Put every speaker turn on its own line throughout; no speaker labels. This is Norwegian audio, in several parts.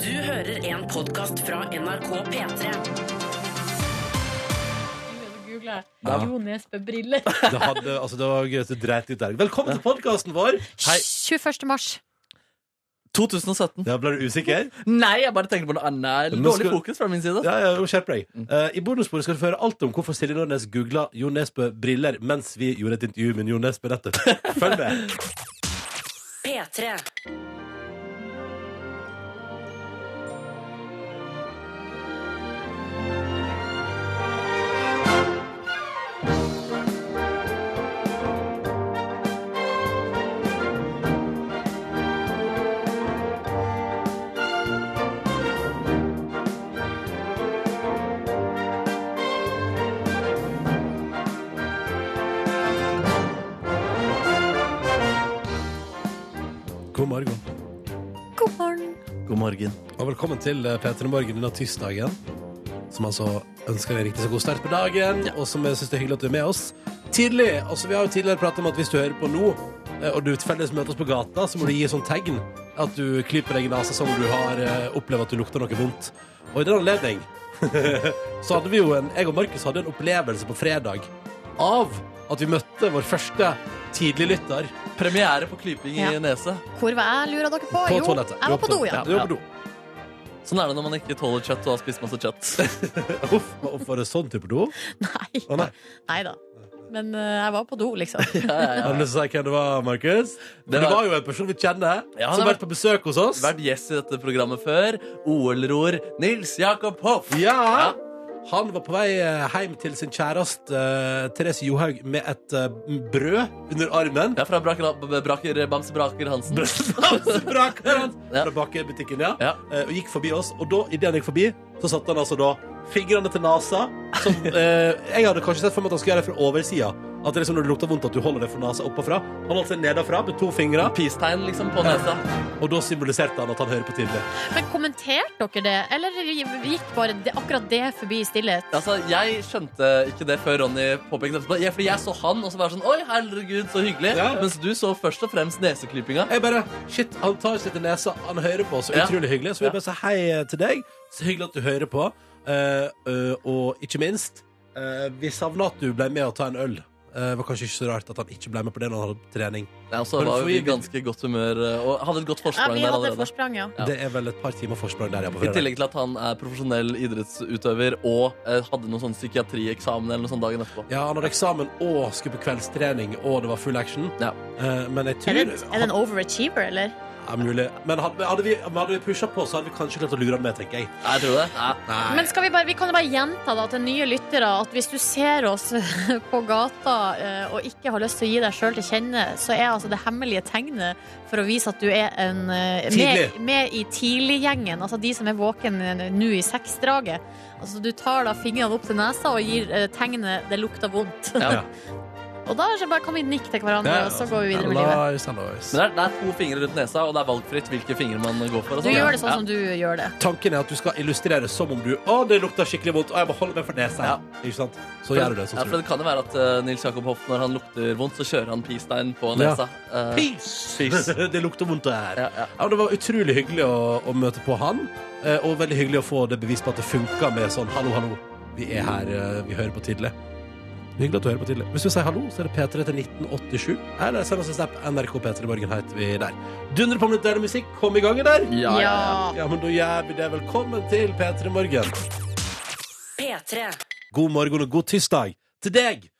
Du hører en podkast fra NRK P3.
Du googler Jo Nesbø-briller.
Det, hadde, altså, det var gøy at du dreit ut der. Velkommen til podkasten vår! Hei.
21. mars.
2017.
Ja, Ble du usikker?
Nei, jeg bare tenkte på noe annet.
Men nå
Dårlig
skal-
fokus fra min side.
Ja, ja, jo, Skjerp deg. Eh, I bonussporet skal du få høre alt om hvorfor Silje Nordnes googla Jo Nesbø briller mens vi gjorde et intervju med Jo Nesbø nettopp. Følg med.
P3.
God morgen.
God morgen.
God morgen.
Og velkommen til eh, P3 Morgen denne tirsdagen. Som altså ønsker deg riktig så god start på dagen, og som jeg syns det er hyggelig at du er med oss. Tidlig, altså Vi har jo tidligere pratet om at hvis du hører på nå, eh, og du tilfeldigvis møter oss på gata, så må du gi sånn tegn at du klyper deg i nesa som om du har eh, opplevd at du lukter noe vondt. Og i den anledning så hadde vi jo en Jeg og Markus hadde en opplevelse på fredag av at vi møtte vår første tidliglytter
Premiere på klyping
Ja.
i nese.
Hvor var jeg, lurer dere på?
på
jo,
toalettet.
jeg var på do, ja.
Du var på do.
Sånn er det når man ikke tåler kjøtt og har spist masse kjøtt.
Uff, var det sånn type do?
Nei.
Å, nei.
da. Men eh, jeg var på do, liksom.
Ja, ja, ja.
Har du lyst til å si hvem det var, Markus? For
Det
Det
var-
var jo en person vi kjenner,
Ja,
som
det
har
var-
vært på besøk hos oss.
Vært gjest i dette programmet før. OL-ror Nils Jakob Hoff.
Ja. Han var på vei eh, hjem til sin kjæreste eh, Therese Johaug med et eh, brød under armen.
Ja, fra Braker, Braker, Bamse Braker Hansen.
Brak foran
Ja.
fra bakebutikken, ja.
Ja.
Eh, Og gikk forbi oss. Og da, idet han gikk forbi, så satte han altså da fingrene til nesa. Som, eh, jeg hadde kanskje sett for meg at han skulle gjøre det fra oversida. At det liksom når det lukter vondt, at du holder det fra nesa oppafra. Han holdt seg nedafra med to fingre,
Peace-tegn liksom på nesa.
og da symboliserte han at han hører på tidlig.
Men kommenterte dere det, eller gikk bare det, akkurat det forbi i stillhet?
Altså, Jeg skjønte ikke det før Ronny påpekte det. etterpå. Ja, fordi jeg så han, og så var jeg sånn Oi, herregud, så hyggelig.
Ja.
Mens du så først og fremst neseklypinga.
Jeg bare, shit, Han tar seg til nesa, han hører på, så
Ja.
utrolig hyggelig. Så vil jeg
Ja.
bare si hei eh, til deg. Så hyggelig at du hører på. Eh, eh, og ikke minst, eh, vi savna at du ble med å ta en øl. Eh, Det var kanskje ikke så rart at han ikke ble med på det når han hadde trening.
Ja, og så
Men
var jo
for-
vi i ganske godt humør eh, og hadde et godt
Ja,
forsprang
vi
der
hadde
allerede.
forsprang, ja.
Ja.
Det er vel et par timer forsprang der, ja. På
I
fredag.
tillegg til at han er profesjonell idrettsutøver og eh, hadde noen sånn psykiatrieksamen eller noe sånt dagen etterpå.
Ja, han hadde eksamen og skulle på kveldstrening, og det var full action.
Ja.
Eh, men jeg
Er
tror
det, er det en overachiever, eller?
Ja, mulig. Men hadde, hadde vi, hadde vi pusha på, så hadde vi kanskje klart å lure han med, tenker jeg.
Nei, jeg tror det. Nei.
Men skal vi, bare, vi kan jo bare gjenta da, til nye lyttere at hvis du ser oss på gata eh, og ikke har lyst til å gi deg sjøl til kjenne, så er altså det hemmelige tegnet for å vise at du er en, eh, med,
Tidlig.
med i tidliggjengen, altså de som er våken eh, nå i seksdraget. Altså, du tar da fingrene opp til nesa og gir eh, tegnet 'det lukter vondt'.
Ja.
og da er det bare kan vi nikke til hverandre,
Ja,
og så går vi videre med livet.
Nice, nice.
Men det er, det er to fingre rundt nesa, og det er valgfritt hvilke fingre man går for. og
Du
sånn.
gjør det sånn
Ja.
som du gjør det.
Tanken er at du skal illustrere som om du Å, det lukter skikkelig vondt, og jeg må holde meg for nesa.
Ja.
Ikke sant? Så gjør du det.
ja,
sånn
for
som du.
det kan jo være at eh, Nils Jakob Hoff, når han lukter vondt, så kjører han pistein på
Ja.
nesa. Eh, Fis.
det lukter vondt her. Ja.
Ja, ja.
men det var utrolig hyggelig å, å møte på han, eh, og veldig hyggelig å få det bevis på at det funker med sånn hallo, hallo, vi er her, eh, vi hører på tidlig. Hyggelig at du hører på tidlig. Hvis du sier hallo, så er det P3 til 1987. Eller send oss en snap. NRK P3 Morgen heter vi der. Dundre på med litt deilig musikk. Kom i gang, der.
Ja, ja, ja.
Ja, men da gjør vi det. Velkommen til P3 Morgen.
P3.
God morgen og god tirsdag til deg!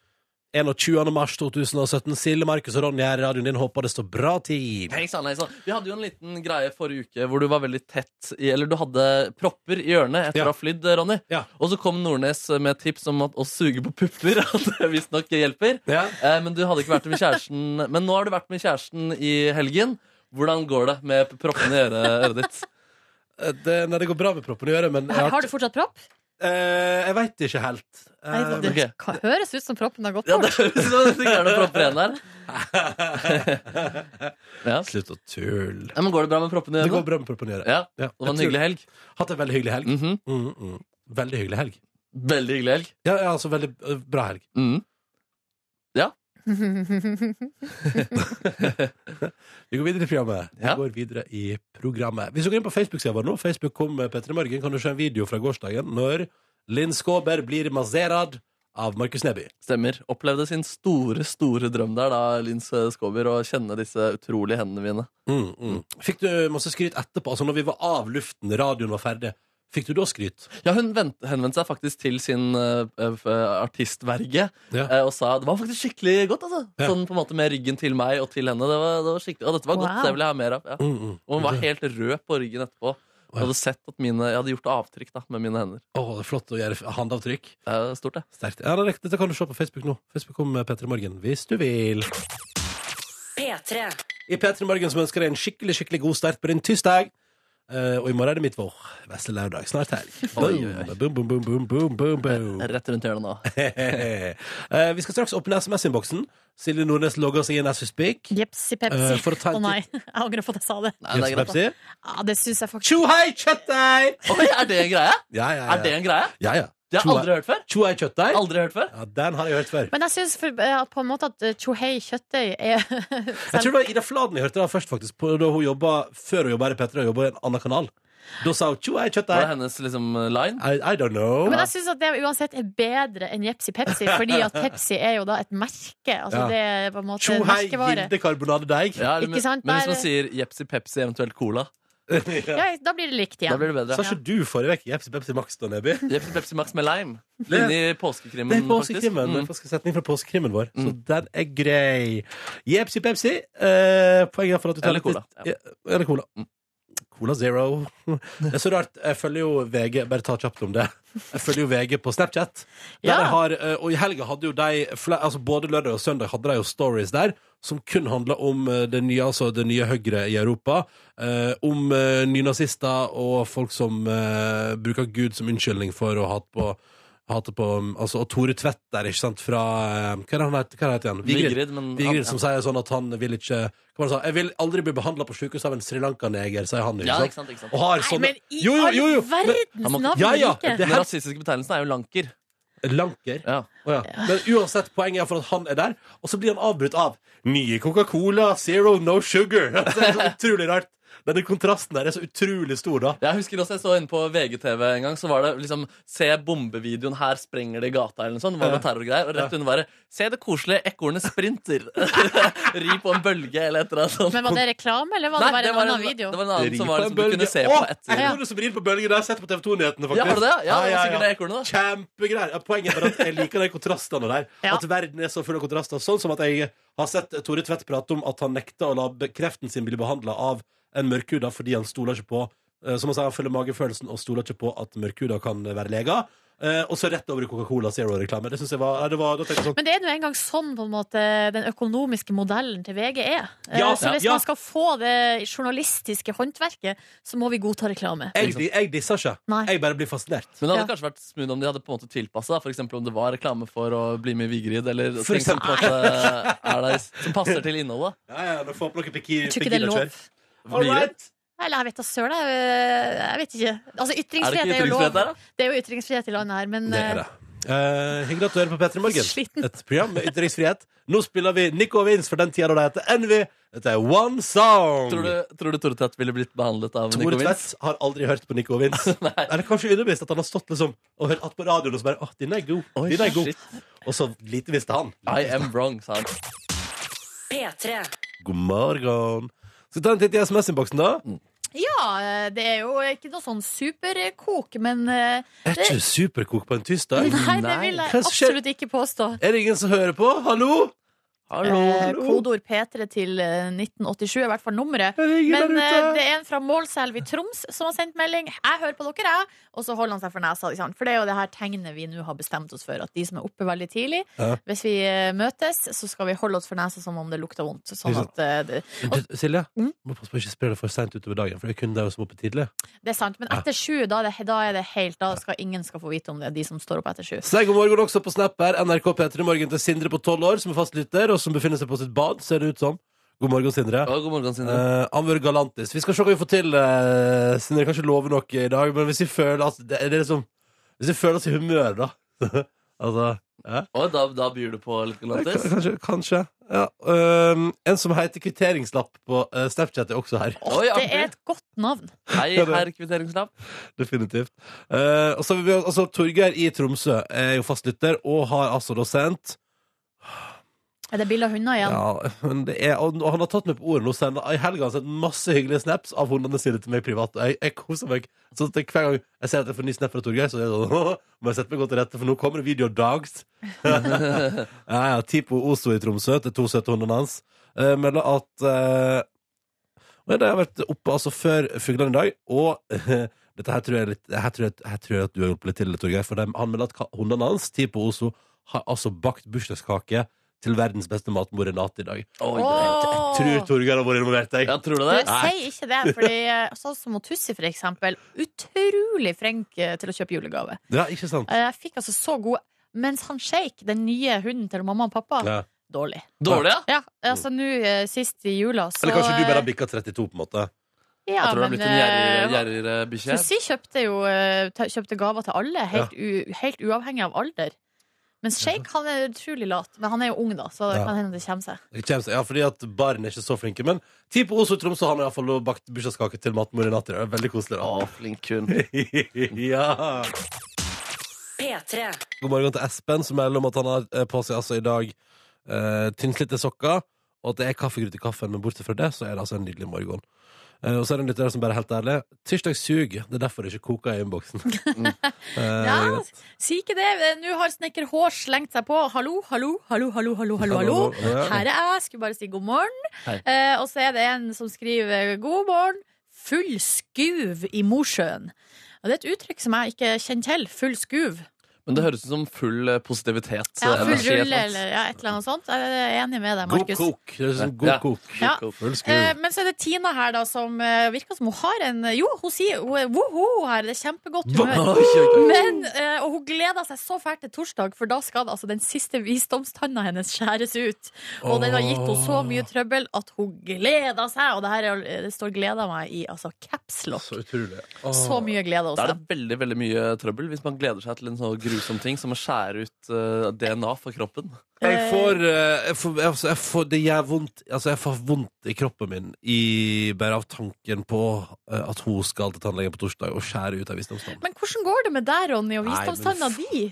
21. mars 2017. Silje, Markus og Ronny her i radioen din. Håper det står bra til.
Hei sann, hei sann. Vi hadde jo en liten greie forrige uke hvor du var veldig tett i Eller du hadde propper i ørene etter
Ja.
å ha flydd, Ronny.
Ja.
Og så kom Nordnes med et tips om at å suge på pupper at det visstnok hjelper.
Ja.
Eh, men du hadde ikke vært med kjæresten Men nå har du vært med kjæresten i helgen. Hvordan går det med proppene i øret, øret ditt?
Eh, Det, nei, det går bra med proppen i øret, men jeg,
Har, har du fortsatt propp?
Eh, jeg veit ikke helt. Eh,
Nei, det
ok.
ka- høres ut som proppen har gått
Ja,
bort.
det høres ut som det ikke er noen propper igjen der. Ja.
Slutt å tulle.
Ja, men går det bra med proppene i
Det går
øret?
bra med proppen i øret.
Ja.
Ja,
Det var en
jeg
hyggelig helg.
tror- Hatt en veldig hyggelig helg.
Mhm.
Mm, mm. Veldig hyggelig helg.
Veldig hyggelig helg.
Ja, ja, altså veldig eh, bra helg.
Mhm. Ja.
Vi går videre i programmet. Vi
Ja.
går videre i programmet. Hvis du går inn på Facebook-sida vår nå, Facebook kom med Petter i morgen, kan du se en video fra gårsdagen når Linn Skåber blir masserad av Markus Neby.
Stemmer. Opplevde sin store, store drøm der, da, Linn Skåber, å kjenne disse utrolige hendene mine.
Mm, mm. Fikk du masse skryt etterpå? Altså når vi var av luften, radioen var ferdig, fikk du da skryt?
Ja, hun vent, henvendte seg faktisk til sin eh, f- artistverge
Ja.
eh, og sa det var faktisk skikkelig godt. altså
Ja.
Sånn på en måte med ryggen til meg og til henne. Det var, det var skikkelig, og dette var godt,
Wow.
det vil jeg ha mer av. Ja.
Mm, mm.
Og hun var helt rød på ryggen etterpå.
Ja.
Jeg hadde sett at mine, jeg hadde gjort avtrykk da, med mine hender.
Å, det er flott å gjøre handavtrykk.
Det er stort, det.
Sterkt. Ja, det er riktig. Dette kan du se på Facebook nå. Facebook kom med Petter i morgen, hvis du vil.
P3.
I P3 Morgen som ønsker deg en skikkelig skikkelig god start på din tirsdag. Eh, og i morgen er det mitt vår. Vesle lørdag. Snart helg.
Oi,
Boom,
oi, oi.
boom, boom, boom, boom, boom, boom, boom.
Rett rundt hjørnet nå.
Eh, vi skal straks åpne SMS-innboksen. Silje Nordnes logger seg inn as we speak.
Jepsi
Eh,
pepsi.
for å ta
Å
en
nei, jeg angrer på at jeg sa det.
Nei, det er greit. da.
Pepsi.
Ja, det syns jeg faktisk.
Tjohei, kjøttdeig!
Oi, er det en greie?
Ja, ja,
Er det
ja.
en greie?
ja, ja.
Det har jeg aldri hørt før.
Tjohei, kjøttdeig.
Aldri hørt før.
Ja, den har jeg hørt før.
Men jeg syns for- eh, på en måte at eh, tjohei kjøttdeig er
Jeg tror det var Ida Fladen jeg hørte det først, faktisk. På, da hun jobbet, før hun jobba i P3 og jobba i en annen kanal. Da sa hun tjohei,
Var det
kjøttdeig.
hennes liksom line?
I, I don't know.
Men jeg syns at det uansett er bedre enn Jepsi Pepsi, fordi at Pepsi er jo da et merke. Altså
Ja.
det er på en måte en
Tjohei,
merkevare.
gildekarbonadedeig.
Ja, eller-
Ikke sant?
Men hvis
Der-
man sier Jepsi Pepsi, eventuelt Cola,
Ja, da blir det likt
da
igjen.
blir det bedre.
Sa ikke du forrige uke Jepsi Pepsi Max da, Neby?
Jepsi Pepsi Max med lime. Det
Det-
er Inni
Det er
påskekrimmen, Mm, faktisk.
påskekrimmen. Det
Mm.
er faktisk en setning fra påskekrimmen vår, så den er grei. Jepsi Pepsi. Eh, poenget er for at du tar
Eller
litt-
cola, Mm. ja.
Ja. Eller cola. Cola Zero. Det er så rart. Jeg følger jo VG Bare ta kjapt om det. Jeg følger jo VG på Snapchat. Der
Ja.
jeg har, eh, og i helga hadde jo de fla- altså Både lørdag og søndag hadde de jo stories der som kun handla om eh, det nye, altså det nye Høyre i Europa. eh, om eh, nynazister og folk som eh, bruker Gud som unnskyldning for å hate på Hate på, um, altså, og Tore Tvedt der, ikke sant, fra eh, Hva er det han het- hva er det han heter igjen?
Vigrid, men
Vigrid som sier sånn at han vil ikke hva var det han sa? Jeg vil aldri bli behandla på sykehus av en srilankaneger, sier han.
Ja, ikke sant, ikke sant.
Og har
Nei,
sånne
men i
Jo, jo, jo! jo.
all
Men-
Han må-
verdens navn
sånn- Ja, ja,
rike!
det
Den
her-
rasistiske betegnelsen er jo lanker.
Lanker.
Ja.
Å ja. Men uansett, poenget er for at han er der, og så blir han avbrutt av nye Coca-Cola, Zero, No Sugar. Det er så utrolig rart. Denne kontrasten der er så utrolig stor, da.
Jeg husker også jeg så inne på VGTV en gang, så var det liksom Se bombevideoen, her sprenger det i gata, eller noe sånt. Det var noe terrorgreier. Og rett under var det Se det koselige ekornet sprinter. Ri på en bølge, eller et eller annet sånt.
Men var det reklame, eller var det
Nei,
bare en annen video?
det var en annen som var,
Ri på
liksom,
en
du kunne
bølge.
se på
Å,
etter.
ekornet som rir på bølgen, det har jeg sett på TV 2-nyhetene, faktisk.
Ja, var det det? Ja, det var sikkert det ekornet, da.
Kjempegreier. Ja, Poenget er at jeg liker de kontrastene der.
Ja.
At verden er så full av kontraster. Sånn som at jeg har sett Tore Tvedt prate om at han nekta å la be- kreften sin bli behandla av en mørkhuda fordi han stoler ikke på eh, Som han sa, han følger magefølelsen og stoler ikke på at mørkhuda kan være leger. Eh, og så rett over i Coca-Cola Zero-reklame. Det synes jeg var, nei, det var Da tenkte jeg sånn
Men det er nå engang sånn på en måte, den økonomiske modellen til VG er. Eh,
Ja,
så hvis
ja.
man skal få det journalistiske håndverket, så må vi godta reklame.
jeg, jeg disser ikke.
Nei.
Jeg bare blir fascinert.
Men det hadde
Ja.
kanskje vært smooth om de hadde på en måte tilpassa. F.eks. om det var reklame for å bli med i Vigrid, eller
For
ting som, på en måte er der, som passer til innholdet.
Ja, ja, nå får opp noen piki,
Jeg tror ikke det er lov.
All right.
Eller jeg vet da søren, jeg, eh, jeg vet ikke. Altså,
Er det
ytringsfrihet
ikke
er, jo
ytringsfrihet
lov.
der, da?
Det er jo ytringsfrihet i landet her, men
Det
eh,
er det. Eh, hyggelig at du hører på P3 Morgen.
Sliten.
Et program med ytringsfrihet. Nå spiller vi Nico og Vince for den tida da det heter Envy. Dette er One Song.
Tror du, tror du Tore Tvedt ville blitt behandlet av
Tore
Nico Vince?
Tvedt har aldri hørt på Nico og Vince. Eller kanskje underbevisst at han har stått liksom og hørt at på radioen og så bare Å, din er god.
Oi,
din er god.
shit.
Og så lite visste han.
I am wrong, sa han.
P3.
God morgen. Skal vi ta en titt i SMS-innboksen, da?
Mm.
ja, eh, det er jo ikke noe sånn superkok, men eh,
Er ikke du superkok på en tirsdag?
Nei, det
Nei.
vil
Hva
jeg
skjer?
absolutt ikke påstå.
Er det ingen som hører på? Hallo?
Eh,
hallo.
kodeord P3 til eh, 1987 er i hvert fall nummeret.
Er det ingen
Men eh,
der ute?
det er en fra Målselv i Troms som har sendt melding. Jeg hører på dere, jeg. Og så holder han seg for nesa. Ikke sant? For det er jo det her tegnet vi nå har bestemt oss for. At de som er oppe veldig tidlig,
Ja.
hvis vi eh, møtes, så skal vi holde oss for nesa som om det lukter vondt. Sånn
Ikke
at
sant.
eh, det,
Du, Silje,
Mm.
må passe på å ikke spre det for seint utover dagen, for det er kun deg som er oppe tidlig.
det er sant. Men etter sju, da, er det- da er det helt Da skal ingen skal få vite om det, de som står opp etter sju.
Si god morgen også på Snap her. NRK P3 Morgen til Sindre på 12 år, som er fastlytter, og som befinner seg på sitt bad, ser det ut som. God morgen, Sindre.
Å, god morgen, Sindre.
Uh, Amver Galantis. Vi skal se hva vi får til, eh, Sindre. Kan ikke love noe i dag, men hvis vi føler at det, det er liksom Hvis vi føler oss i humør, da. altså Ja.
Og da, da byr du på litt galantis?
Kanskje. kanskje. Ja. øhm, en som heter Kvitteringslapp på eh, Snapchat, er også her.
Oi,
Det er
artig.
et godt navn.
Hei, herr kvitteringslapp.
Definitivt. Eh, og så vil vi altså, Torgeir i Tromsø er jo fastlytter, og har altså da sendt
Er det bilde av hunder igjen?
Ja, men det er, og han har tatt meg på ordet nå. sender- I helga har han sendt masse hyggelige snaps av hundene sine til meg privat. og Jeg, jeg koser meg. Så at jeg- hver gang jeg ser at jeg får ny snap fra Torgeir, så er det sånn Må jeg sette meg godt til rette, for nå kommer det video dogs. ja, ja, Tipo Oso i Tromsø til to søte hundene hans. Eh, melder at eh, og De har vært oppe altså før fuglene i dag, og dette her tror jeg, litt, her tror jeg, her tror jeg at du har hjulpet litt til, Torgeir. For de, han melder at ka- hundene hans, Tipo Oso, har altså bakt bursdagskake til verdens beste matmor Renate i dag.
Åh!
Oi,
Jeg tror Torgeir har vært involvert, jeg.
Ja, tror du
Du,
det?
Si ikke det, fordi eh, sånn som hun Tussi, for eksempel. Utrolig flink eh, til å kjøpe julegave.
Ja, ikke sant?
Eh, Jeg fikk altså så god Mens han Shake, den nye hunden til mamma og pappa,
Ja.
dårlig.
Dårlig, ja?
Ja, altså nå eh, sist i jula, så eh,
Eller kanskje du bare har bikka 32, på en måte.
ja,
Jeg tror du har
men,
blitt en gjerrig-
eh,
gjerrigere bikkje.
Tussi kjøpte jo eh, ta- kjøpte gaver til alle, helt, u, helt uavhengig av alder. Mens Shake han er utrolig lat. Men han er jo ung, da, så det
Ja.
kan hende det kommer seg.
Det kommer seg- Ja, fordi at barn er ikke så flinke. Men ti på Oslo og Tromsø har nå iallfall bakt bursdagskake til matmor Renate i dag. Veldig koselig.
Å,
da.
flink hund.
ja.
P3.
God morgen til Espen, som melder om at han har eh, på seg altså i dag eh, tynnslitte sokker, og at det er kaffegrut i kaffen, men bortsett fra det, så er det altså en nydelig morgen. Eh, og så er det en lytter som bare er helt ærlig. Tirsdag suger. Det er derfor det ikke koker i innboksen. Eh,
Ja, si ikke det. Eh, Nå har snekker H slengt seg på. Hallo, hallo, hallo, hallo, hallo. hallo, hallo.
Ja.
Her er jeg. Skulle bare si god morgen.
Hei.
Eh, og så er det en som skriver god morgen. Full skuv i Mosjøen. Og det er et uttrykk som jeg ikke kjenner til. Full skuv.
Men det høres ut som full eh, positivitet.
Ja,
eh,
full
energi, et
rulle
eller
eller ja, et eller annet sånt. Jeg er enig med deg,
God
Markus.
kok. Det er sånn god
Ja.
kok.
Ja.
annet.
Full skru.
Eh, men så er det Tina her, da, som eh, virker som hun har en Jo, hun sier hun er woho her. Det er kjempegodt humør.
Oi, oi, oi.
Men, eh, og hun gleder seg så fælt til torsdag, for da skal altså den siste visdomstanna hennes skjæres ut. Og den har gitt henne så mye trøbbel at hun gleder seg. Og det, her er, det står 'gleder meg' i altså capslock.
Så utrolig.
Så mye glede
Da
hos
er
dem.
det veldig veldig mye trøbbel hvis man gleder seg til en sånn grusom ting som å skjære ut eh, DNA fra kroppen.
Jeg får, eh, jeg får, altså, jeg får Det gjør vondt Altså, jeg får vondt i kroppen min i, bare av tanken på eh, at hun skal til tannlegen på torsdag og skjære ut av visdomstannen.
Men hvordan går det med deg, Ronny, og
Nei, men
visdomstanna di?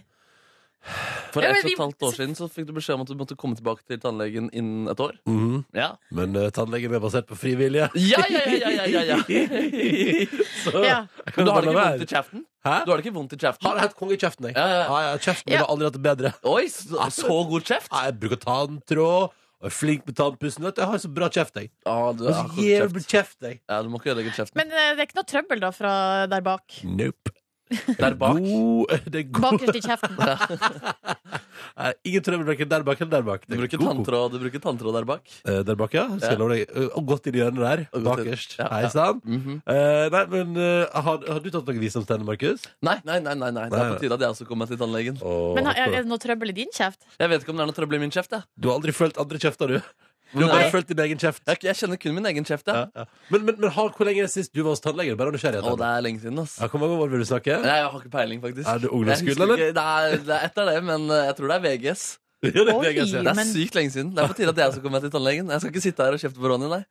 For
Ja, men
ett og
vi-
et halvt år siden så fikk du beskjed om at du måtte komme tilbake til tannlegen innen et år.
Mhm.
Ja,
Men eh, tannlegen er basert på frivillige.
ja, ja, ja, ja, ja, ja.
Så
Ja.
jeg kan
Men du har
bare
det
la
ikke vondt i
være.
kjeften?
Hæ?
Du har det ikke vondt i
Har
kjeften?
jeg hatt konge i kjeften, jeg.
Ja, ja, ja.
Ja, ja, kjeften min
Ja.
har aldri hatt det bedre.
Oi, så, så god kjeft?
Ja, Jeg bruker tanntråd og er flink med tannpussen. Vet du. Jeg har så bra kjeft, jeg.
Ja, du,
Og
har
så
god
jævlig
kjeft.
kjeft, jeg.
ja, du må ikke ødelegge kjeften.
Men eh, det er ikke noe trøbbel da fra der bak?
Nope.
Der bak.
God, det er god.
Bakerst i kjeften.
Nei, Ingen trøbbel verken der bak eller der bak.
Du
Det er
bruker
god kok.
tanntråd, du bruker tanntråd der bak.
Eh, der bak, ja. Skal jeg
Ja.
love deg. Eh, Og godt i det hjørnet der.
Og godt i-
Bakerst.
ja,
Hei
ja.
sann.
Mhm.
Eh, nei, men eh, har, har du tatt noen visdomstenner, Markus?
Nei, nei, nei, nei, nei. Det er
Nei.
på tide at jeg også kommer meg til tannlegen.
Men er, er det noe trøbbel i din kjeft?
Jeg vet ikke om det er noe trøbbel i min kjeft. Jeg,
Du har aldri følt andre kjefter, du. Du har
Nei.
bare følt din egen kjeft.
jeg, jeg kjenner kun min egen kjeft.
Ja,
Jeg.
ja. Men, men, men har, hvor lenge er det sist du var hos tannlegen? Bare av nysgjerrighet.
Å, det
Anne.
er lenge siden, ass.
Ja, hvor mange år vil du snakke?
Nei, jeg har ikke peiling, faktisk.
Er du
Jeg
ungdomsskolen,
husker
eller?
ikke- Det er, det er etter det, men eh, jeg tror det er VGS.
Ja, det er
Oi.
VGS, ja.
Det er
men-
sykt lenge siden. Det er på tide at jeg også kommer meg til tannlegen. Jeg skal ikke sitte her og kjefte på Ronny, nei.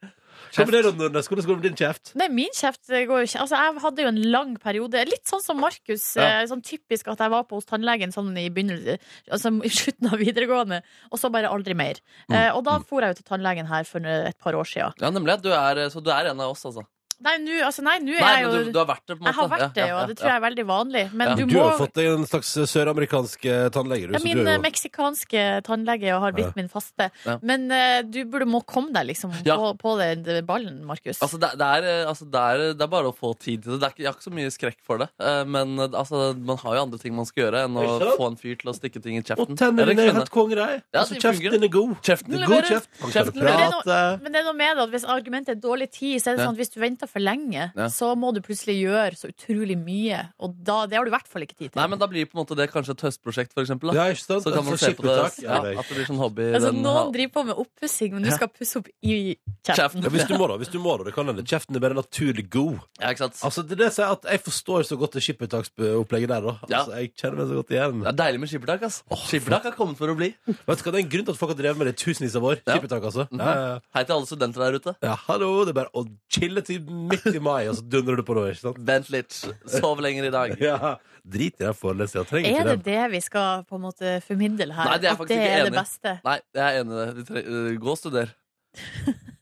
Kom med det, Ronny. Nordnes. Hvordan går det med din kjeft?
Nei, min kjeft går jo ikke Altså, jeg hadde jo en lang periode Litt sånn som Markus
Ja.
eh, Sånn typisk at jeg var på hos tannlegen Sånn i begynnelsen Altså i slutten av videregående Og så bare aldri mer
Mm.
eh, Og da for jeg jo til tannlegen her For et par år siden
Ja, nemlig. Du er, så du er en av oss, altså.
Nei, nå altså, nei, nå er
Nei,
jeg jo
men du, du har vært det, på en måte.
Jeg har vært det,
Ja,
jo
ja,
Det tror
ja.
jeg er veldig vanlig Men
Ja.
du må
Du, har jo fått deg en slags søramerikansk eh, tannlege. Du,
ja,
så
min
du
eh,
er jo...
meksikanske tannlege har blitt
Ja.
min faste
Ja.
Men eh, du burde må komme deg liksom
Ja.
på, på den den ballen, Markus
Altså, det, det, er, eh, altså det, er, det er bare å få tid til det. det er ikke, jeg har ikke så mye skrekk for det. Eh, Men eh, altså, man har jo andre ting man skal gjøre enn å
Ikke sant?
få en fyr til å stikke ting
Og
i kjeften.
tennene
Eller
dine er
skjønne.
helt konge, de.
Ja,
altså,
de
kjeften
fungerer.
din er god.
Kjeften
Det er
leverer.
God kjeft. Han kan
Kjeften leverer.
prate.
Men det er noe med det at hvis argumentet er dårlig tid, så er det
Ja.
sånn at hvis du venter prater for lenge,
Ja.
så må du plutselig gjøre så utrolig mye. Og da, det har du i hvert fall ikke tid til.
Nei, men da blir på en måte det kanskje et høstprosjekt, for eksempel. Da.
Ja, altså ikke sant?
Så kan man
Et
se på det
forsiktig tak.
Altså, ja, At det blir sånn hobby.
altså,
den
noen
ha-
driver på med oppussing, men du
Ja.
skal pusse opp i kjeften.
Ja, hvis du må, da. Hvis du må, da. Det kan hende. Kjeften er bare naturlig god.
Ja, ikke sant?
Altså, det er det jeg sier at jeg forstår så godt det skippertaksopplegget der, da.
Ja.
Altså, jeg kjenner meg så godt igjen.
Det er deilig med skippertak. ass Skippertak har kommet for å bli.
Vet du hva, Det er en grunn til at folk har drevet med det i tusenvis av år.
Ja.
Skippertak, altså. Ja, ja, ja.
Hei til alle studenter der ute.
ja, hallo, det er bare å chille til midt i mai, og så dundrer du på da, ikke sant?
Vent litt. Sov lenger i dag.
Ja, Drit i den forelesningen. Jeg trenger
Er
ikke
det
den.
det vi skal på en måte formidle her?
Nei, det er jeg
At
faktisk
det
ikke
er
enig
det
i.
beste?
Nei, jeg er enig i det. Vi tre- øh, Gå og studer.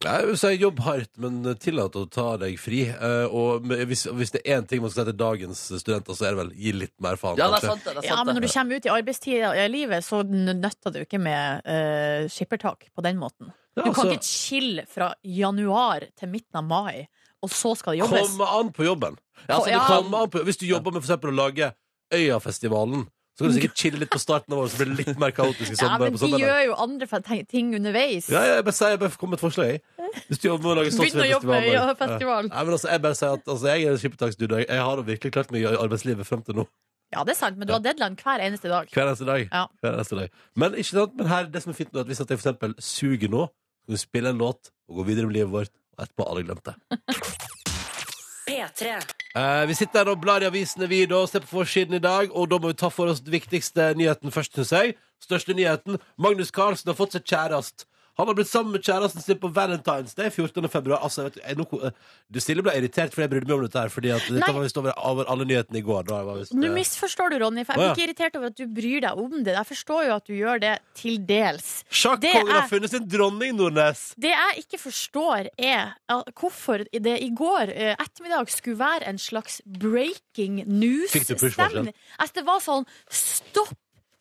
Jeg vil si jobb hardt, men tillat å ta deg fri. Eh, Og hvis, hvis det er én ting man skal si til dagens studenter, så er det vel gi litt mer faen.
Ja,
kanskje.
det er sant. det, det er sant
Ja, men
det.
når du kommer ut i arbeidstida i livet, så n- nøtter det jo ikke med eh, skippertak på den måten.
Ja,
Du kan
altså,
ikke chille fra januar til midten av mai, og så skal det jobbes.
Komme an på jobben.
Ja,
Så
altså, du
det
Ja.
kan-
kommer an på, hvis du jobber med for eksempel å lage Øyafestivalen, så kan du sikkert chille litt på starten av året, så blir det litt mer kaotisk i
Sånn,
Ja,
sommer.
men
på
de
sommeren.
gjør jo andre fe- te- ting underveis.
Ja, ja, jeg bare sier, jeg bare kom med et forslag, jeg. Hvis du jobber med å lage
Begynn å jobbe med
Slottsfjellfestivalen.
Øyafestival.
Nei, men altså, jeg bare sier at altså, jeg er en skippertaksdude. Jeg har da virkelig klart meg i arbeidslivet frem til nå.
Ja, det er sant, men du har deadline hver eneste dag.
Hver eneste dag.
Ja.
Hver eneste dag. Men ikke sant, men her, det som er fint nå, er at hvis at jeg for eksempel suger nå, kan vi spille en låt og gå videre med livet vårt, og etterpå har alle glemt det.
P3.
Eh, vi sitter her og blar i avisene vi da, og ser på forsiden i dag, og da må vi ta for oss den viktigste nyheten først, synes jeg. Største nyheten. Magnus Carlsen har fått seg kjærest. Han har blitt sammen med kjæresten sin på Valentine's Day 14. februar. Altså, vet du, jeg, nå- eh, du stille ble irritert fordi jeg brydde meg om dette her, fordi at dette
Nei.
var visst over, over alle nyhetene i går. Da, jeg var visst,
Nå
eh,
misforstår du, Ronny, for
Å,
jeg
ja.
blir ikke irritert over at du bryr deg om det. Jeg forstår jo at du gjør det til dels. Det
Sjakkongen
er-
har funnet sin dronning, Nordnes!
Det jeg ikke forstår, er at hvorfor det i går eh, ettermiddag skulle være en slags breaking
Fikk du push varsel?
news-stemning. Altså, det var sånn Stopp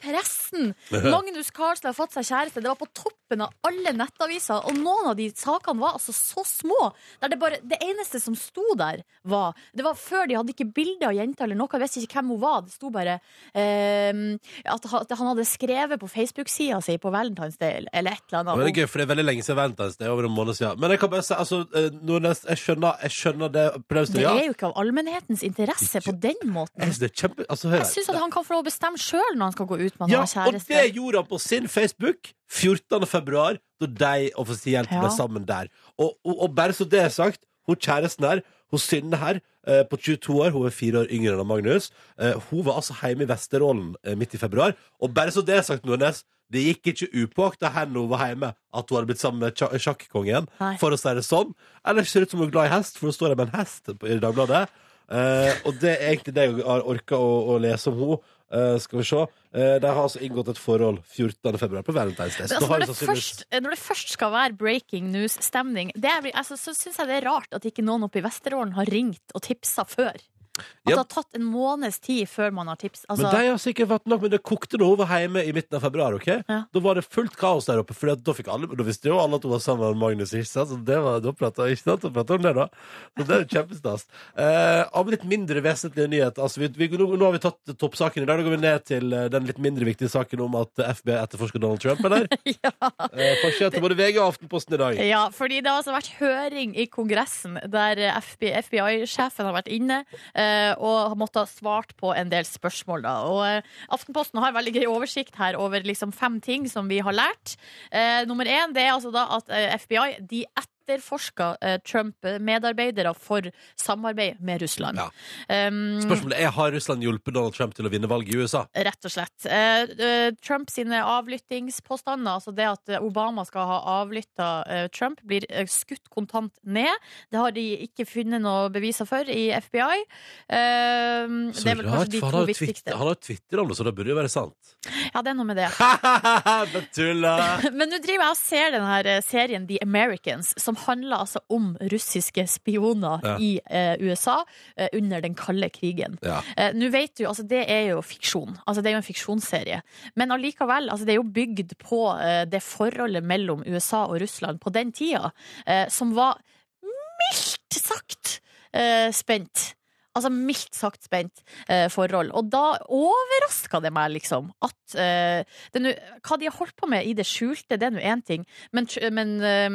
pressen! Magnus Carlsen har fått seg kjæreste. Det var på toppen av alle nettaviser. Og noen av de sakene var altså så små. Der det, bare, det eneste som sto der, var Det var før de hadde ikke bilde av jenta eller noe. Jeg visste ikke hvem hun var. Det sto bare eh, at ha- at han hadde skrevet på Facebook-sida si på Valentine's Day eller et eller annet.
Men det er gøy, for det er veldig lenge siden Valentine's Day. Over en måned siden. Men jeg kan bare si, altså, eh, Nordnes, jeg skjønner, jeg skjønner det
Det
problemstillinga.
er jo ikke av allmennhetens interesse på den
Jeg
måten.
synes det er kjempe... Altså, hør
Jeg
her.
syns at han kan få lov å bestemme sjøl når han skal gå ut med han
Ja,
har
og det
kjæreste.
gjorde han på sin Facebook 14. februar, da de offisielt ble
Ja.
sammen der. Og, og, og bare så det er sagt, hun kjæresten her, hun Synne her, eh, på 22 år, hun er fire år yngre enn Magnus, eh, hun var altså hjemme i Vesterålen eh, midt i februar. Og bare så det er sagt, Nordnes, det gikk ikke upåakta her når hun var hjemme, at hun hadde blitt sammen med sja- sjakkongen,
Nei.
for å si det sånn. Ellers ser det ut som hun er glad i hest, for hun står der med en hest på- i Dagbladet. Eh, og det er egentlig det jeg har orka å, å lese om henne. Eh, skal vi se. Eh, de har altså inngått et forhold 14. februar på Valentine's Day.
Men
Så
Altså,
da
når,
har vi
det
sannsynligvis
først, når det først skal være breaking news-stemning, det er- altså, så syns jeg det er rart at ikke noen oppe i Vesterålen har ringt og tipsa før. At det
Ja.
har tatt en måneds tid før man har tips. Altså,
Men de har sikkert vært nok, men det kokte da hun var hjemme i midten av februar. ok?
Ja.
Da var det fullt kaos der oppe, for da, fikk alle, da visste jo alle at hun var sammen med Magnus. ikke sant? Så det var, da pratet, ikke sant? Da pratet hun det, da. Så det er jo kjempestas. Eh, av litt mindre vesentlige nyheter altså, vi, vi, nå, nå har vi tatt toppsaken i dag. Da går vi ned til eh, den litt mindre viktige saken om at eh, FBI etterforsker Donald Trump, eller?
ja.
Eh, Forskjell til både VG og Aftenposten i dag.
Ja, fordi det har altså vært høring i Kongressen der FBI-sjefen har vært inne eh, og har måttet ha svart på en del spørsmål. Da. Og eh, Aftenposten har veldig gøy oversikt her over liksom fem ting som vi har lært. Eh, nummer én det er altså da at eh, FBI de etterforsker eh, Trump-medarbeidere for samarbeid med Russland.
Ja.
Um,
Spørsmålet er har Russland hjulpet Donald Trump til å vinne valget i USA.
Rett og slett. Eh, eh, Trump sine avlyttingspåstander, altså det at eh, Obama skal ha avlytta eh, Trump, blir eh, skutt kontant ned. Det har de ikke funnet noe beviser for i FBI. Eh, det er vel kanskje de to
for han har jo twitt-
viktigste.
han har jo Twitter om det, så det burde jo være sant.
Ja, det er noe med det.
Bare tulla!
Men nå driver jeg og ser den her eh, serien The Americans, som handler altså om russiske spioner
Ja.
i eh, USA eh, under den kalde krigen.
Ja.
Eh, nå vet du, altså Det er jo fiksjon. Altså Det er jo en fiksjonsserie. Men allikevel, altså det er jo bygd på eh, det forholdet mellom USA og Russland på den tida, eh, som var mildt sagt eh, spent. altså mildt sagt spent eh, forhold. Og da overraska det meg, liksom, at eh, det nu, Hva de har holdt på med i det skjulte, det er nå én ting, men, tr- men, eh,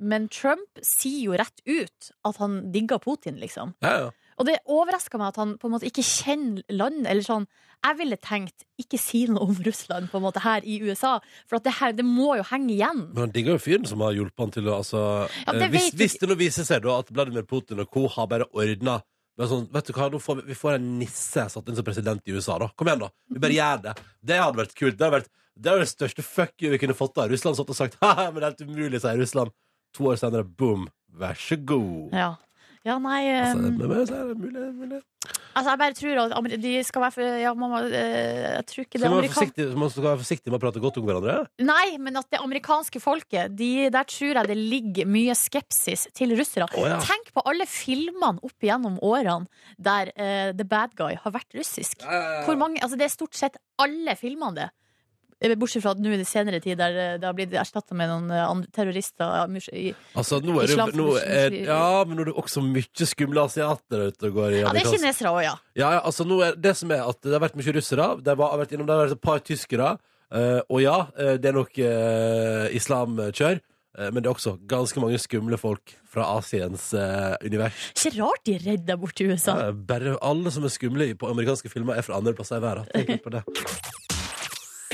men Trump sier jo rett ut at han digger Putin, liksom.
Ja, ja.
Og det overraska meg at han på en måte ikke kjenner land, eller sånn Jeg ville tenkt ikke si noe om Russland på en måte her i USA, for at det her, det må jo henge igjen.
Men han digger jo fyren som har hjulpet han til å altså,
Ja, det
eh, hvis,
vet jeg
hvis det nå viser seg da at Vladimir Putin og co. har bare ordna sånn, vet du hva, nå får vi, vi får en nisse satt inn som president i USA, da. Kom igjen, da. Vi bare gjør det. Det hadde vært kult. Det hadde vært det, hadde vært det største fuck you vi kunne fått av Russland. Satt og sagt haha, men det er helt umulig, sier Russland. To år senere, boom. Vær så god.
Ja, ja nei
Altså,
eh,
men, men, så er det mulig, mulig.
Altså, jeg bare tror at amer- de skal være for, ja, man, må- eh, Jeg tror ikke det
Så man, må være
amerikan...
forsiktig, man skal være forsiktig med å prate godt om hverandre.
Nei, men at det amerikanske folket, de, der tror jeg det ligger mye skepsis til russere.
Å, ja.
Tenk på alle filmene opp igjennom årene der eh, The Bad Guy har vært russisk. Hvor mange, altså det er stort sett alle filmene det. Eh, Bortsett fra at nå i det senere tid der eh, det har blitt erstatta med noen eh, andre terrorister. ja, mus- i-
Altså, nå er det jo
Islam-
nå er, Ja, men nå er det også mye skumle asiater ute og går i
Ja, det er
amerikansk-
kinesere òg, ja.
Ja, ja, altså nå er det som er at det har vært mye russere Det var- har vært innom det har vært et par tyskere eh, Og ja, eh, det er nok eh, islamkjør eh, Men det er også ganske mange skumle folk Fra Asiens eh, univers
Ikke rart de er redd der borte i USA.
Eh, Bare alle som er skumle i- på amerikanske filmer Er fra andre plasser i verden Tenk litt på det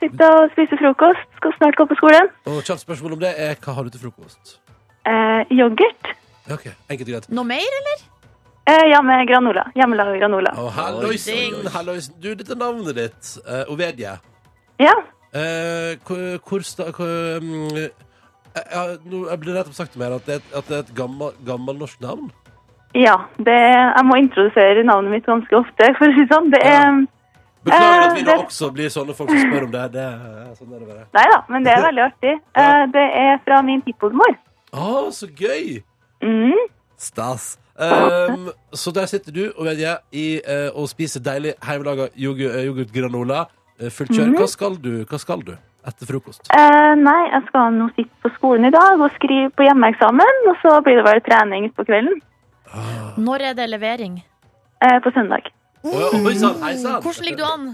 Sitte og spise frokost. Skal snart gå på skolen.
Og kjapt spørsmål om det er hva har du til frokost?
Eh, yoghurt.
Ja, Ok, enkelt og greit.
Noe mer, eller?
Eh, ja, med granola. Hjemmelaga granola.
Og halloisen, halloisen. Du, dette er navnet ditt, eh, Ovedje.
Ja.
Eh, hvor, hvor sta... Hvor, mm, eh, ja, nå jeg ble nettopp sagt til meg at det er et, at det er et gammel, gammel norsk navn.
Ja. Det, jeg må introdusere navnet mitt ganske ofte, for å si det sånn. Det er
Beklager
Eh,
at vi da
det-
også blir sånne folk som spør om det. det er sånn er det bare.
Nei da, men det er veldig artig. Eh, det er fra min tippoldemor.
Å, så gøy!
Mm.
Stas. Ehm, så der sitter du og, vet jeg, i, eh, og spiser deilig hjemmelaga yoghurtgranola. eh, Fullt kjør.
Mhm.
Hva skal du Hva skal du etter frokost?
Eh, nei, jeg skal nå sitte på skolen i dag og skrive på hjemmeeksamen, og så blir det vel trening på kvelden.
Når er det levering?
Eh, på søndag.
Å, ja, oi sann, hei sann!
Hvordan ligger du an?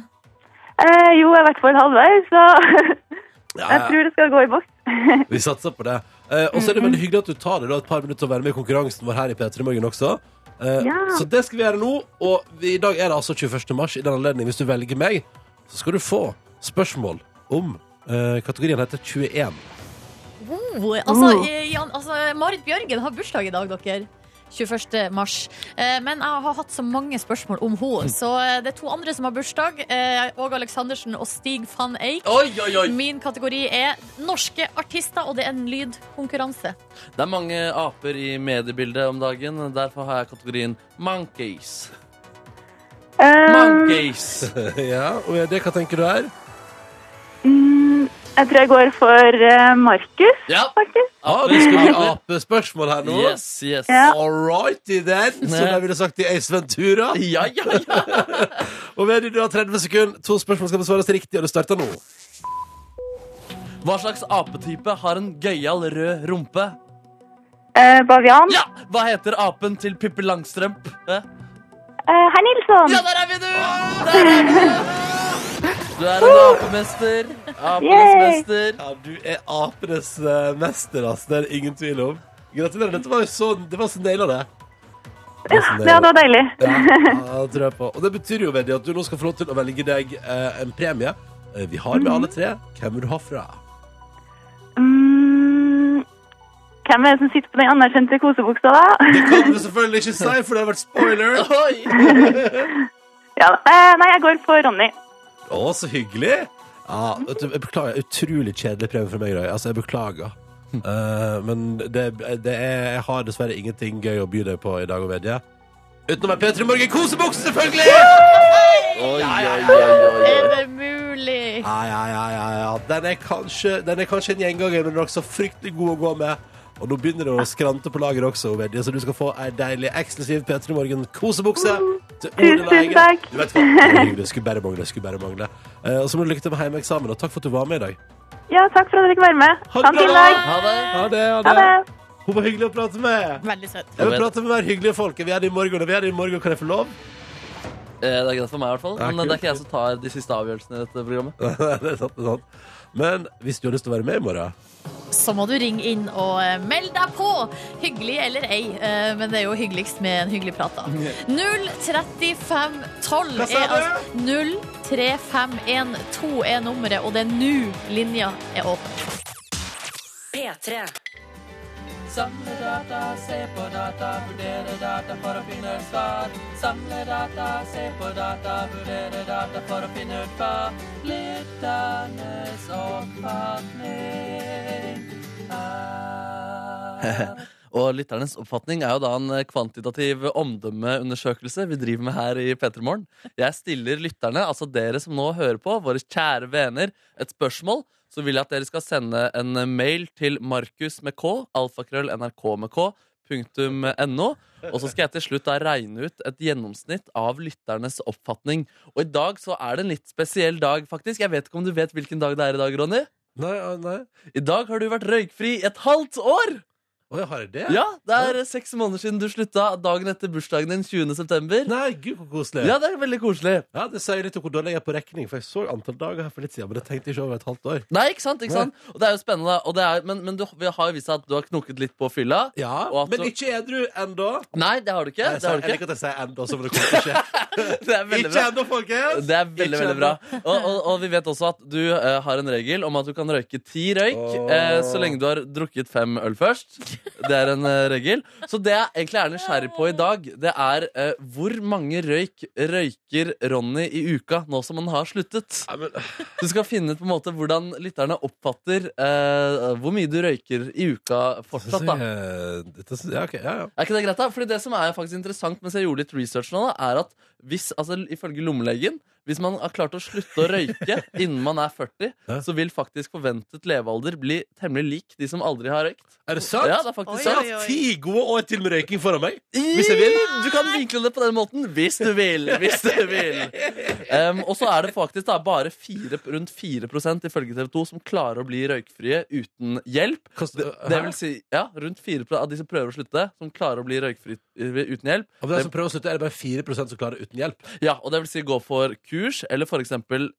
Eh, jo, jeg er i hvert fall halvveis, så
Ja,
jeg
ja.
tror det skal gå i boks.
Vi satser på det. Eh, og så er det veldig hyggelig at du tar deg da, et par minutter og være med i konkurransen vår her i P3 Morgen også. Eh,
Ja.
Så det skal vi gjøre nå. Og vi, i dag er det altså 21. mars. I den anledning, hvis du velger meg, så skal du få spørsmål om eh, Kategorien heter 21.
Oh, altså, eh, Jan, altså, Marit Bjørgen har bursdag i dag, dere. 21. mars. Eh, Men jeg har hatt så mange spørsmål om henne. Så eh, det er to andre som har bursdag. eh, Åge Aleksandersen og Stig van Eijk.
Oi, oi, oi!
Min kategori er norske artister, og det er en lydkonkurranse.
Det er mange aper i mediebildet om dagen. Derfor har jeg kategorien monkeys.
Eh,
Monkeys!
ja, og det, hva tenker du her?
Mm, jeg tror jeg går for eh, Markus,
Ja.
faktisk.
Ja, det Ah, skal bli
Aper.
apespørsmål her nå.
Yes, yes.
Ja.
All righty then, som jeg ville sagt i Ace Ventura.
Ja, ja, ja.
Og Vedi, du har 30 sekunder. To spørsmål skal besvares riktig, og det starter nå.
Hva slags apetype har en gøyal rød rumpe?
Eh, Bavian.
Ja! Hva heter apen til Pippi Langstrømp? Eh?
Eh, herr Nilsson.
Ja, der er vi, du! Der er vi! Du er en apemester. Apenes
Yay!
mester.
Ja, du er apenes eh, mester, ass. Det er det ingen tvil om. Gratulerer. Dette var jo så, det var så naila, det. Det var så
Ja,
naila.
det var deilig.
Ja, ja, det tror jeg på. Og det betyr jo, Veddi, at du nå skal få lov til å velge deg eh, en premie. Eh, vi har med alle tre. Hvem vil du ha fra?
Mm, hvem er det som sitter på den anerkjente kosebuksa, da?
Det kan du selvfølgelig ikke si, for det har vært spoiler. Å,
Oi!
Ja, da. Eh, nei, jeg går for Ronny.
så hyggelig. Ja, vet du, jeg beklager. Utrolig kjedelig premie for meg i dag. Altså, jeg beklager. Eh, men det, det er, jeg har dessverre ingenting gøy å by deg på i dag, Veddi. Utenom en P3 Morgen kosebukse, selvfølgelig!
Oi, oi, oi, oi, oi.
Eh,
Den er kanskje, den er kanskje en gjenganger, men den er også fryktelig god å gå med. Og nå begynner det å skrante på lageret også, Obedie, så du skal få ei deilig eksklusiv P3 Morgen-kosebukse.
Tusen, tusen takk.
Du vet hva, det er hyggelig. skulle bare mangle, skulle bare mangle. Eh, Og så må du lykke til med hjemmeeksamen, og takk for at du var med i dag.
Ja, takk for at jeg fikk være med.
Ha det
Ha en
bra.
fin
Ha
dag.
det.
Ha det, ha
Ha
det.
det.
Hun var hyggelig å prate med.
Veldig søt.
Jeg vil prate med mer hyggelige folk. Vi er det i morgen, og vi er det i morgen. Kan jeg få lov?
Eh, Det er greit for meg, i hvert fall.
Ja,
Men eh, det
kult.
er ikke jeg som tar de siste avgjørelsene i dette programmet.
det er sant, det er sant. Men hvis du har lyst til å være med i morgen
Så må du ringe inn og eh, meld deg på! Hyggelig eller ei, eh, men det er jo hyggeligst med en hyggelig prat, da. 03512
Hva sa
er
du?
altså 03512 er nummeret, og det er nå linja er åpen.
P3.
Samle data, se på data, vurdere data for å finne et svar. Samle data, se på data, vurdere data for å finne ut hva lytternes oppfatning er. Eh, Og lytternes oppfatning er jo da en kvantitativ omdømmeundersøkelse vi driver med her i Petermorgen. Jeg stiller lytterne, altså dere som nå hører på, våre kjære venner, et spørsmål. Så vil jeg at dere skal sende en mail til Markus med K, alfakrøll NRK med K, punktum no. Og så skal jeg til slutt da regne ut et gjennomsnitt av lytternes oppfatning. Og i dag så er det en litt spesiell dag, faktisk. Jeg vet ikke om du vet hvilken dag det er i dag, Ronny?
Nei, ah, nei.
I dag har du vært røykfri i et halvt år!
Å, jeg har jeg det?
Ja, det er seks måneder siden du slutta dagen etter bursdagen din 20. september.
Nei, gud, så koselig.
Ja, det er veldig koselig.
Ja, Det sier litt om hvor dårlig jeg er på regning, for jeg så antall dager her for litt siden. Men det tenkte jeg ikke over et halvt år.
Nei, ikke sant? ikke sant? Og det er jo spennende. Og det er, men men du, vi har jo vist at du har knoket litt på fylla.
Ja,
Og at
Men
du-
ikke edru ennå.
Nei, det har du ikke.
Jeg,
Det
sier-
har du
jeg liker
ikke.
at jeg sier ennå, som det kommer til å skje.
Det er veldig
Ikke
bra.
ennå, folkens!
Det er veldig,
Ikke
veldig bra og, og, og vi vet også at du eh, har en regel om at du kan røyke ti røyk
Åh.
eh, så lenge du har drukket fem øl først. Det er en eh, regel. Så det jeg egentlig er nysgjerrig på i dag, det er eh, hvor mange røyk røyker Ronny i uka nå som han har sluttet?
Nei, men,
Du skal finne ut på en måte hvordan lytterne oppfatter eh, hvor mye du røyker i uka fortsatt. da
eh, dette synes- ja, ok, ja, ja.
er ikke det greit da? Fordi det som er faktisk interessant mens jeg gjorde litt research nå, da, er at hvis, altså ifølge lommelegen, hvis man har klart å slutte å røyke innen man er 40,
Ja.
så vil faktisk forventet levealder bli temmelig lik de som aldri har røykt.
Er det sant?
Ja, det er
Oi,
faktisk sant.
oi, oi.
Ti gode år til med røyking foran meg.
Hvis jeg vil. Du kan vinkle det på den måten hvis du vil. Hvis du vil. Em, og så er det faktisk da bare fire, rundt 4 ifølge TV 2 som klarer å bli røykfrie uten hjelp.
Kost-
Det, det vil si, ja, rundt 4 av de som prøver å slutte, som klarer å bli røykfri eh, uten hjelp.
Av de som prøver å slutte, er det bare 4 som klarer det uten hjelp.
Ja, og det vil si gå for kurs, eller for eksempel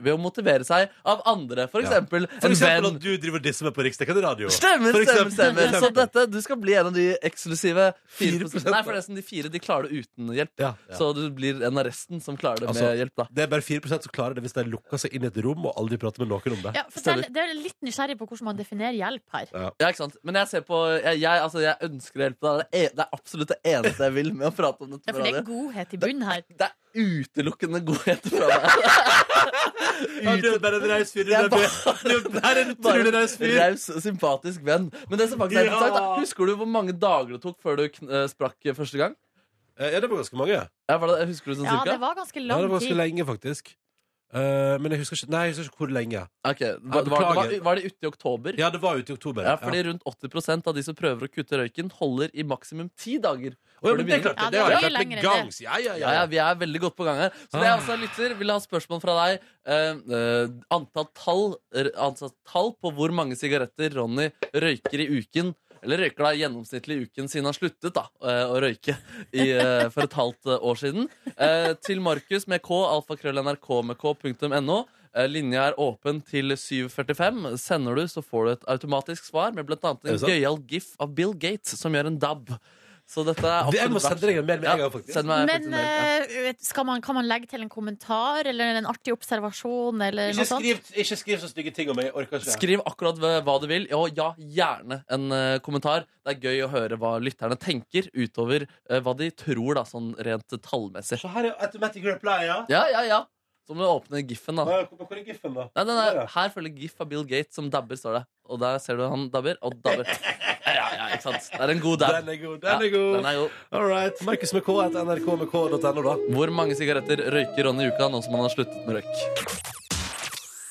ved å motivere seg av andre. For
Ja.
eksempel
For
en
eksempel
venn.
at du driver og disser meg på riksdekkende radio.
Stemmer,
For
stemmer,
eksempel.
stemmer. Så
Stemmer.
dette, du skal bli en av de eksklusive 4
4%,
Nei, forresten, de fire de klarer det uten hjelp.
Ja, ja.
Så du blir en av resten som klarer det
Altså,
med hjelp, da.
Det er bare 4 som klarer det hvis de lukker seg inn i et rom og aldri prater med noen om det.
Ja, fortell, det er litt nysgjerrig på hvordan man definerer hjelp her.
Ja, ikke sant? Men jeg ser på Jeg, jeg, altså, jeg ønsker å hjelpe deg. Det er, det er absolutt det eneste jeg vil med å prate om dette.
Ja, for
med
det er
deg.
godhet i bunnen her.
det er utelukkende godhet fra meg.
Ja, du er bare en raus fyr. Du
Jeg
er bare- du er bare en utrolig
Bare
raus fyr.
raus, sympatisk venn. Men det som faktisk er
Ja.
interessant, da, husker du hvor mange dager det tok før du kn- eh, sprakk eh, første gang?
Eh, Ja, det var ganske mange.
Ja, var det, husker du sånn
Ja,
cirka?
det var ganske
Ja,
lang
det var ganske
tid.
lenge, faktisk. Eh, men jeg husker ikke Nei, jeg husker ikke hvor lenge.
Ok, var, var,
beklager.
var, var det ute i oktober?
Ja, det var ute i oktober.
Ja, fordi rundt 80 av de som prøver å kutte røyken, holder i maksimum ti
Å,
dager.
ja,
før
men
det
det er klart,
begynner.
Ja,
det har
det
jeg
var
klart
mye
med
lenger enn
gangs. Ja, ja,
Ja,
ja.
ja, vi er veldig godt på gang her. Så det er altså, lytter, vil ha spørsmål fra deg. Eh, eh, antall, tall, er- antall tall på hvor mange sigaretter Ronny røyker i uken. Eller røyker da gjennomsnittlig i uken siden han sluttet da, eh, å røyke i, eh, for et halvt eh, år siden. Eh, til Markus med k, alfakrøll.nrk med k.no. Eh, linja er åpen til 7.45. Sender du, så får du et automatisk svar med bl.a.
Er
en
det sant?
gøyal gif av Bill Gates som gjør en dab. Så dette er
Det- jeg må
absolutt verdt-
sende deg en mail med en gang, faktisk.
send meg faktisk
Men
en mail, ja.
eh, skal man, kan man legge til en kommentar eller en artig observasjon eller
Ikke
noe sånt?
skriv, ikke skriv så stygge ting om meg. Jeg orker ikke.
Skriv akkurat hva hva du vil, og ja, gjerne en eh, kommentar. Det er gøy å høre hva lytterne tenker, utover eh, hva de tror, da, sånn rent tallmessig.
Så her er automatic reply, ja.
Ja, ja, ja. Så må du åpne giffen, da.
Nei, Hvor hvor er giffen, da?
Nei, nei,
Der,
nei.
ja.
Her følger gif av Bill Gates som dabber, står det. Og der ser du han dabber, og dabber. Ja, ja, ikke sant. Det er en god dab.
Den er god. Den er
Ja,
god.
den er god.
All right. Markus med K etter nrkmk.no, da.
Hvor mange sigaretter røyker Ronny i uka nå som han har sluttet med røyk?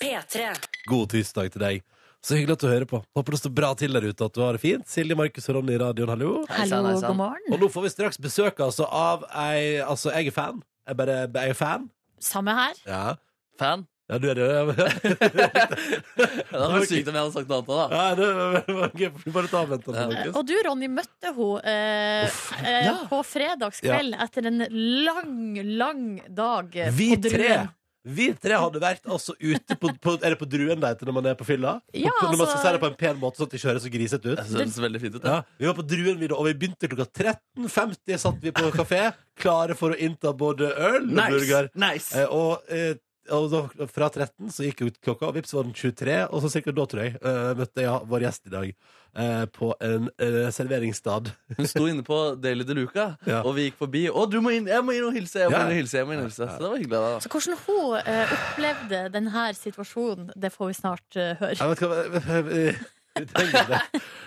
P3.
God tirsdag til deg. Så hyggelig at du hører på. Håper det står bra til der ute, at du har det fint. Silje, Markus og Ronny i radioen, hallo.
Hei sann, hei
Hallo,
sann.
god morgen.
Og nå får vi straks besøk altså, av ei Altså, jeg er fan. Jeg bare jeg er fan.
Samme her.
Ja.
Fan.
ja, du er det. Ja, men-
Det hadde vært sykt om jeg hadde sagt noe annet. da
ja, det var gøy. Vi Bare ta og vent.
Ja.
Altså, Markus.
Og du, Ronny, møtte hun eh, eh,
ja.
på fredagskveld etter en lang, lang dag eh,
Vi
på
tre
Druen.
vi tre hadde vært altså ute på, på Er det på druen det heter når man er på fylla?
Ja,
på, når man skal
altså-
si det på en pen måte, sånn at det ikke høres så grisete ut?
Det høres veldig fint ut.
Ja, vi var på druen, vi, da, og vi begynte klokka 13.50. Satt vi på kafé, klare for å innta både øl og burger.
nice.
Eh, og, eh, og da, fra 13 så gikk ut klokka, og vips var den 23. Og så cirka da, tror jeg, eh, møtte jeg vår gjest i dag eh, på en eh, serveringsstad.
Hun sto inne på Daily De Luca,
Ja.
og vi gikk forbi. Å, du må inn! Jeg må inn og hilse! Jeg må
Ja.
inn og hilse, jeg må inn og hilse. Så det var hyggelig. da
Så hvordan hun eh, opplevde denne situasjonen, det får vi snart eh, høre.
Jeg vet ikke hva vi- vi trenger det.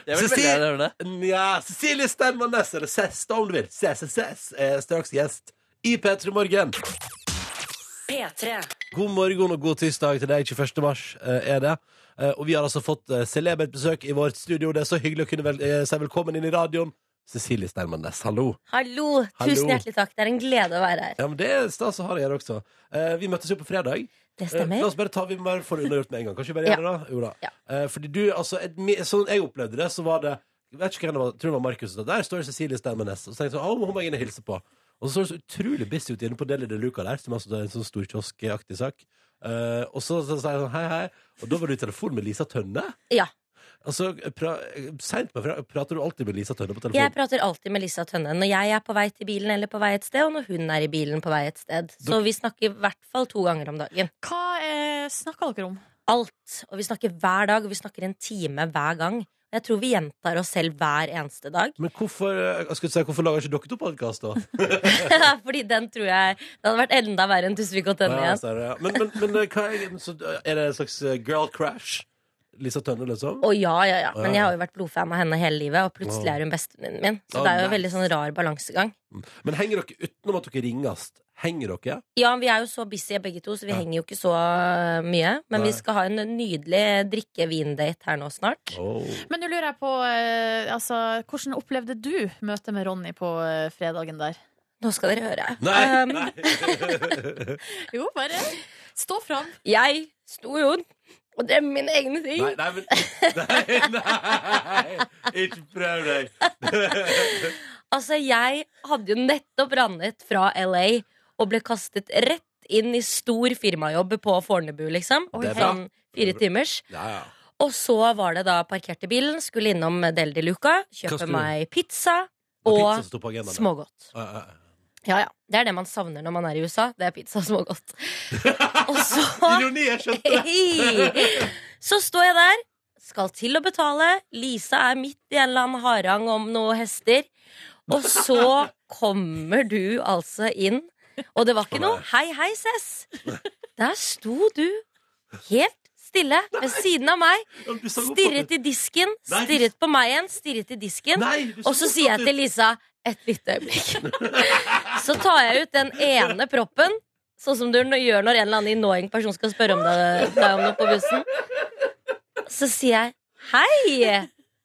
Jeg vil
Cecil-
veldig gjerne høre det.
Nja, Cecilie Stenman Næss, eller Cess, da om du vil. CCCS er straks gjest i P3 Morgen.
P3.
God morgen og god tirsdag til deg. 21. mars eh, er det. Eh, Og vi har altså fått eh, celebert besøk i vårt studio. Det er så hyggelig å kunne vel, eh, si velkommen inn i radioen. Cecilie Steinmann Næss, hallo.
Hallo,
Hallo.
tusen hjertelig takk. Det er en glede å være her.
Ja, men Det er stas å ha deg her også. Eh, Vi møttes jo på fredag.
Det
Eh, La
stemmer.
oss bare ta vi bare får det unnagjort med en gang. Kanskje vi bare gjør det, da? Jo da.
Ja.
Eh, Fordi du, altså, et, mi- sånn jeg opplevde det, så var det jeg vet ikke hvem det var, jeg tror det var Markus. som sa, Der står Cecilie Stemmenes. Og så tenkte jeg sånn, «Å, hun må jeg inn og hilse på. Og så så det så utrolig busy ut inne på Deli de Luca der, som altså er en sånn stor kioskaktig sak. Eh, og så så sa jeg sånn hei, hei. Og da var du i telefon med Lisa Tønne.
Ja,
Altså, pra, Seint på fredag prater du alltid med Lisa Tønne på
Jeg
telefon.
prater alltid med Lisa Tønne når jeg er på vei til bilen eller på vei et sted, og når hun er i bilen på vei et sted. Så vi snakker i hvert fall to ganger om dagen.
Hva eh, snakka dere om?
Alt. Og vi snakker hver dag, og vi snakker en time hver gang. Jeg tror vi gjentar oss selv hver eneste dag.
Men hvorfor, eh, jeg skulle si, hvorfor lager ikke dere to podkast, da?
Fordi den tror jeg Det hadde vært enda verre enn Tusvik og Tønne
Ja, altså. så
igjen.
er det, ja. Men, men, men eh, hva er, så, er det en slags eh, girl crash? Lisa Tønne, liksom?
Å ja, ja, ja. Men jeg har jo vært blodfan av henne hele livet, og plutselig er hun bestevenninnen min. Så
Å,
det er jo
nice.
en veldig sånn rar balansegang.
Men henger dere utenom at dere ringes? Henger dere?
Ja, vi er jo så busy begge to, så vi
Ja.
henger jo ikke så eh, mye. Men
Nei.
vi skal ha en nydelig drikke-vin-date her nå snart.
Men nå lurer jeg på, eh, altså, hvordan opplevde du møtet med Ronny på eh, fredagen der?
Nå skal dere høre.
Nei!
Um,
nei.
Jo, bare stå fram.
jeg sto jo og drømte mine egne ting.
nei, nei, men Nei, nei! Ikke prøv deg!
Altså, jeg hadde jo nettopp rannet fra LA og ble kastet rett inn i stor firmajobb på Fornebu, liksom.
Det er bra.
Sånn fire timers.
Ja, ja.
Og så var det da parkerte bilen, skulle innom Del de Luca,
Hva skulle
kjøpe
du?
meg pizza
Det var
og
pizza som sto på agendaen, ja.
smågodt.
Ja, ja, ja.
Ja, ja. Det er det man savner når man er i USA. Det er pizza og smågodt. Og så
Ironi, jeg skjønte det!
Hei! Så står jeg der, skal til å betale. Lisa er midt i en eller annen harang om noen hester. Og så kommer du altså inn, og det var ikke noe 'hei, hei, Cess'. Der sto du helt stille ved siden av meg,
Ja, men du sang opp
stirret
for-
i disken,
Nei, du-
stirret på meg igjen, stirret i disken.
Nei, du sang
Og så
opp for-
sier jeg til Lisa et lite øyeblikk. Så tar jeg ut den ene proppen, sånn som du gjør når en eller annen annoying person skal spørre om deg, deg om noe på bussen. Så sier jeg hei.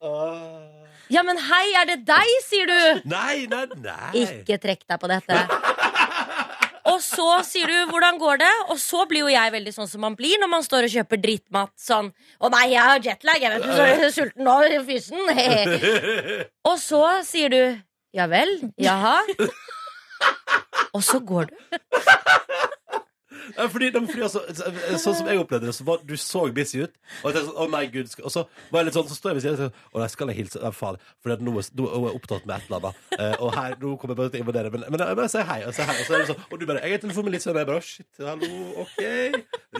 Ah.
Ja, men hei, er det deg, sier du.
Nei, nei, nei!
Ikke trekk deg på dette. Og så sier du 'hvordan går det?' Og så blir jo jeg veldig sånn som man blir når man står og kjøper drittmat. Sånn 'Å nei, jeg har jetlag. Jeg vet ikke, så jeg er sulten nå. Fysen.' Og så sier du ja vel, jaha. Og så går du.
Ja, fordi, de- fordi altså, så- sånn som jeg opplevde det, så var du så busy ut. Og jeg tenkte sånn, å nei, gud skal, Og så var jeg litt sånn, så står jeg ved siden av og sier Å nei, skal jeg hilse? Nei, faen. Fordi at nå er nå er jeg opptatt med et eller annet. Eh, og her, nå kommer jeg bare til å invadere. Men, men jeg bare sier hei. Og, sier hei, og, så er det sånn, og du bare Jeg er i telefonen med Lise, og jeg bare «Å, Shit, hallo, OK.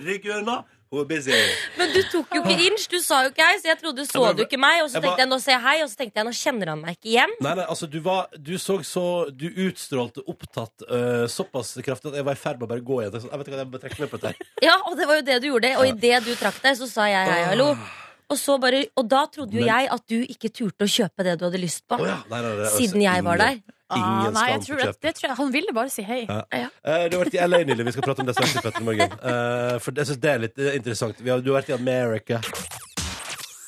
Rygg unna. Hun er busy.
Men du tok jo ikke inch. Du sa jo ikke hei, så jeg trodde så du ikke meg. Og så
Jeg bare-
tenkte jeg nå sier jeg hei, og så tenkte jeg nå kjenner han meg ikke igjen.
Nei, nei, altså, du var Du så så Du utstrålte opptatt eh, såpass kraftig at jeg var i ferd med å bare gå igjen. Jeg tenkte sånn, Jeg vet ikke hva, jeg må bare trekke meg på dette her.
Ja, og det var jo det du gjorde. Og idet du trakk deg, så sa jeg hei, hallo. Og, så bare, og da trodde jo
Ah. Men-
jeg at du ikke turte å kjøpe det du hadde lyst på.
Å ja. Nei, nei, nei, altså,
Siden jeg var
ingen-
der.
Ingen
Ah, nei,
skam
jeg
på
tror, at-
kjøpet.
det tror jeg, han ville bare si hei.
Eh, Du har vært i LA nylig. Vi skal prate om det straks. i Petter i Morgen. Eh, for jeg synes det er litt eh, interessant. Vi har, du har vært i America.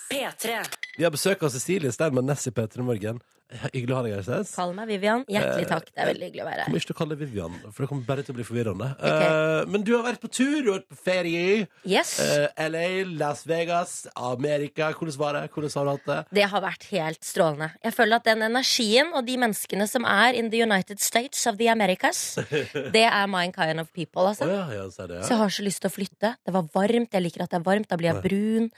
P3.
Vi har besøk av Cecilie Steinmann Ness i Petter i Morgen. Eh, Hyggelig å ha deg her. Sess.
Kall meg Vivian.
Eh,
Hjertelig takk. Det er veldig hyggelig å være
kommer
her.
ikke til å kalle det Vivian, for det kommer bare til å bli forvirrende. Eh, men du har vært på tur, du har vært på ferie.
Yes.
Eh, LA, Las Vegas, Amerika. Hvordan var det? Hvordan har du hatt det?
Det har vært helt strålende. Jeg føler at den energien og de menneskene som er in the United States of the Americas, det er my kind of people,
Å
altså.
ja, ja, så er det, ja.
Så jeg har så lyst til å flytte. Det var varmt. Jeg liker at det er varmt. Da blir jeg brun.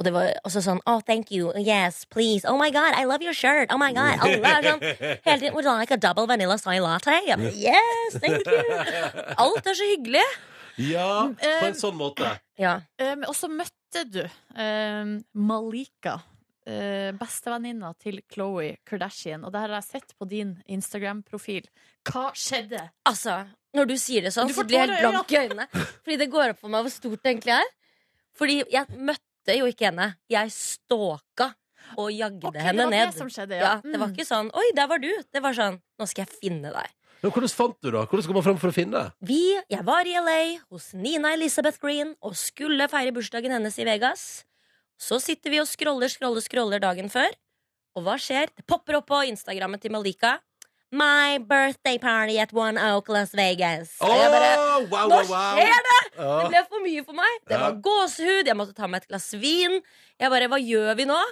Og det var også sånn Oh, thank you. Yes, please. Oh my God, I love your shirt. Oh my God. Alle er sånn hele tiden Would you like a double vanilla soy latte? Jeg bare, yes, thank you. Alt er så hyggelig.
ja, på en sånn måte.
Ja.
Um, og så møtte du um, Malika, uh, bestevenninna til Khloé Kardashian. Og det her har jeg sett på din Instagram-profil. Hva skjedde?
Altså, når du sier det sånn,
Du
så
får
blir jeg
tårer i
helt blank i øynene. Fordi det går opp for meg hvor stort det egentlig er. Fordi jeg møtte jo ikke henne. Jeg stalka og jagde
Ok, det
henne
var
ned.
det som skjedde, ja.
ja, det var
Mm.
ikke sånn 'oi, der var du'. Det var sånn 'nå skal jeg finne deg'.
Men hvordan fant du det? Hvordan kom man fram for å finne det?
Vi, jeg var i LA hos Nina Elizabeth Green og skulle feire bursdagen hennes i Vegas. Så sitter vi og scroller, scroller, scroller dagen før. Og hva skjer? Det popper opp på Instagrammet til Malika. My birthday party at One Oak Las Vegas. Og jeg bare,
Å, wow,
Nå
wow, wow.
skjer det!
Ja.
Det ble for mye for meg. Det
Ja.
var gåsehud, jeg måtte ta meg et glass vin. Jeg bare, Hva gjør vi nå?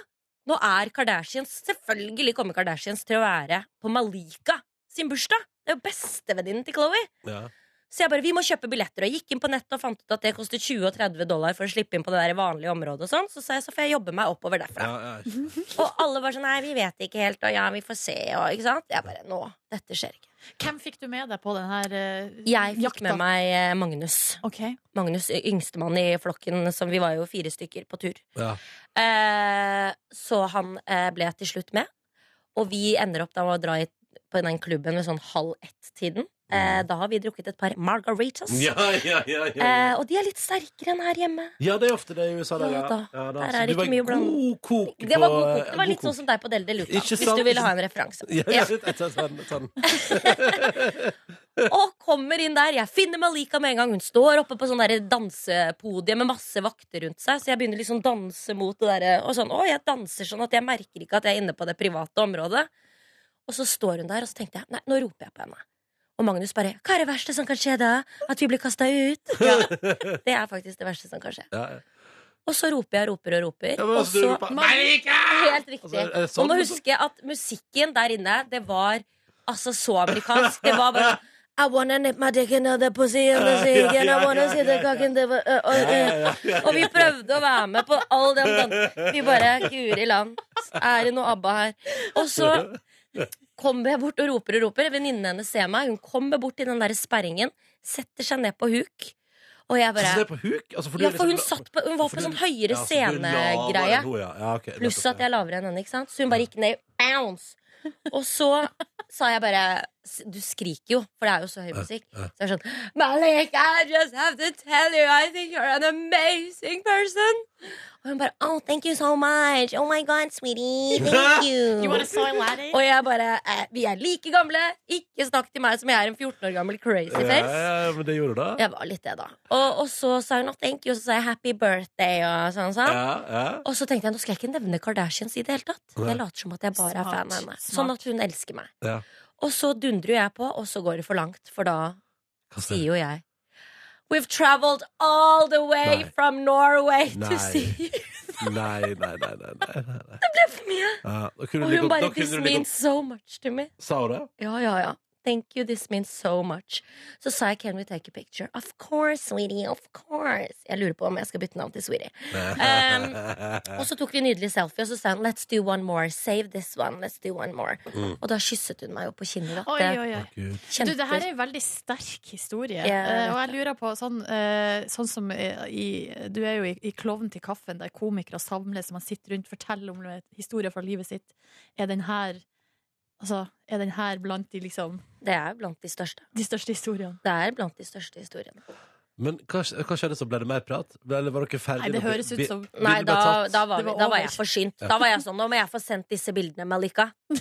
Nå er Kardashians Selvfølgelig kommer Kardashians til å være på Malika sin bursdag. Det er jo bestevenninnen til Chloé.
Ja.
Så jeg bare, vi må kjøpe billetter Og jeg gikk inn på nettet og fant ut at det kostet 20 og 30 dollar For å slippe inn på det der vanlige området og sånn Så sa jeg, så får jeg jobbe meg oppover derfra
Ja, ja.
Og alle var sånn, nei, vi vet ikke helt Og ja, vi får se, og ikke sant Jeg bare, nå, dette skjer ikke
Hvem fikk du med deg på den her uh,
Jeg fikk
jakta?
med meg eh, Magnus
Ok.
Magnus, y- yngstemann i flokken Som vi var jo fire stykker på tur
Ja.
eh, Så han eh, ble til slutt med Og vi ender opp da med å dra i, på den klubben Ved sånn halv ett-tiden eh, Da har vi drukket et par margaritas
Mm. Ja, ja, ja, ja, ja.
eh, Og de er litt sterkere enn her hjemme
ja, det er ofte det i USA. da,
Ja da.
Ja,
Der
så
er det
du var
ikke mye
en
blanding.
God kok
Det
på,
var, god kok.
eh,
det var
god
litt sånn som deg på Del de Luca.
Ikke
Hvis
sant?
du ville ha en referanse.
Ja, ja,
Ja.
ja. Sånn, sånn.
Og kommer inn der. Jeg finner Malika med en gang. Hun står oppe på sånn der dansepodie med masse vakter rundt seg. Så jeg begynner liksom å danse mot det derre. Og sånn, å, jeg danser sånn at jeg merker ikke at jeg er inne på det private området. Og så står hun der, og så tenkte jeg nei, nå roper jeg på henne. Og Magnus bare 'Hva er det verste som kan skje da? At vi blir kasta ut?' Ja, det er faktisk det verste som kan skje.
Ja, ja.
Og så roper jeg og roper og roper.
Ja, men
og
altså, du
så
roper,
Helt
Altså,
riktig.
er det sånn,
Man må
liksom?
huske at musikken der inne, det var altså så amerikansk. Det var bare sånn, I wanna nip my dick in the pussy in the sea
Ja,
and
ja,
I wanna
ja,
see the
ja,
cock in the uh, uh, uh. Og vi prøvde å være med på all den dansen. Vi bare Guri land. Er det noe ABBA her? Og så kommer jeg bort og roper og roper. Venninnen hennes ser meg. Hun kommer bort til den der sperringen, setter seg ned på huk, og jeg bare
Så det er på huk? Altså, for du
ja,
er
for
liksom
hun,
la-
satt på, hun var på
Fordi-
sånn høyere
Ja, så du er lavere
scene-greie.
enn hun, ja. Ja, ok,
Pluss
nettopp,
at jeg er lavere enn henne, ikke sant? Så hun bare gikk ned i bounce. Og så sa jeg bare s- Du skriker jo, for det er jo så høy musikk. Så jeg var sånn Malik, I just have to tell you I think you're an amazing person. Og hun bare Oh, thank you so much. Oh my God, sweetie. Thank
You
you.
wanna sign laddie?
Og jeg bare eh, Vi er like gamle. Ikke snakk til meg som jeg er en 14 år gammel crazy
ja.
face.
Ja, ja, men det gjorde du da?
Jeg var litt det, da. Og, og så sa hun at thank you, og så sa jeg happy birthday og sånn. sånn.
Ja, ja.
Og så tenkte jeg nå skal jeg ikke nevne Kardashians i det hele tatt.
Nei.
Jeg later som at jeg bare er fan av henne.
Smart,
Sånn at hun elsker meg.
Ja.
Og så dundrer jo jeg på, og så går det for langt, for da
Hva sier
sier jo jeg We've traveled all the way
Nei.
from Norway
Nei.
to see you.
du? Nei, nei, nei. nei, nei, nei, nei. Ja, da kunne du
Og
like
hun
godt- da
bare
kunne
This
du like
means so much to me.
godt- Sa hun det?
Ja, ja, ja. Thank you, this means so much. Så sa jeg Can we take a picture? Of course, sweetie. Of course. Jeg lurer på om jeg skal bytte navn til sweetie. Um, og så tok vi en nydelig selfie, og så sa hun Let's do one more. Save this one. Let's do one more.
Mm.
Og da kysset hun meg jo på kinnet.
Oi,
da.
oi, oi.
Gud.
Det kjente-
Du, det her er en veldig sterk historie.
jeg vet
Eh, og jeg lurer på, sånn, eh, sånn som eh, i Du er jo i, i Klovn til kaffen, der komikere samles, man sitter rundt, forteller om eh, historier fra livet sitt. Er den her Altså, er den her blant de, liksom,
Det er blant de største.
de største historiene?
Det er blant de største historiene.
Men hva, hva skjedde så? Ble det mer prat? Eller var dere ferdige?
Nei, det
Dere-
høres ut
vi-
som
Nei,
bildet ble
da,
tatt.
da, var
Det
vi,
var
da var
over.
jeg forsynt.
Ja.
Da var jeg sånn, nå må jeg få sendt disse bildene, Malika. Eh,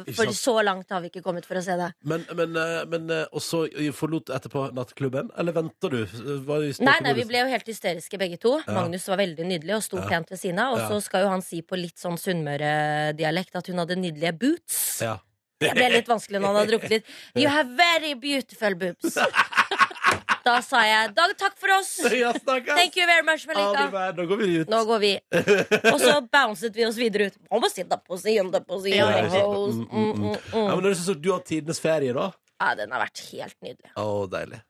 ikke
for
sant.
så langt har vi ikke kommet for å se det.
Men, men, eh, men eh, Og så forlot etterpå nattklubben? Eller venter du? Var det i
Nei, nei, vi
stålkommodus?
ble jo helt hysteriske begge to.
Ja.
Magnus var veldig nydelig og sto
Ja.
pent ved siden av. Og
Ja.
så skal jo han si på litt sånn Sunnmøre-dialekt at hun hadde nydelige boots.
Ja.
Det ble litt vanskelig når han hadde drukket litt. You have very beautiful boobs. Da sa jeg Dag, takk for oss.
Ja, snakkes!
Thank you very much,
Ha det
Malika.
bra. Nå går vi ut.
Nå går vi. Og så bouncet vi oss videre ut. Om å sitte på siden, på siden.
Ja, det er
hoes.
sant. Mm,
Mm,
mm,
mm,
Ja,
mm.
men det høres ut som du har tidenes ferie, da.
Ja, den har vært helt nydelig.
Å, deilig.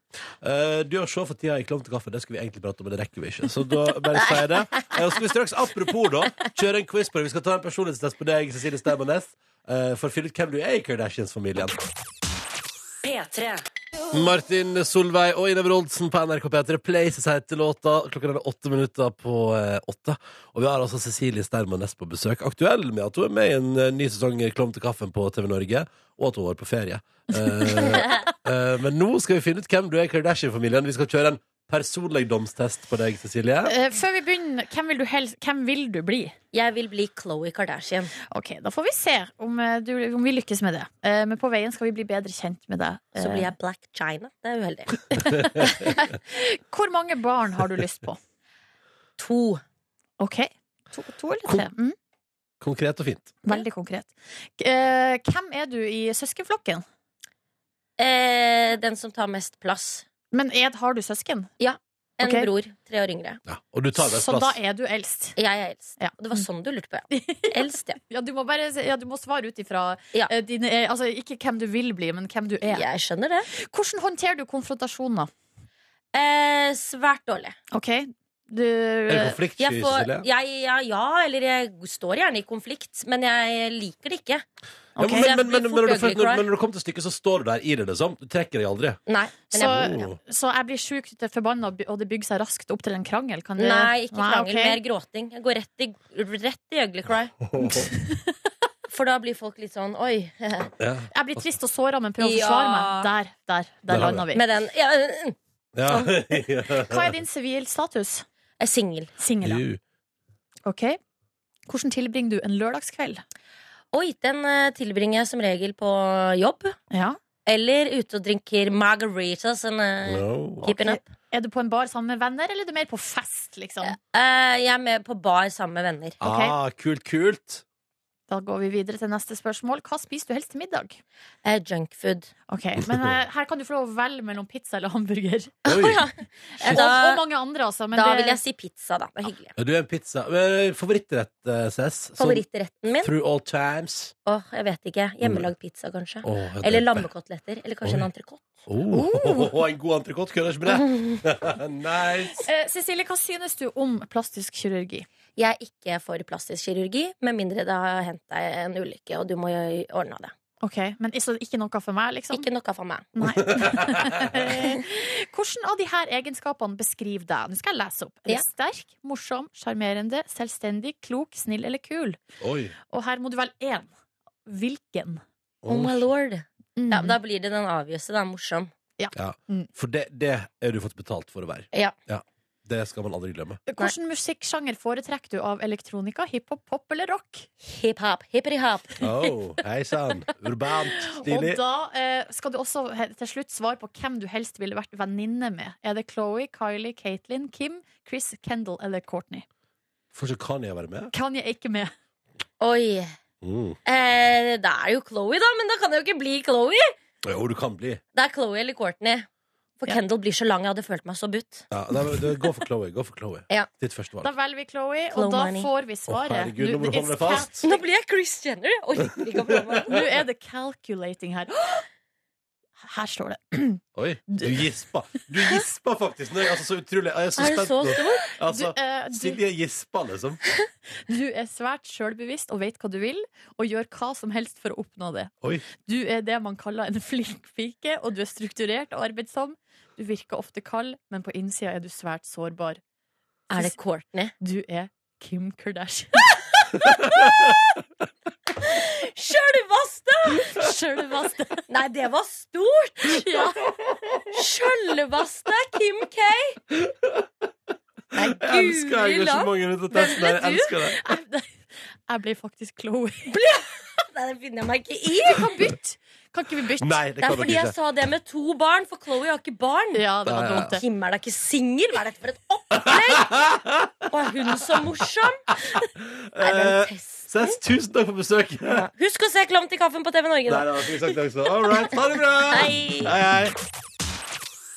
Eh, du har show for tida i Klovn til kaffe. Det skulle vi egentlig prate om, men det rekker vi ikke. Så da bare sier jeg det. Eh, Og så skal vi straks, apropos, da, kjøre en quiz på deg. Vi skal ta en personlighetstest på deg, Cecilie Stemmernes, eh, for å finne ut hvem du er i Kardashians-familien.
P3.
Martin Solveig og Ine Wroldsen på NRK P3 Places heter låta. Klokka er åtte minutter på eh, åtte. Og vi har altså Cecilie Stermanes på besøk. Aktuell med at hun er med i en eh, ny sesong i Klom til kaffen på TV Norge, og at hun var på ferie. Eh, eh, men nå skal vi finne ut hvem du er i Kardashian-familien. Vi skal kjøre en personligdomstest på deg, Cecilie.
Eh, Før vi begynner, hvem vil, du helst, hvem vil du bli?
Jeg vil bli Khloé Kardashian.
Ok, Da får vi se om, eh, du, om vi lykkes med det. Eh, Men på veien skal vi bli bedre kjent med deg.
Så
Eh,
blir jeg Black China. Det er uheldig.
Eh, Hvor mange barn har du lyst på?
To.
Ok, To, to eller tre? Mm,
Konkret og fint.
veldig konkret. Eh, Hvem er du i søskenflokken?
Eh, den som tar mest plass.
Men Ed, har du søsken?
En
Ok.
bror. Tre år yngre.
Ja. Og du tar deg
Så da
plass.
er du eldst.
Jeg er eldst.
Ja.
Og Det var sånn du lurte på, ja. Eldst, ja.
Ja, du må, bare, ja, du må svare ut ifra
Ja.
eh, dine eh, Altså ikke hvem du vil bli, men hvem du er.
Jeg skjønner det.
Hvordan håndterer du konfrontasjoner?
Eh, svært dårlig.
OK, du
Er du
eh,
konfliktsky,
Jeg får,
Cecilie?
jeg, ja, ja, eller jeg står gjerne i konflikt, men jeg liker det ikke.
ok.
Ja, men, men, men,
Jeg blir
men, når du
fort
først- når,
ugly cry.
men når det kommer til stykket, så står du der i det, liksom. Du trekker deg aldri.
Nei, men
Så,
jeg,
ja.
så jeg blir sjukt forbanna, og det bygger seg raskt opp til en krangel? Kan det,
nei ikke krangel,
ok.
mer gråting. Jeg går rett i, rett i ugly cry. For da blir folk litt sånn oi.
Oh. Ja.
Jeg blir trist og såra, men prøver å
Ja.
forsvare meg. Der, der,
Der
der
har
lander vi.
Med den ja, øh, øh,
Ja.
Hva er din sivilstatus?
er Singel.
Singel, ja.
Jo.
Ok. Hvordan tilbringer du en lørdagskveld?
Oi, den eh, tilbringer jeg som regel på jobb.
Ja.
Eller ute og drinker margaritas and eh,
No.
keeping
Ok.
up.
Er du på en bar sammen med venner, eller er du mer på fest, liksom?
Eh, jeg er med på bar sammen med venner.
Ok.
Ah, kult, kult.
Da går vi videre til neste spørsmål. Hva spiser du helst til middag?
Eh, Junkfood.
Ok, Men eh, her kan du få lov å velge mellom pizza eller hamburger.
Oi.
Eh,
og, og
Da,
mange andre, altså. Men
da
det,
vil jeg si pizza, da. Det er hyggelig.
Ja, Du er en pizza. Eh, Favorittrett, eh, CS? Sånn
Favorittretten min?
Through all times.
Åh, jeg vet ikke. Hjemmelagd pizza, kanskje.
Åh, ja, det
Eller Oh.
er-
lammekoteletter. Eller kanskje en
Oi.
entrecôte.
Åh, En god entrecôte kødder ikke med det. nice.
Eh, Cecilie, hva synes du om plastisk kirurgi?
Jeg er ikke for plastisk kirurgi, med mindre det har hendt deg en ulykke, og du må jo ordne det.
Ok, Men is- ikke noe for meg, liksom?
Ikke noe for meg.
Nei. Hvordan av de her egenskapene beskriver deg? Nå skal jeg lese opp. Er du
Ja.
sterk, morsom, sjarmerende, selvstendig, klok, snill eller kul?
Oi.
Og her må du velge én. Hvilken?
Oh my
Åh,
lord.
Mm.
Ja, da blir det den avgjørelse. Det er morsom.
Ja.
Mm.
For det, det er du fått betalt for å være.
Ja.
Det skal man aldri glemme.
Hvilken musikksjanger foretrekker du av elektronika, hiphop, pop eller rock?
Hiphop, hippity-hop.
Oh, Hei sann. Urbant. Stilig.
Og da eh, skal du også he- til slutt svare på hvem du helst ville vært venninne med. Er det Chloé, Kylie, Katelyn, Kim, Chris, Kendal eller Courtney?
Får ikke kan jeg være med?
Kan jeg ikke med?
Oi.
Mm.
Eh, det er jo Chloé, da, men da kan det jo ikke bli Chloé.
Jo, du kan bli.
Det er Chloé eller Courtney. For
Ja.
Kendall blir så lang. Jeg hadde følt meg så butt.
Ja, nei, men det- gå for Chloé. Gå for Chloé.
Ja.
Ditt første valg.
Da velger vi Chloé,
Chloe
og da
Money.
får vi
Å,
svaret.
herregud, nå må
Nå-
du holde deg
it's cal-
fast.
Nå blir jeg Chris Jenner. Jeg orker ikke å prøve meg.
Nå er det calculating her. Her står det.
Oi, du gispa. Du gispa faktisk. Nå er jeg altså så utrolig. Jeg er så
Er det
spent
så
nå.
stor?
Du,
Altså,
eh, du,
Silje gispa, liksom.
du er svært sjølbevisst og vet hva du vil, og gjør hva som helst for å oppnå det.
Oi.
Du er det man kaller en flink pike, og du er strukturert og arbeidsom. Du virker ofte kald, men på innsida er du svært sårbar.
Er det Courtney?
Du er Kim Kardashian.
Sjølvaste!
Sjølvaste.
Nei, det var stort!
Ja.
Sjølvaste Kim K. Nei,
Jeg elsker
guri land.
engasjementet rundt dette.
Men- men
Jeg elsker det.
Jeg blir faktisk Chloé.
Nei, det finner jeg meg ikke i.
Kan bytte. Kan ikke vi bytte?
Nei, det
Det
kan
er
dere
fordi jeg
ikke.
sa det med to barn, for Chloé har ikke barn.
Ja, det var
Nei,
dumt, det.
Kim er da ikke singel? Hva er dette for et opplegg? Og er hun så morsom? Nei,
Eh,
den testen.
Ses, tusen takk for besøket. Nei,
Husk å se Klovn til kaffen på TV Norge, da.
det var fint sagt, det også. All right, ha det bra.
Hei.
Hei, hei.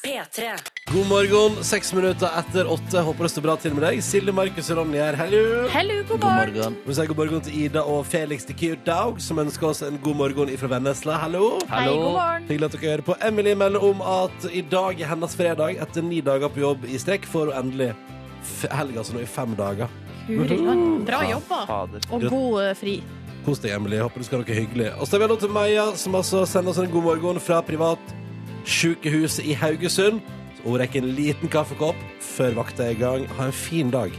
P3.
God morgen, seks minutter etter åtte. Håper det står bra til med deg. Silje, Markus og Ronny her. Hello.
Hello, god
God
morgen.
morgen.
Vi sier god morgen til Ida og Felix de Cute Dog, som ønsker oss en god morgen ifra Vennesla. Hallo.
Hei,
Hallo.
god morgen.
Hyggelig at dere hører på. Emily melder om at i dag er hennes fredag. Etter ni dager på jobb i strekk får hun endelig f- helg, altså nå i fem dager.
Guri land. Bra jobba.
Fader.
Og god eh, fri.
Kos deg, Emily. Jeg Håper du skal ha noe hyggelig. Og så har vi lov til Maja, som altså sender oss en god morgen fra privat sykehus i Haugesund. Så Hun rekker en liten kaffekopp før vakta er i gang. Ha en fin dag.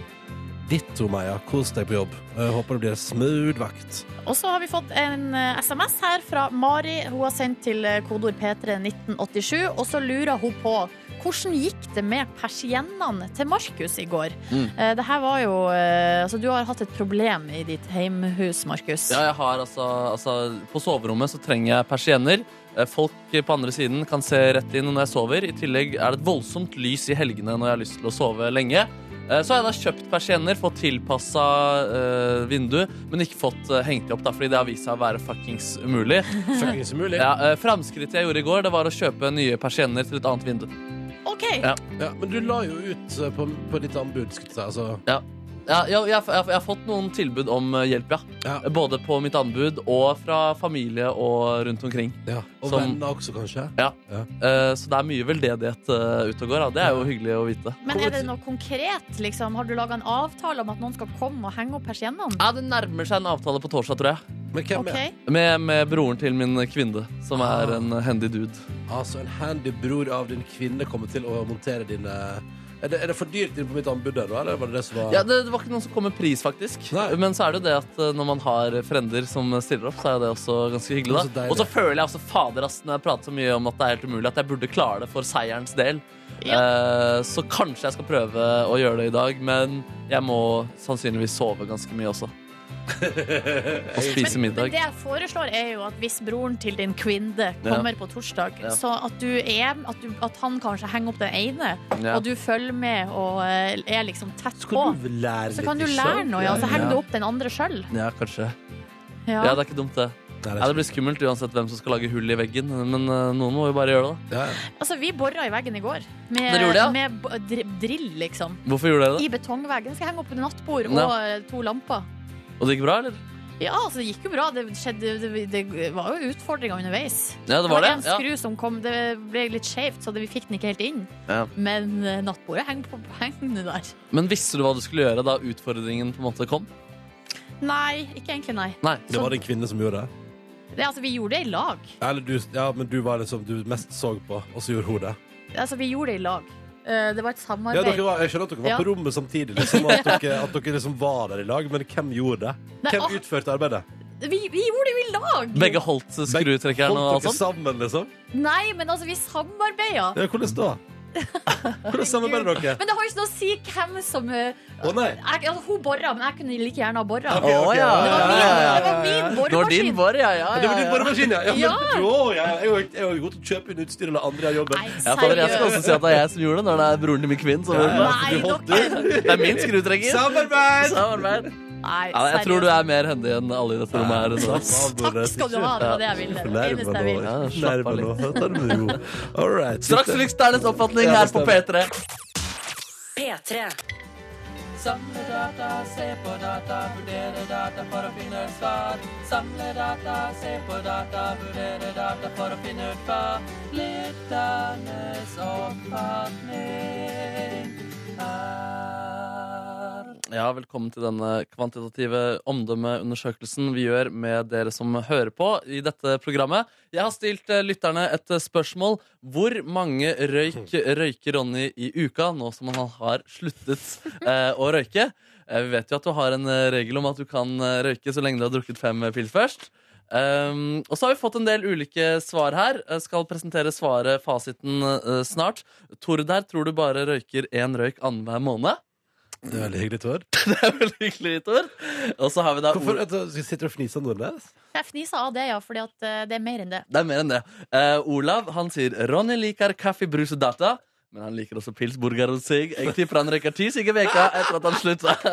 Ditto, Maja. Kos deg på jobb. Jeg håper det blir en smooth vakt.
Og så har vi fått en eh, SMS her fra Mari. Hun har sendt til eh, kodeord P3 1987, og så lurer hun på hvordan gikk det med persiennene til Markus i går?
Mm.
Eh, Det her var jo eh, Altså, du har hatt et problem i ditt heimhus, Markus.
Ja, jeg har altså, altså På soverommet så trenger jeg persienner. Eh, Folk på andre siden kan se rett inn når jeg sover. I tillegg er det et voldsomt lys i helgene når jeg har lyst til å sove lenge. Eh, Så har jeg da kjøpt persienner, fått tilpassa eh, vindu, men ikke fått eh, hengt de opp, da, fordi det har vist seg å være fuckings umulig.
Fuckings umulig.
Ja, eh, Framskrittet jeg gjorde i går, det var å kjøpe nye persienner til et annet vindu.
OK!
Ja.
Ja, men du la jo ut eh, på, på ditt anbud, skulle jeg si. Altså,
Ja, jeg, jeg, jeg, jeg har fått noen tilbud om eh, hjelp, ja.
ja,
Både på mitt anbud og fra familie og rundt omkring.
ja. Og
Som-
venner også, kanskje.
Eh, Så det er mye veldedighet eh, ute og går. da. Det er jo hyggelig å vite.
Men er det noe konkret? liksom? Har du laga en avtale om at noen skal komme og henge opp persiennene?
Ja, Det nærmer seg en avtale på torsdag, tror jeg.
Men hvem
OK?
er
Med, med broren til min kvinne, som
Ah.
er en handy dude.
Altså, en handy bror av din kvinne kommer til å montere dine Er det, er det for dyrt inn på mitt anbud der, da? Eller var det det som var
Ja, det, det var ikke noen som kom med pris, faktisk.
Nei.
Men så er det jo det at eh, når man har frender som stiller opp, så er jo det også ganske
Det
hyggelig.
er så
da
deilig.
Og så føler jeg også fader, ass, når jeg prater så mye om at det er helt umulig, at jeg burde klare det for seierens del. Eh, så kanskje jeg skal prøve å gjøre det i dag, men jeg må sannsynligvis sove ganske mye også. Og spise
Men, men
middag.
det jeg foreslår er jo at hvis broren til din kvinne kommer på torsdag,
Ja.
så at du er at, du, at han kanskje henger opp den ene,
Ja.
og du følger med og eh, er liksom tett på.
Skal du lære
Så kan du lære noe, ja. Så
Ja.
henger du opp den andre sjøl.
ja, kanskje. Ja,
Ja.
det er ikke dumt, det.
Nei,
Ja, det blir skummelt uansett hvem som skal lage hull i veggen, men eh, noen må jo bare gjøre det. da
Ja, ja.
Altså, vi bora i veggen i går med,
Dere gjorde det, ja?
med b- dri- drill, liksom.
Hvorfor gjorde dere det?
I betongveggen skal jeg henge opp et nattbord og
Ja.
eh, to lamper.
Og det gikk bra, eller?
Ja, altså, det gikk jo bra. Det, skjedde, det, det var jo utfordringer underveis.
Ja, det
Det var
var det.
en
Ja.
skru som kom, det ble litt skjevt, så det, vi fikk den ikke helt inn.
Ja.
Men eh, nattbordet henger på hengene der.
Men visste du hva du skulle gjøre da utfordringen på en måte kom?
Nei, ikke egentlig, nei.
Nei.
Det var det en kvinne som gjorde det?
Det, altså, vi gjorde det i lag.
Eller du, ja, men du var liksom du mest så på, og så gjorde hun det?
Altså, vi gjorde det i lag. Eh, Det var et
Ja,
samarbeid.
dere var, jeg skjønner at dere var
Ja.
på rommet samtidig, liksom, og at dere, at dere liksom var der i lag, men hvem gjorde det?
Nei,
Hvem
ah.
utførte arbeidet?
vi, vi gjorde det jo i lag!
Begge holdt skrutrekkeren og
Holdt
alt
dere
sånt?
sammen, liksom?
Nei, men altså, vi samarbeida.
Ja, hvordan da? Hvordan samarbeider dere?
Men det har jo ikke noe å si hvem som eh,
Å nei!
jeg, altså, Hun borra, men jeg kunne like gjerne ha borra.
Ok, ok,
ja,
Det var
ja,
min,
ja, ja,
det var min
Det var din
boremaskin.
bor, ja, ja,
Det
ja,
var din
ja.
boremaskin, ja. ja, men,
Ja.
jo, ja, jeg er jo- jeg er jo god til å kjøpe inn utstyr eller andre gjør jobben.
Nei,
Ja, fader, jeg skal
seriøst.
også si at det er jeg som gjorde det, når det er broren til min kvinne som gjorde det.
Nei,
for du holdt
dere.
Det er min skrutrekker.
Samarbeid!
Samarbeid.
Nei,
Ja, jeg tror du er mer hendig enn alle i dette rommet her.
Slapp
nå.
av,
Takk
Nordnes.
skal du ha, det var det jeg ville. Det
Fornærma
eneste jeg
nå.
ville.
Ja, slapp
Fornærma
av
nå.
litt.
Ta det med ro. All right.
Straks liksom- Lyksternes oppfatning her på P3.
P3.
Samle data, se på data, vurdere data for å finne ut svar. Samle data, se på data, vurdere data for å finne ut hva. Lytternes oppfatning er Ja, Velkommen til denne kvantitative omdømmeundersøkelsen vi gjør med dere som hører på i dette programmet. Jeg har stilt eh, lytterne et eh, spørsmål. Hvor mange røyk røyker Ronny i uka, nå som han har sluttet eh, å røyke? Eh, vi vet jo at du har en eh, regel om at du kan eh, røyke så lenge du har drukket fem eh, pils først. Um, og så har vi fått en del ulike svar her. Jeg skal presentere svaret, fasiten, eh, snart. Tord der tror du bare røyker én røyk annenhver måned.
Det er veldig hyggelig, Tor.
Det er veldig hyggelig, Tor. Og så har vi da
Hvorfor vet
ord...
du, sitter du og fniser når det er?
Jeg fniser av det, ja, fordi at eh, det er mer enn det.
Det er mer enn det. Eh, Olav han sier Ronny liker kaffe, brus og data. Men han liker også pils, burger og sigg. Jeg tipper han røyker ti sigg i veka etter at han slutta.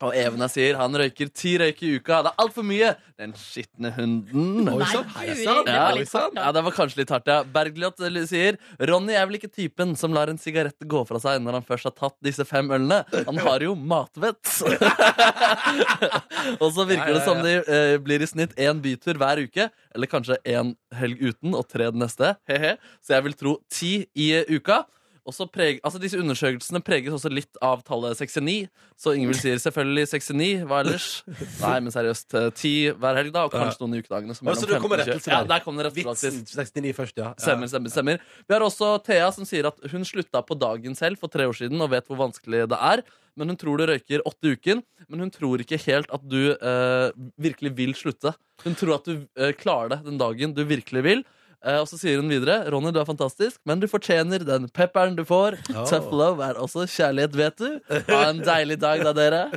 Og Evna sier han røyker ti røyk i uka. Det er altfor mye! Den skitne hunden.
Oi,
Nei,
sant?
guri,
Er det sant?
det
sånn. Ja, liksom.
var litt hardt,
ja,
da.
det var kanskje litt hardt, ja. Bergljot eh, sier Ronny er vel ikke typen som lar en sigarett gå fra seg når han først har tatt disse fem ølene. Han har jo matvett. og så virker det som de eh, blir i snitt én bytur hver uke, eller kanskje én helg uten og tre den neste. Hehe. Så jeg vil tro ti i eh, uka. Og så preg, altså Disse undersøkelsene preges også litt av tallet 69. Så Ingvild sier selvfølgelig 69. Hva ellers? Nei, men seriøst. eh, Ti hver helg, da, og kanskje noen i ukedagene. som
Ja,
er
så
om
det kommer
15 til 20.
rettelse
Ja,
der.
der kom det rettelse.
Vitsen 69 først, ja.
Stemmer, stemmer, stemmer. Vi har også Thea som sier at hun slutta på dagen selv for tre år siden og vet hvor vanskelig det er. Men hun tror du røyker åtte i uken, men hun tror ikke helt at du eh, virkelig vil slutte. Hun tror at du eh, klarer det den dagen du virkelig vil. Eh, og så sier hun videre Ronny, du er fantastisk, men du fortjener den pepperen du får.
Ja.
Tough love er også kjærlighet, vet du. Ha en deilig dag, da, dere.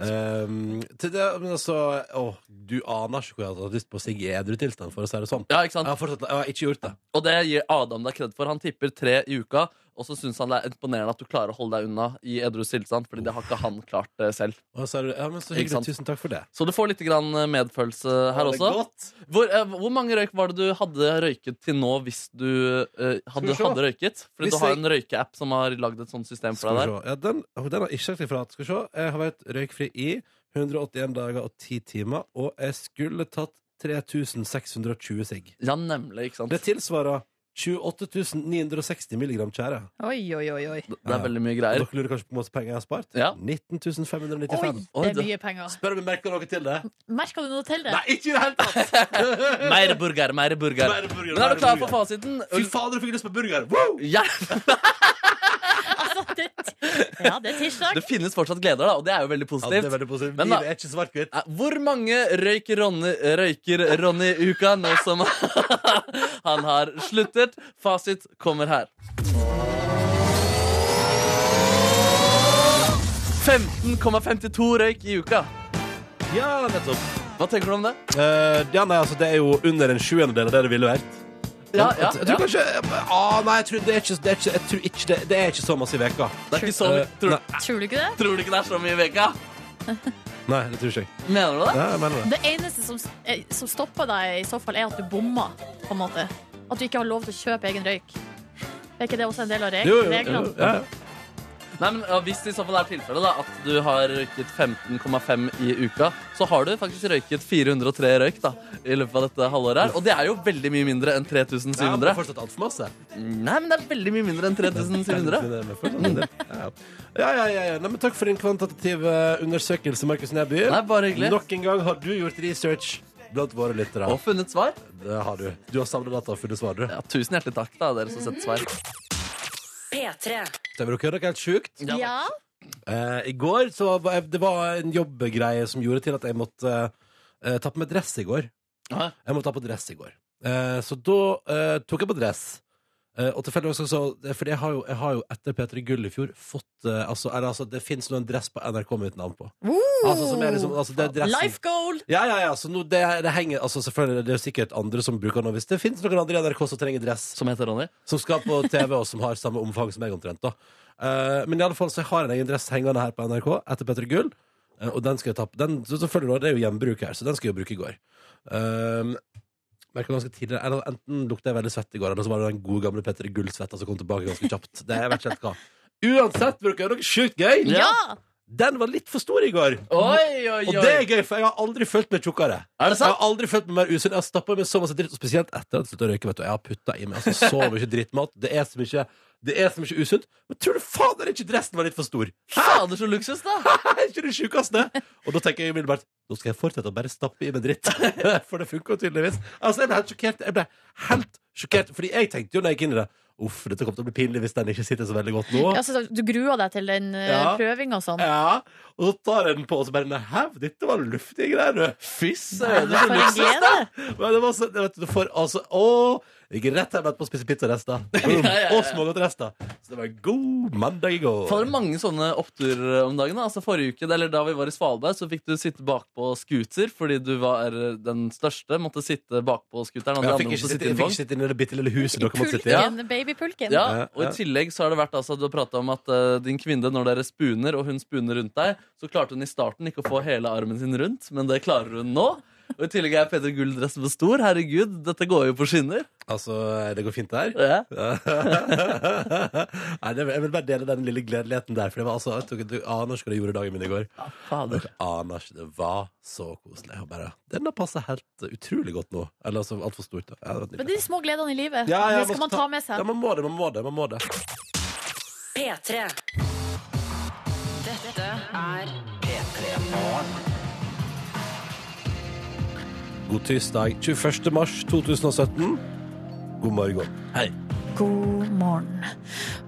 Ehm, til det, men altså, åh, du aner ikke hvor jeg hadde hatt lyst på å sigge i edru tilstand, for å si det sånn.
Ja, ikke sant?
Jeg har fortsatt jeg har ikke gjort det.
Og det gir Adam deg kred for. Han tipper tre i uka. Og så syns han det er imponerende at du klarer å holde deg unna i edru tilstand. Fordi det har ikke han klart eh, selv.
Og så er det, ja, men så
Ikke sant?
hyggelig, tusen takk for det.
Så du får litt grann eh, medfølelse her også. Hvor, eh, hvor mange røyk var det du hadde røyket til nå hvis du
Skal
eh,
vi
hadde,
se.
hadde røyket? Fordi
Hvis
du har
jeg-
en røykeapp som har lagd et sånt system for
Skal vi
deg der.
se. Ja, den, oh, den har ikke sagt ifra. Skal vi se. Jeg har vært røykfri i 181 dager og 10 timer, og jeg skulle tatt 3620 sigg.
Ja, nemlig. ikke sant?
Det tilsvarer 28 960 milligram tjære.
Oi, oi, oi. oi.
Det er veldig mye
Og
greier.
Dere lurer kanskje på hvor mye penger jeg har spart?
Ja.
19
Oi,
595.
Oi,
det er
det-
mye penger.
Spør om jeg merker noe til det.
Merka du noe til det?
Nei, ikke i det hele tatt!
Mer burger, mer burger.
Mer burger,
Men er
mer
du klar for
burger.
fasiten?
Fy fader, du fikk lyst på burger! Woo!
Ja,
Altså, det, ja, det er tirsdag.
det finnes fortsatt gleder, da, og det er jo veldig
Ja, det
positivt.
er veldig positivt.
Men da-
Livet er ikke svart-hvitt.
Eh, Hvor mange røyker Ronny, røyker Ronny i uka nå som han har sluttet? Fasit kommer her. 15,52 røyk i uka.
Ja, nettopp.
Hva tenker du om det?
Eh, ja, nei, altså, det er jo under en sjuendedel av det det ville vært.
Ja, ja,
jeg
ja.
tror kanskje ah, Nei, jeg tror det er ikke, det er ikke, jeg tror ikke det, det er ikke så masse i veka
Det er ikke så
Eh,
mye. Tror,
nei.
Tror du ikke det?
tror du ikke det er så mye i veka?
Nei, det tror ikke jeg.
Mener du det?
Nei, jeg mener det.
Det eneste som, eh, som stopper deg, i så fall, er at du bommer. På en måte. At du ikke har lov til å kjøpe egen røyk. Er ikke det også en del av reg-
Jo, jo, jo,
reglene?
jo, ja, ja.
Nei, men ja, Hvis det i så fall er tilfellet da, at du har røyket 15,5 i uka, så har du faktisk røyket 403 røyk da, i løpet av dette halvåret. her. Og det er jo veldig mye mindre enn
Ja, men
3700.
fortsatt altfor masse.
Nei, men det er veldig mye mindre enn 3700.
Men fortsatt en del. Ja, ja, ja. ja, ja. Nei, men takk for din kvantitative undersøkelse, Markus Neby.
Nei, bare hyggelig.
Nok en gang har du gjort research blant våre lyttere.
Og funnet svar.
Det har du. Du har samlet data og funnet svar, du.
Ja, tusen hjertelig takk, da, dere som setter svar.
P3.
Det vil dere høre noe helt sjukt.
Ja.
Eh, I går så var jeg, det var en jobbgreie som gjorde til at jeg måtte eh, ta på meg dress i går.
Hæ?
Jeg måtte ta på dress i går. Eh, så da eh, tok jeg på dress. Eh, og tilfeldigvis også, for jeg har jo, jeg har jo etter P3 Gull i fjor fått eh, altså, eller, altså, Det fins nå en dress på NRK med mitt navn på. Altså, som er liksom, altså, det er dressen.
Life goal!
Ja, ja, ja. Så nå, det, det henger altså, Selvfølgelig, det er jo sikkert andre som bruker den. og Hvis det fins noen andre i NRK som trenger dress,
Som heter Ronny.
som skal på TV, og som har samme omfang som meg omtrent. da. Eh, men i alle fall så jeg har en egen dress hengende her på NRK etter Petter Gull. eh, og den skal jeg ta på. Den, så selvfølgelig, da, det er jo gjenbruk her, så den skal jeg jo bruke i går. Um, merket ganske tidlig, eller Enten lukta jeg veldig svett i går, eller så var det den gode gamle Petter Gull-svetta som kom tilbake ganske kjapt. Det jeg vet ikke helt hva. Uansett, bruker jeg noe sjukt gøy.
Ja!
Den var litt for stor i går.
Oi, oi,
Og det er gøy, for jeg har aldri følt meg tjukkere.
Er det
Jeg
sant?
har aldri følt meg mer usunn. Jeg har stappa i meg så masse dritt, og spesielt etter at jeg slutta å røyke. Vet du. Jeg har putta i meg altså, så mye drittmat. Det er så mye Det er så mye usunt. Men tror du fader ikke dressen var litt for stor?
Fader, så luksus, da!
Er ikke det sjukeste? Og da tenker jeg umiddelbart Nå skal jeg fortsette å bare stappe i meg dritt. For det funker jo tydeligvis. Altså, jeg ble helt sjokkert. Jeg ble helt sjokkert Fordi jeg tenkte jo når jeg gikk inn i det Uff, dette kommer til å bli pinlig hvis den ikke sitter så veldig godt nå.
Ja, Altså, så du gruer deg til den eh,
Ja.
prøvinga og sånn?
Ja, og så tar jeg den på, og så bare Nei, hæv, dette var luftige greier, du.
Fy søren.
For en glede!
Men det var så, vet du, du får altså Å! Jeg gikk rett hjem etterpå og spiste pizzarester. Boom,
Ja, ja, ja.
Og smågodtrester. Så det var en god mandag i går.
For mange sånne oppturer om dagen. da. Altså forrige uke, eller Da vi var i Svalbard, så fikk du sitte bakpå scooter fordi du var eh, den største. Måtte sitte bakpå scooteren. og de
Jeg
andre
fikk
måtte
ikke sitte,
sitte i
jeg fikk
en
ikke
vogn.
sitte inne i det bitte lille huset dere måtte sitte i.
Pulken, babypulken.
Ja,
Ja,
og I
ja.
tillegg så har det vært altså, du har prata om at eh, din kvinne, når dere spuner, og hun spuner rundt deg, så klarte hun i starten ikke å få hele armen sin rundt, men det klarer hun nå. Og I tillegg er Peder Gull-dressen for stor. Herregud, dette går jo på skinner.
Altså, det går fint der.
Ja.
Nei, det, jeg vil bare dele den lille gledeligheten der. For det var altså, jeg tok, du aner ikke hva det gjorde dagen min i går.
Fader.
Dere aner ikke. Det var så koselig. Jeg bare, Den har passa helt utrolig godt nå. Eller altså altfor stort. da. Ja, det var
Men
nydelig.
de små gledene i livet,
Ja, ja,
det skal man ta med seg.
Ja, man må det, man må det. man må det
P3. Dette er
God tirsdag 21. mars 2017. God morgen. Hei.
God morgen.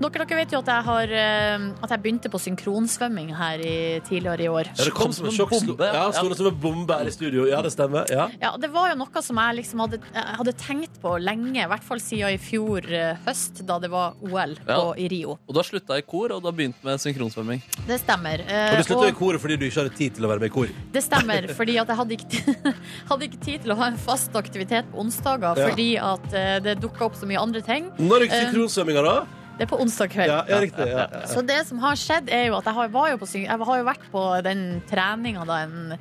Dere, dere vet jo at jeg, har, eh, at jeg begynte på synkronsvømming her i, tidligere i år.
Ja, det kom som en
Som en
sjokk. slo-
bombe.
Ja, Eh, slo det som en bombe her i studio. Ja, det stemmer. Ja.
Ja, Det var jo noe som jeg liksom hadde, jeg hadde tenkt på lenge, i hvert fall siden i fjor eh, høst, da det var OL på,
Ja.
i Rio.
Og du har slutta i kor, og du har begynt med synkronsvømming.
Det stemmer. eh,
Og du slutta i koret fordi du ikke hadde tid til å være med i kor.
det stemmer, fordi at jeg hadde ikke, hadde ikke tid til å ha en fast aktivitet på onsdager,
Ja.
fordi at eh, det dukka opp så mye andre ting.
Når gikk
Eh,
synkronsvømminga, da?
Det er på onsdag kveld.
Ja, ja, riktig. Ja, ja.
Så det som har skjedd, er jo at jeg har, var jo på, syn- jeg har jo vært på den treninga da en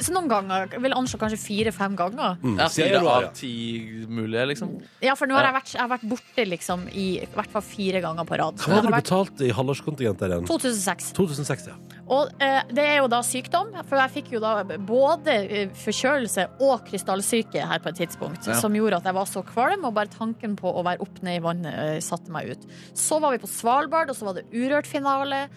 Så noen ganger, jeg vil anslå kanskje fire-fem ganger.
Mm,
Ja,
sier
fire
du,
av
ja.
ti mulige, liksom.
Ja, for nå har
Ja.
jeg vært, jeg har vært borte liksom i, i hvert fall fire ganger på rad.
Hva
Jeg
hadde
har
du
vært-
betalt i halvårskontingent der igjen?
2006.
2006, ja.
Og eh, det er jo da sykdom, for jeg fikk jo da både eh, forkjølelse og krystallsyke her på et tidspunkt,
Ja.
som gjorde at jeg var så kvalm, og bare tanken på å være opp ned i vannet eh, satte meg ut. Så var vi på Svalbard, og så var det Urørt-finale,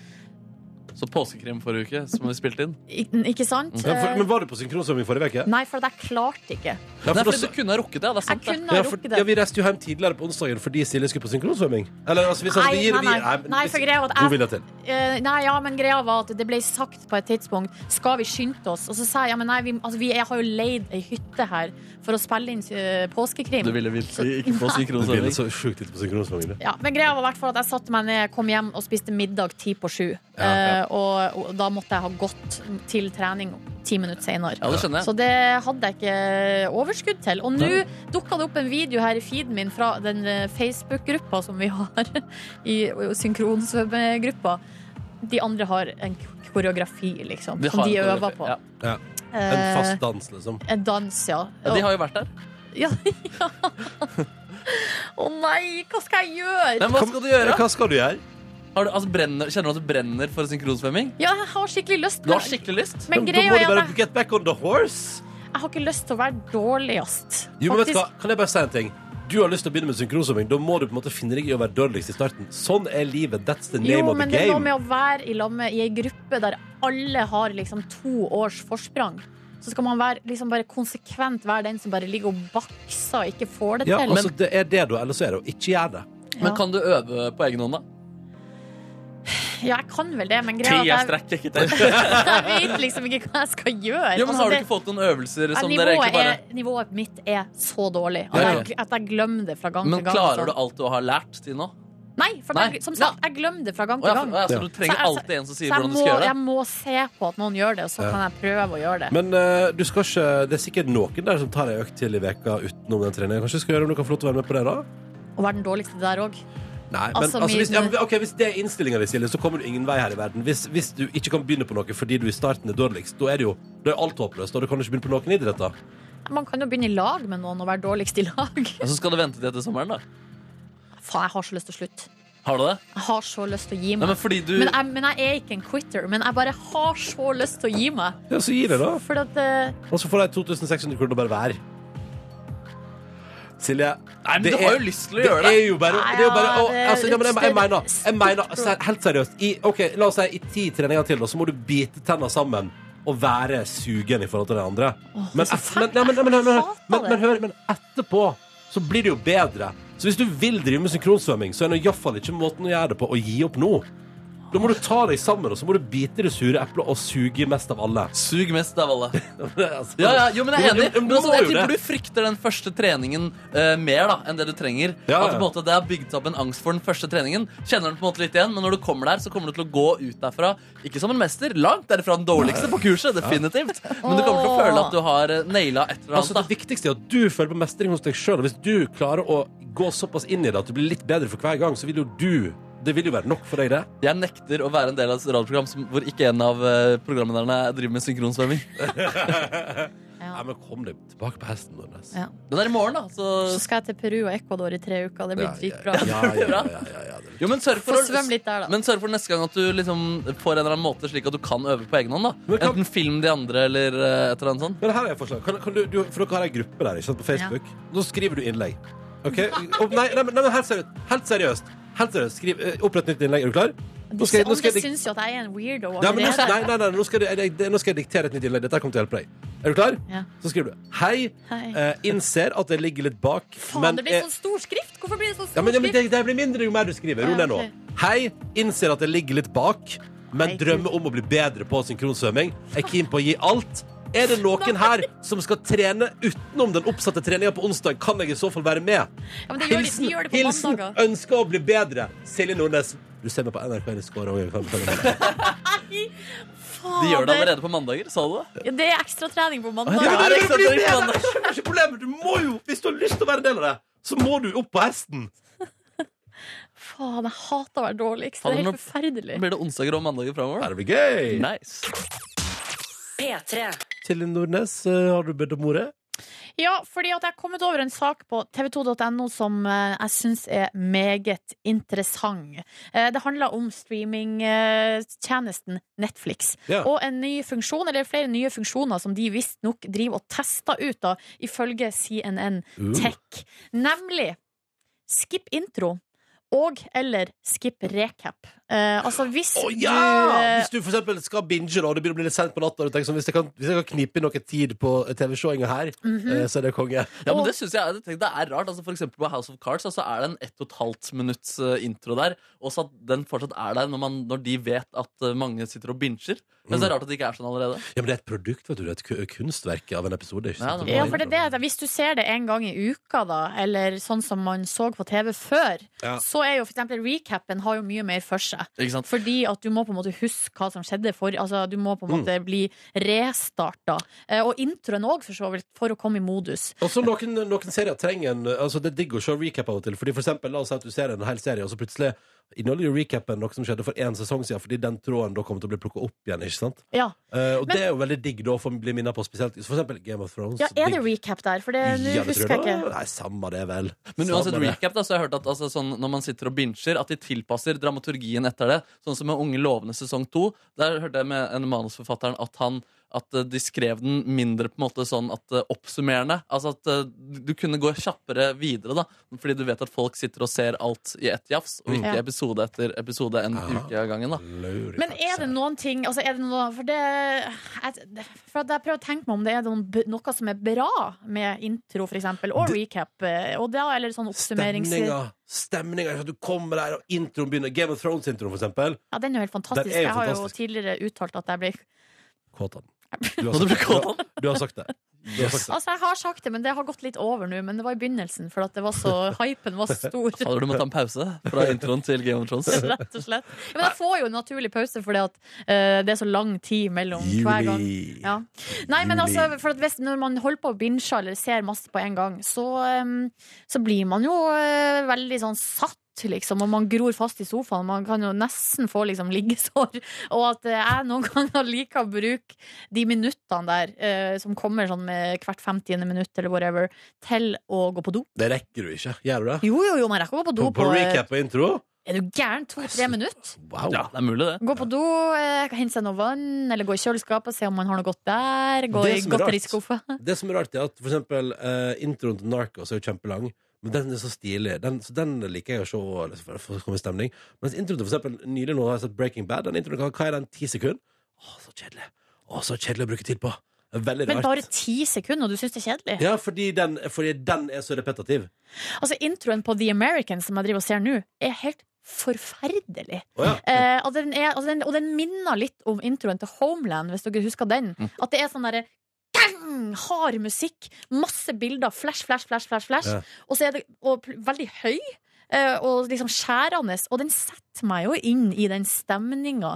Så påskekrim forrige uke, som vi spilte inn.
Ik ikke sant?
ja for,
Eh,
men var du på synkronsvømming forrige uke?
Nei, for at jeg klarte ikke.
Ja,
Nei,
for
fordi
da-
du kunne ha rukket det. Det er
Jeg
sant, det.
kunne ha
ja, for,
rukket
ja,
det.
vi reiste jo hjem tidligere på onsdagen fordi Silje skulle på synkronsvømming. Eller altså, vi sa at vi
Nei,
gir
nei,
vi-
nei.
men
Nei,
hvis-
for greia var at jeg-
God vilje til.
Eh, nei, ja, men greia var at det ble sagt på et tidspunkt Skal vi skynde oss? Og så sa jeg, ja, men nei, vi, altså, vi, jeg har jo leid ei hytte her For å spille inn eh, påskekrim
Du ville virkelig ikke få
Du ville
synkronsvømming.
så sjukt litt på synkronsvømming, du.
ja, Men greia var i hvert fall at jeg satte meg ned Kom hjem og spiste middag ti på sju
Ja,
Eh,
ja.
og, og da måtte jeg ha gått til trening ti minutter senere
Ja, det skjønner jeg.
Så det hadde jeg ikke overskudd til Og nå dukket det opp en video her i feeden min Fra den eh, Facebook-gruppa som vi har I og synkronsvømmegruppa De andre har en k- koreografi liksom
De
Som
har
de
en
øver
koreografi,
på
ja.
En
Eh,
fast dans, liksom.
en dans, ja
Ja, de har jo vært der.
Ja, ja. Å nei, hva skal jeg gjøre?
Men hva skal du gjøre?
Hva skal du gjøre?
Har du, altså, brenner, kjenner du at du brenner for synkronsvømming?
Ja, jeg har skikkelig lyst
Du har
men-
skikkelig lyst.
Men
Da-
greia
da må
er
du bare
at jeg,
get back on the horse.
jeg har ikke lyst til å være dårligst.
Jo, men vet du hva?
Faktisk.
Kan jeg bare si en ting? Du har lyst til å begynne med synkronsvømming. Da må du på en måte finne deg i å være dårligst i starten. Sånn er livet. That's the name
Jo,
of the
men det er noe
game.
med å være i lag med i ei gruppe der alle har liksom to års forsprang. Så skal man være, liksom bare konsekvent være den som bare ligger og bakser og ikke får det
Ja,
til.
altså, det er det, da. Eller så er det å ikke gjøre det.
Men kan du øve på egen hånd, da?
ja, jeg kan vel det, men
Ti
greia
er
er at jeg,
strekk, ikke til.
jeg vet liksom ikke hva jeg skal gjøre.
Jo, men
Altså,
Har du
det-
ikke fått noen øvelser
ja,
som dere egentlig
nivået,
bare
er, nivået mitt er så dårlig at
Ja, ja.
jeg, at jeg glemmer det fra gang
Men
til gang.
klarer
altså.
du alt du har lært til nå?
Nei, for
Nei.
Jeg, som sagt, jeg glemmer det fra gang
Å,
til
ja,
gang.
for, å, ja, så du trenger
Så jeg-
alltid en som
Så
sier
jeg
hvordan du
må,
skal gjøre
jeg
det?
må se på at noen gjør det, og så kan jeg prøve å gjøre det.
Men eh, du skal ikke, det er sikkert noen der som tar ei økt til i veka utenom den treningen. Kanskje du skal gjøre om du kan få lov til å være med på det, da?
Å være den dårligste der òg.
Nei, men
Altså,
altså,
min-
hvis, ja, men, ok, hvis det er innstillinga di, Silje, så kommer du ingen vei her i verden. Hvis, hvis du ikke kan begynne på noe fordi du i starten er dårligst, da er det jo da er alt håpløst. Og du kan ikke begynne på noen idretter.
Man kan jo begynne i lag med noen og være dårligst i lag.
Ja, så skal du vente til etter sommeren, da.
Faen, jeg har så lyst til å slutte.
Har du det?
Jeg har så lyst til å gi
Nei,
meg.
men fordi du
Men jeg, men jeg er ikke en quitter, men jeg bare har så lyst til å gi meg.
Ja, så gi det, da.
For at eh,
Og så får de 2600 kroner bare hver. Silje,
Nei, men
Det
du har
er-
jo lyst til å gjøre det.
er jo bare, det er jo bare å,
Ja,
altså,
det er
ja, men jeg, jeg
et
mener, jeg mener
stort problem.
ser- Helt seriøst. I, ok, la oss si i ti treninger til, da, så må du bite tenna sammen og være sugen i forhold til de andre. Men,
det er så
et- men, nei, men, nei, men, hør, men,
Jeg
hør,
hater
men,
det.
men hør, men etterpå så blir det jo bedre. Så hvis du vil drive med synkronsvømming, så er det iallfall ikke måten å gjøre det på å gi opp nå. Da må du ta deg sammen og så må du bite i det sure eplet og suge mest av alle.
Sug mest av alle.
Altså,
Ja, ja, jo, men jeg er
Jo,
enig.
jo,
Men altså,
må
jeg
jo det.
tipper du frykter den første treningen eh, mer da, enn det du trenger.
Ja, ja.
At på en måte det er bygd opp en angst for den første treningen. Kjenner den på en måte litt igjen, men når du kommer der, så kommer du til å gå ut derfra. Ikke som en mester, langt derifra den dårligste på kurset, definitivt. Men du kommer til å føle at du har eh, naila et eller
Altså, det
annet.
viktigste er at du føler på mestring hos deg sjøl. Hvis du klarer å gå såpass inn i det at du blir litt bedre for hver gang, så vil jo du Det vil jo være nok for deg, det.
Da. Jeg nekter å være en del av et radioprogram som, hvor ikke en av eh, programlederne driver med synkronsvømming.
Nei, men kom deg tilbake på hesten. Nordnes.
Ja.
Men det er i morgen, da.
Så
Så
skal jeg til Peru og Ecuador i tre uker. Det blir dritbra.
Ja, ja, ja, ja, ja, ja, det er
jo, men sørg for
Få
å-
svømme litt der, da.
Men sørg for neste gang at du liksom får en eller annen måte slik at du kan øve på egen hånd. da
Men kan-
Enten film de andre eller eh, et eller annet sånt.
Men her er et forslag. Kan, kan du, du, for dere har ei gruppe der ikke sant, på Facebook. Nå skriver du innlegg. Ok? Og, nei, nei, men- nei, men helt seriøst. Helt seriøst. Helt seriøst. Skriv, eh, opprett nytt innlegg. Er du klar? Nå skal, jeg- nå skal
Andre
jeg, dik-
syns jo at jeg er sånn- en weirdo
nei, men nå,
allerede.
nei, nei, nei, nå, skal jeg, jeg- nå skal jeg diktere et nytt innlegg. Dette kommer til å hjelpe deg. Er du klar?
Ja.
Så skriver du Hei.
Hei.
eh, innser at jeg ligger litt bak.
Faen,
men
det blir
er-
sånn stor skrift! Hvorfor blir det sånn
Ja,
stor
men, ja, men
skrift?
det, det blir mindre jo mer du skriver. Ro
Ja,
ned nå.
ok.
Hei, innser at jeg ligger litt bak, men drømmer om å bli bedre på synkronsvømming. Er keen på å gi alt. Er det noen her som skal trene utenom den oppsatte treninga på onsdag? Kan jeg i så fall være med?
Ja, men det gjør de, de gjør det på
hilsen
mandager.
ønsker å bli bedre. Silje Nordnes. Du ser meg på NRK N Score òg.
De gjør det allerede på mandager, sa du det?
Ja, det er ekstratrening på
Ja,
mandager.
det er sant, det er sant.
Ikke problemet. Du må jo, hvis du har lyst til å være en del av det, så må du opp på hesten.
Faen, jeg hater å være dårligst. Det
Faen,
er
nå-
helt forferdelig.
Blir det onsdager og mandager framover?
Det blir gøy.
Nice.
P3.
Silje Nordnes, eh, har du bedt om ordet?
Ja, fordi at jeg har kommet over en sak på tv2.no som eh, jeg syns er meget interessant. Eh, Det handler om streamingtjenesten Netflix.
Ja.
Og en ny funksjon, eller flere nye funksjoner som de visstnok driver og tester ut, da, ifølge CNN
Uh.
Tech. Nemlig skip intro. Og eller skip recap. Eh, altså hvis
Å
du eh,
ja! Hvis du for eksempel skal binge da, og det begynner å bli litt sent på natta, og du tenker sånn, hvis jeg kan, hvis jeg kan knipe inn noe tid på TV-showinga her, eh, så er det konge.
Ja, men det synes jeg det, tenk, det er rart. Altså, for eksempel på House of Cards altså, er det en 1 12 minutts eh, intro der. Også at den fortsatt er der når, man, når de vet at eh, mange sitter og binger. Men så er det rart at det ikke er sånn allerede.
Ja, men det er et produkt, vet du. Det er et ku- kunstverk av en episode. Ikke sant?
Ja, det
Ja, for det er det at Hvis du ser det en gang i uka, da, eller sånn som man så på TV før,
Ja.
så er jo for eksempel recapen har jo mye mer for seg.
Ikke sant?
Fordi at du må på en måte huske hva som skjedde for Altså, du må på
Mm.
en måte bli restarta. Eh, Og introen òg, for så vidt, for å komme i modus.
Og så noen, noen serier trenger en altså Det er digg å se recap av og til. Fordi for eksempel, La oss si at du ser en hel serie, og så plutselig inneholder jo recapen noe som skjedde for én sesong siden, fordi den tråden da kommer til å bli plukka opp igjen. ikke sant?
Ja,
Eh, og
Men-
det er jo veldig digg da å få bli minnet på, spesielt for eksempel Game of Thrones.
ja er det
Digg.
recap der? For det nå
Ja, det
husker
tror
jeg ikke.
da. Nei, samme det, vel.
Men
Samme
uansett
det.
recap da, så har jeg hørt at altså, sånn, når man sitter og binger, at de tilpasser dramaturgien etter det. Sånn som med Unge lovende sesong to. Der hørte jeg med en manusforfatteren at han at eh, de skrev den mindre på en måte sånn at eh, oppsummerende. Altså at eh, du kunne gå kjappere videre, da. Fordi du vet at folk sitter og ser alt i ett jafs, og ikke
Ja.
episode etter episode en
Aha.
uke av gangen. da.
Lurer,
Men er
altså.
det noen ting altså er det noe, For det jeg, for at jeg prøver å tenke meg om det er noen, b- noe som er bra med intro, for eksempel, og recap. eh, Og da, eller sånn oppsummerings...
Stemninga. Stemninga. ikke sant? Du kommer der, og introen begynner. Game of Thrones-introen, for eksempel.
Ja, den er jo helt fantastisk.
Den er jo
jeg har
fantastisk.
jo tidligere uttalt at jeg ble
Kåtan. Du
Nå du ble
du har, du har sagt det. Du har sagt det.
Altså, jeg har sagt det, men det har gått litt over nå. Men det var i begynnelsen, for at det var så Hypen var stor.
Fader, du må ta en pause fra introen til Game of Thrones.
Rett og slett. Ja, men jeg får jo en naturlig pause fordi at eh, det er så lang tid mellom hver gang.
Juli.
Ja. Nei, men
Juli.
altså, for at hvis, når man holder på å binge eller ser masse på en gang, så, eh, så blir man jo eh, veldig sånn satt. Liksom, og man gror fast i sofaen. Man kan jo nesten få liksom, liggesår. Og at eh, jeg noen ganger liker å bruke de minuttene der, eh, som kommer sånn med hvert 50. minutt eller whatever, til å gå på do.
Det rekker du ikke. Gjør du det?
Jo, jo, jo, man rekker å gå på do
På,
på, eh,
på recap og intro?
Er du gæren? To-tre minutter?
Wow.
Ja, det er mulig, det.
Gå på do, eh, hente seg noe vann, eller gå i kjøleskapet og se om man har noe godt der. Gå
Det
i
som er rart.
godteriskuffen.
Det som er rart, er at for eksempel eh, introen til Narcos er jo kjempelang. Men den er så stilig. Den, så den liker jeg å se liksom, for- for å komme i stemning. Mens introen til for eksempel, nylig nå har jeg sett Breaking Bad. Den introen, hva- hva er den? Ti sekunder? Å, så kjedelig. Å, så kjedelig å bruke tid på. Veldig
Men
rart.
bare ti sekunder, og du syns det er kjedelig?
Ja, fordi den, fordi den er så repetativ.
Altså, introen på The Americans som jeg driver og ser nå, er helt forferdelig.
Å ja.
Eh, og, den er, altså den, og den minner litt om introen til Homeland, hvis dere husker den.
Mm.
At det er sånn derre gang, Hard musikk, masse bilder, flash, flash, flash. flash, flash
Ja.
Og så er det og, pl- veldig høy eh, og liksom skjærende. Og den setter meg jo inn i den stemninga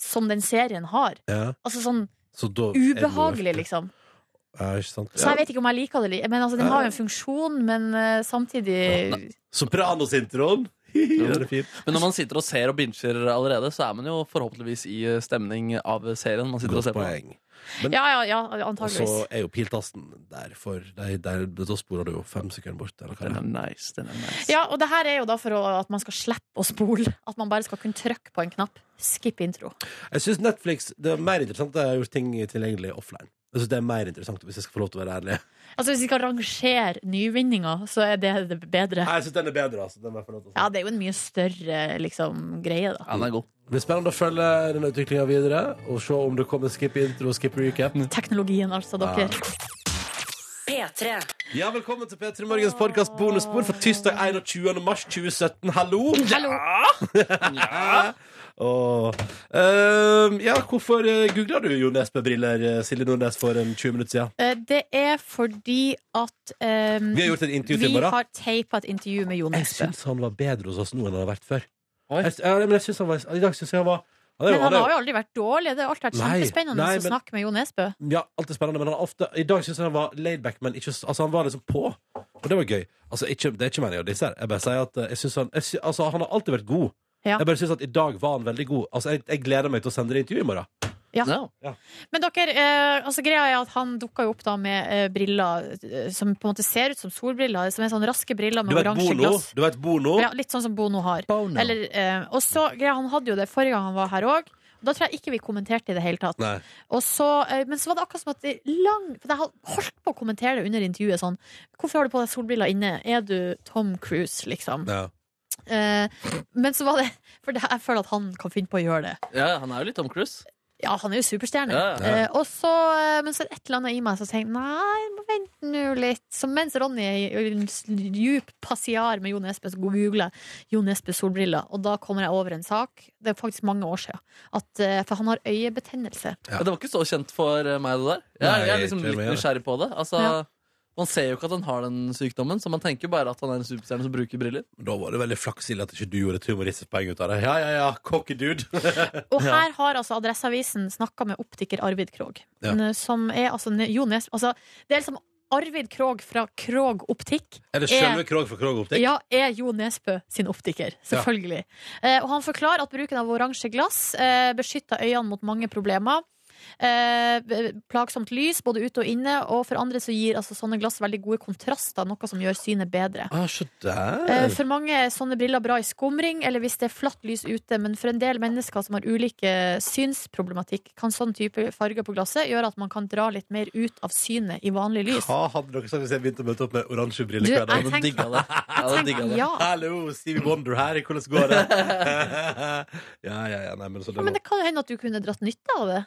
som den serien har.
Ja.
Altså sånn
Så da er det noe-
ubehagelig, liksom.
Ja, ikke sant?
Så jeg vet ikke om jeg liker det. li- Men altså, Den har jo en funksjon, men eh, samtidig
Sopranos-introen! Den er fin.
Men når man sitter og ser og binger allerede, så er man jo forhåpentligvis i eh, stemning av serien. man sitter og
Godt
ser på.
poeng.
Ja, ja, ja,
Og så
antageligvis.
er jo piltasten der, for der, der, da sporer du jo fem sekunder bort. Eller hva
Den
det
er
er.
nice. den er nice.
Ja, og det her er jo da for å, at man skal slippe å spole. At man bare skal kunne trykke på en knapp. Skip intro.
Jeg syns Netflix det er mer interessant at jeg har gjort ting tilgjengelig offline. Jeg synes Det er mer interessant hvis jeg skal få lov til å være ærlig.
Altså Hvis vi skal rangere nyvinninger, så er det det bedre.
Nei, Jeg synes den er bedre, altså. Den må jeg få lov til å si.
Ja, det er jo en mye større liksom, greie, da.
Den er god.
Det blir spennende å følge denne utviklinga videre og se om det kommer skip intro og skip recap.
Teknologien, altså, dere.
P3.
Ja, velkommen til P3 Morgens podkast bonusspor for tirsdag 21. mars 2017. Hallo!
Hallo.
Og, ehm, ja, hvorfor uh, googla du Jo Nesbø-briller, eh, Silje Nordnes, for en 20 minutter siden?
Eh, Det er fordi at eh,
Vi har gjort et intervju til
vi
i morgen.
har teipa et intervju med Jo
Jeg
Nesbø.
syns han var bedre hos oss nå enn han har vært før.
Oi.
Jeg, ja, men jeg synes han var, I dag syns jeg han var han er jo-
Men han
er
har jo aldri vært dårlig. Det har alltid vært
Nei,
kjempespennende
nei,
å
men-
snakke med Jo Nesbø.
Ja, alt er spennende, men han er ofte, i dag syns jeg han var laidback, men ikke, s- altså, han var liksom på. Og det var gøy. Altså, ikke, det er ikke meningen å disse her. Jeg bare sier at eh, jeg synes han, jeg sy, altså, han har alltid vært god.
Ja.
Jeg bare syns at i dag var han veldig god. Altså, jeg, jeg gleder meg til å sende det intervju i morgen.
Ja.
Ja.
Men dere, eh, altså greia er at han dukka jo opp da med eh, briller eh, som på en måte ser ut som solbriller. Som er sånn raske briller
Du
med
vet
oransje
Bono?
glass.
Du vet Bono?
Ja, litt sånn som Bono har.
Bono.
Eller, eh, og så, greia, Han hadde jo det forrige gang han var her òg. Da tror jeg ikke vi kommenterte i det hele tatt.
Nei.
Og så, eh, men så var det akkurat som at det lang For jeg holdt på å kommentere det under intervjuet sånn Hvorfor har du på deg solbriller inne? Er du Tom Cruise, liksom?
Ja.
Eh, men så var det For det, jeg føler at han kan finne på å gjøre det.
Ja, han er jo litt Tom Cruise.
Ja, han er jo superstjerne.
Ja, ja.
Eh, og så, eh, men så er det et eller annet i meg som tenker Nei, jeg må vente nå litt. Så mens Ronny er i en s- djup passiar med Jo Nesbø, så googler jeg Jo Nesbø solbriller. Og da kommer jeg over en sak, det er faktisk mange år siden, at, eh, for han har øyebetennelse.
Ja.
Det var ikke så kjent for eh, meg, det der. Jeg, jeg
Nei,
er liksom
ikke
litt
mer.
nysgjerrig på det. Altså,
Ja.
Man ser jo ikke at han har den sykdommen, så man tenker bare at han er en superstjerne som bruker briller.
Men Da var det veldig flaks Silje, at ikke du gjorde et humoristisk poeng ut av det. Ja, ja, ja, cocky dude.
Og her har altså Adresseavisen snakka med optiker Arvid Krog,
Ja.
n- som er altså ne- Jo Nesbø altså, Det er liksom Arvid Krog fra Krog Optikk
Er det
Er-
selve Krog fra Krog Optikk?
Ja, er Jo Nesbø sin optiker. Selvfølgelig. Eh, og han forklarer at bruken av oransje glass eh, beskytter øynene mot mange problemer. Eh, b- plagsomt lys både ute og inne, og for andre så gir altså, sånne glass veldig gode kontraster, noe som gjør synet bedre.
Ah, så
Eh,
der.
For mange er sånne briller bra i skumring eller hvis det er flatt lys ute, men for en del mennesker som har ulike synsproblematikk, kan sånn type farger på glasset gjøre at man kan dra litt mer ut av synet i vanlig lys.
Hva hadde dere sagt hvis jeg begynte å møte opp med oransje
Du,
briller hver dag?
Jeg
Jeg
tenker-
digga det. Jeg hadde
Tenk,
digga det.
ja.
Hallo, Stevie Wonder her. Hvordan går det? ja, ja, ja. Nei, men så
ja,
det
men
var
det kan jo hende at du kunne dratt nytte av det.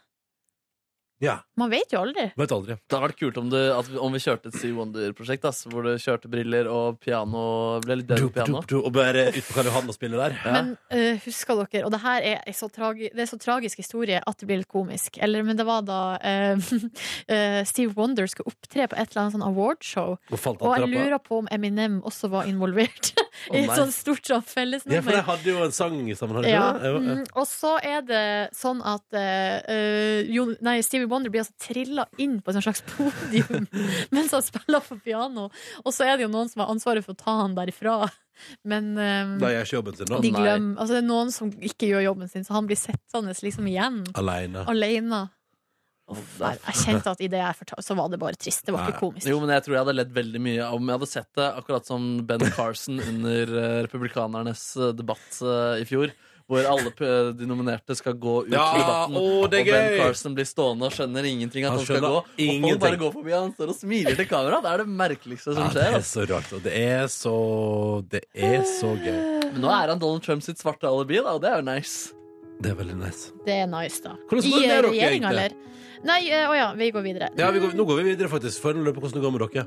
Ja,
Man vet jo aldri.
vet aldri.
Det hadde vært kult om, du, at, om vi kjørte et Sea Wonder-prosjekt, ass, hvor du kjørte briller og piano. Ble litt bedre
Du,
på piano.
du, du, og bare ut på Karl Johan og spille der.
Ja.
Men eh, husker dere, og det her er en så, tragi det er så tragisk historie at det blir litt komisk. Eller, men det var da eh, eh, Steve Wonder skulle opptre på et eller annet sånn awardshow,
Og falt
og
av
jeg
trappa.
lurer på om Eminem også var involvert i et
nei.
sånt stort sånn
Ja, for de
fellesnummer.
hadde jo en sang sammen. Hadde
Ja.
ikke det? Jo,
Mm, og så er det sånn at eh, eh, Jon- nei, Stevie Wonder blir altså trilla inn på et sånt slags podium mens han spiller for piano, og så er det jo noen som har ansvaret for å ta han derifra. Men eh,
ja. Da gjør jeg ikke jobben sin, da.
de
nei.
glemmer, altså det er noen som ikke gjør jobben sin, så han blir sittende liksom igjen,
Aleine.
alene.
det
Der. Jeg kjente at i det jeg fortalte, så var det bare trist. Det var ikke komisk.
Jo, men jeg tror jeg hadde ledd veldig mye om jeg hadde sett det, akkurat som Ben Carson under eh, republikanernes eh, debatt eh, i fjor. hvor alle p- de nominerte skal gå ut
Ja,
i debatten.
å, det er
og Ben
gøy.
Carson blir stående og skjønner ingenting at
Han
han, skal
skjønner
gå. Og
ingenting.
folk bare går forbi, og han står og smiler til kamera. Det er det merkeligste som
Ja, det
skjer. altså.
er
ass.
så rart, og det er så Det er så gøy.
Men nå er han Donald Trump sitt svarte alibi, da, og det er jo nice.
Det er veldig nice.
Det er nice, da. I
Hvordan går det med dere,
regjeringa,
egentlig?
eller? Nei, eh, å ja, vi går videre.
Ja, vi går, nå går vi videre, faktisk. For å lure på hvordan det går med dere.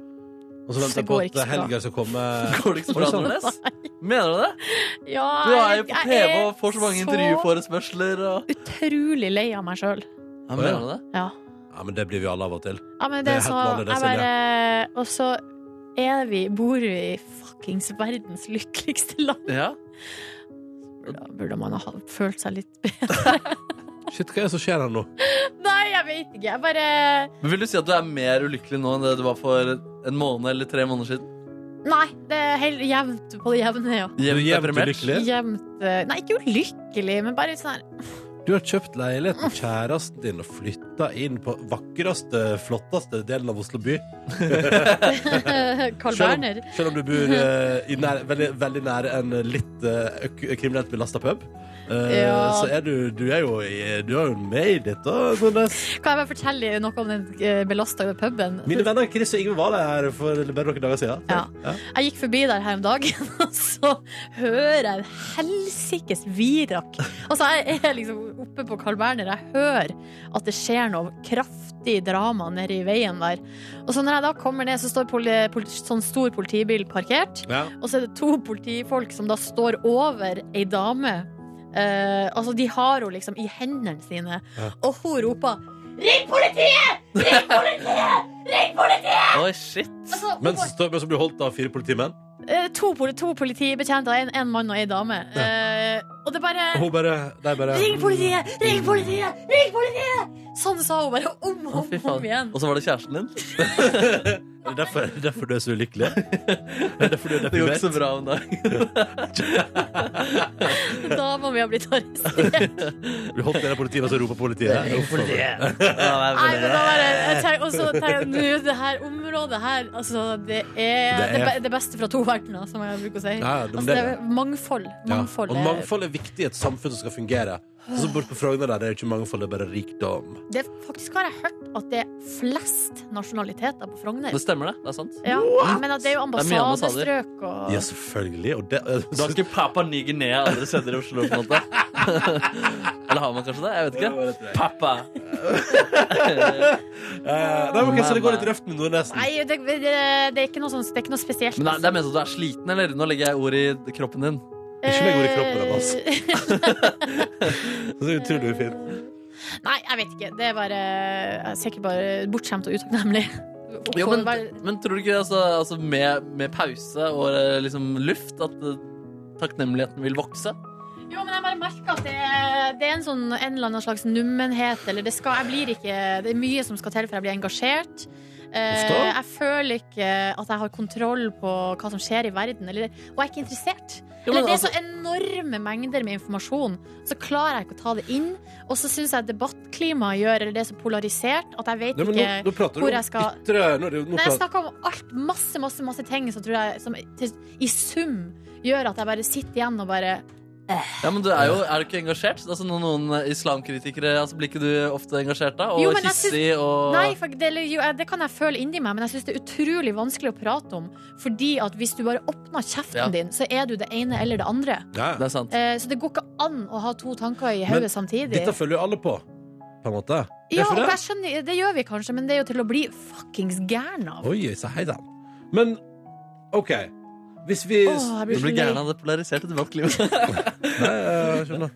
Og
Det
så venter jeg på
går ikke
at
så bra.
helga skal komme.
Går det ikke så bra,
sånn.
Nordnes? Mener du det?
Ja,
Du er jo
jeg-
på
jeg
TV
er
og får så mange
så
intervjuforespørsler. Og...
Utrolig lei av meg sjøl.
Ja, mener du det?
Ja.
Ja, men det blir vi alle av og til.
ja, men
Det
det
er
er
helt
så
vanlig, det,
jeg bare, Og så er vi, bor vi i fuckings verdens lykkeligste land.
Ja.
Da burde man ha følt seg litt bedre.
Shit, hva er det som skjer her nå?
Nei, jeg vet ikke. Jeg bare
Men Vil du si at du er mer ulykkelig nå enn det du var for en måned eller tre måneder siden?
Nei, det er helt jevnt på det jevne, ja.
Er du
Jevnt
jevnt
deprimert?
ulykkelig?
Jevnt eh, Nei, ikke ulykkelig, men bare sånn her
Du har kjøpt leilighet med kjæresten din og flytta inn på vakreste, flotteste delen av Oslo by.
Carl
Selv om,
Berner.
selv om du
Mhm.
bor eh, i nær, veldig, veldig nære en litt eh, øk- kriminelt belasta pub, eh,
Ja.
så er du, du er jo i- Du er jo med i dette, Nordnes.
Kan jeg bare fortelle noe om den eh, belasta puben?
Mine venner Chris og Yngve var der her for bare noen dager siden.
Ja. Jeg gikk forbi der her om dagen, og så hører jeg en helsikes virak. Altså, jeg er liksom oppe på Carl Berner, jeg hører at det skjer noe kraftig drama nede i veien der. Og så når jeg da kommer ned, så står poli, poli, sånn stor politibil parkert.
Ja.
Og så er det to politifolk som da står over ei dame. Eh, altså, de har henne liksom i hendene sine,
Ja.
og hun roper
Oi, shit.
altså, hun
Men
var-
så, står- men så blir du holdt av fire politimenn,
eh, to, poli- to politibetjenter, en, en mann og ei dame. Eh, og det bare
og hun bare, de bare
Ring politiet! Ring politiet! Ring politiet! Sånn sa hun bare om
Å,
og
fy
om igjen.
faen. Og så var det kjæresten din.
Det er derfor, det er derfor du er så ulykkelig. Det er derfor du er
Det går ikke så
deprimert.
bra om dagen.
Da må vi ha blitt arrestert.
Du holdt ned av politiet, og så roper politiet. Uff,
Nei, men da bare jeg tenk- Og så tenker jeg nå, det her området her, altså det er det,
Det er-
be- det beste fra to verdener, som jeg bruker å si.
Ja, ja, det-
altså, det er mangfold.
Ja.
Mangfold.
Og
er-
mangfold er viktig i et samfunn som skal fungere. Så bort på Frogner der, det er jo ikke mangfold, det er bare rikdom.
Det er- faktisk har jeg hørt at det er flest nasjonaliteter på Frogner.
Det stemmer, det. Det er sant.
Ja, men at det er jo
Det er mye ambassader.
ambassadestrøk og
Ja, selvfølgelig. Og det, eh,
Da har ikke Papa Ny-Guinea andre steder i Oslo, på en måte. Eller har man kanskje det? Jeg vet ikke. Pappa.
Eh, nei, men ok, så det går litt røft med Nordnesen.
Nei, det, det, det er ikke noe sånn, det er ikke noe spesielt.
Men det er- det er mest at du er sliten, eller? Nå legger jeg ord i kroppen din.
Ikke legg ord i kroppen din, altså. Så det er utrolig fint.
Nei, jeg vet ikke. Det er bare Jeg er sikkert bare bortskjemt og utakknemlig.
Jo, men,
Eh, Bare-
men tror du ikke altså, altså med, med pause og eh, liksom luft at eh, takknemligheten vil vokse?
Jo, men jeg bare merker at det, er- det er en sånn en eller annen slags nummenhet, eller det skal Jeg blir ikke Det er mye som skal til for jeg blir engasjert. Eh,
Uff da.
jeg føler ikke at jeg har kontroll på hva som skjer i verden, eller, og jeg er ikke interessert.
Jo,
Eller
men,
det er så
altså,
enorme mengder med informasjon, så klarer jeg ikke å ta det inn. Og så syns jeg debattklimaet gjør eller det er så polarisert at jeg vet
Nei, men nå,
ikke
nå prater du
hvor
om
jeg skal-
ytre nå, er det jo- nå
Nei, jeg
prater-
snakker om alt, masse, masse, masse ting som, tror jeg, som til, i sum gjør at jeg bare sitter igjen og bare
ja, men du er jo er du ikke engasjert? Altså, når noen eh, islamkritikere altså, Blir ikke du ofte engasjert da? Og
Jo, men jeg syns-
hissig og
Nei, for det, eller jo, jeg- det kan jeg føle inni meg, men jeg syns det er utrolig vanskelig å prate om. Fordi at hvis du bare åpner kjeften
Ja.
din, så er du det ene eller det andre.
Ja, ja.
Det er sant.
Eh, så det går ikke an å ha to tanker i
Men
hodet samtidig.
Dette følger jo alle på, på en måte.
Ja,
Derfor
og
det.
jeg skjønner, det gjør vi kanskje, men det er jo til å bli fuckings gæren av.
Oi, så hei da. Men OK. Hvis vi
Åh, jeg
Du
blir
blir
så lei.
gæren av det polariserte debattklimaet.
Nei, jeg skjønner.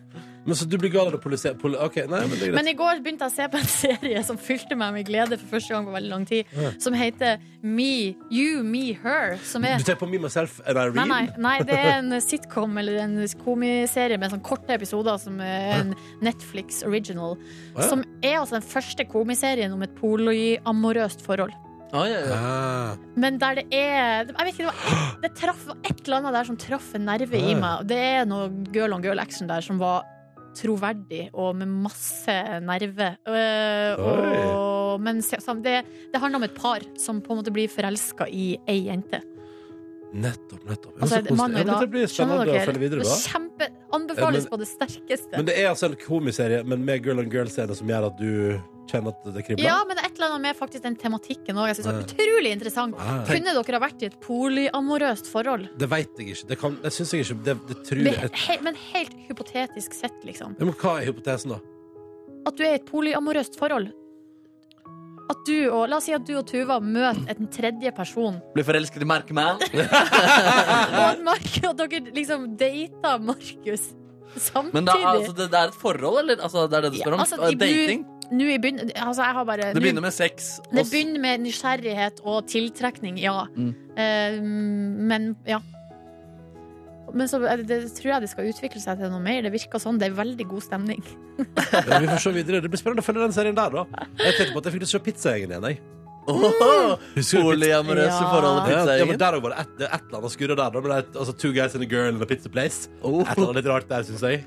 Men så du blir gal av det politi... Poli OK, nei, men det er greit.
Men i går begynte jeg å se på en serie som fylte meg med glede for første gang på veldig lang tid,
Ja.
som heter Me, You, Me, Her. Som er
Du tenker på Me Myself and
Nei,
Irene?
nei, nei, det er en sitcom eller en komiserie med sånn korte episoder som er en Netflix original.
Å, ja.
Som er altså den første komiserien om et polyamorøst forhold.
Oi, oi, oi.
Ah,
Men der det er Jeg vet ikke, det var et, det traff, det var et eller annet der som traff en nerve i
Ja.
meg. Og Det er noe girl on girl action der som var troverdig og med masse nerve. Eh, og, men se- sam- det, det handler om et par som på en måte blir forelska i ei jente.
nettopp, nettopp. Ja,
Altså,
så koselig.
mann og
Ja, men
da-
dette blir
skjønner
spennende å
dere?
følge videre
Det
på.
er Kjempe, Anbefales
Eh, men-
på det sterkeste.
Men det er altså en komiserie, men med girl on girl-scene som gjør at du kjenner at det kribler?
ja, men det er et eller annet med faktisk den tematikken òg. Jeg synes det var
Ja.
utrolig interessant.
Ah.
Kunne dere ha vært i et polyamorøst forhold?
Det veit jeg ikke. Det, kan, det syns jeg ikke. Det, det tror
Men,
jeg et,
he, men helt hypotetisk sett, liksom.
men Hva er hypotesen, da?
At du er i et polyamorøst forhold. At du og, la oss si at du og Tuva møter en tredje person.
Blir forelsket i Markman.
Og at, Mark, at dere liksom dater Markus samtidig.
Men da, altså, det, det er et forhold, eller? Altså, det er det du
Ja,
spør om?
altså, de
Dating?
Nå i begyn- altså, jeg har bare nå-
Det begynner med sex. og
Det
s-
begynner med nysgjerrighet og tiltrekning, ja.
Mm.
Eh, men ja. Men så er det, det tror jeg det skal utvikle seg til noe mer. Det virker sånn. Det er veldig god stemning.
Ja, vi får se videre. Det blir spennende å følge den serien der, da. Jeg tenkte på at jeg fikk lyst til å se Pizzaeggen igjen, jeg.
Åh,
Husker du Pizza-
Polyamorøse
Ja.
forhold
Ja,
og
ja, men
pizzaeggen.
der var det et, det er et eller annet skurre der. Da, men det er, et- altså, two guys and a girl in a pizza place. Et eller
Åh,
annet litt rart der, syns jeg.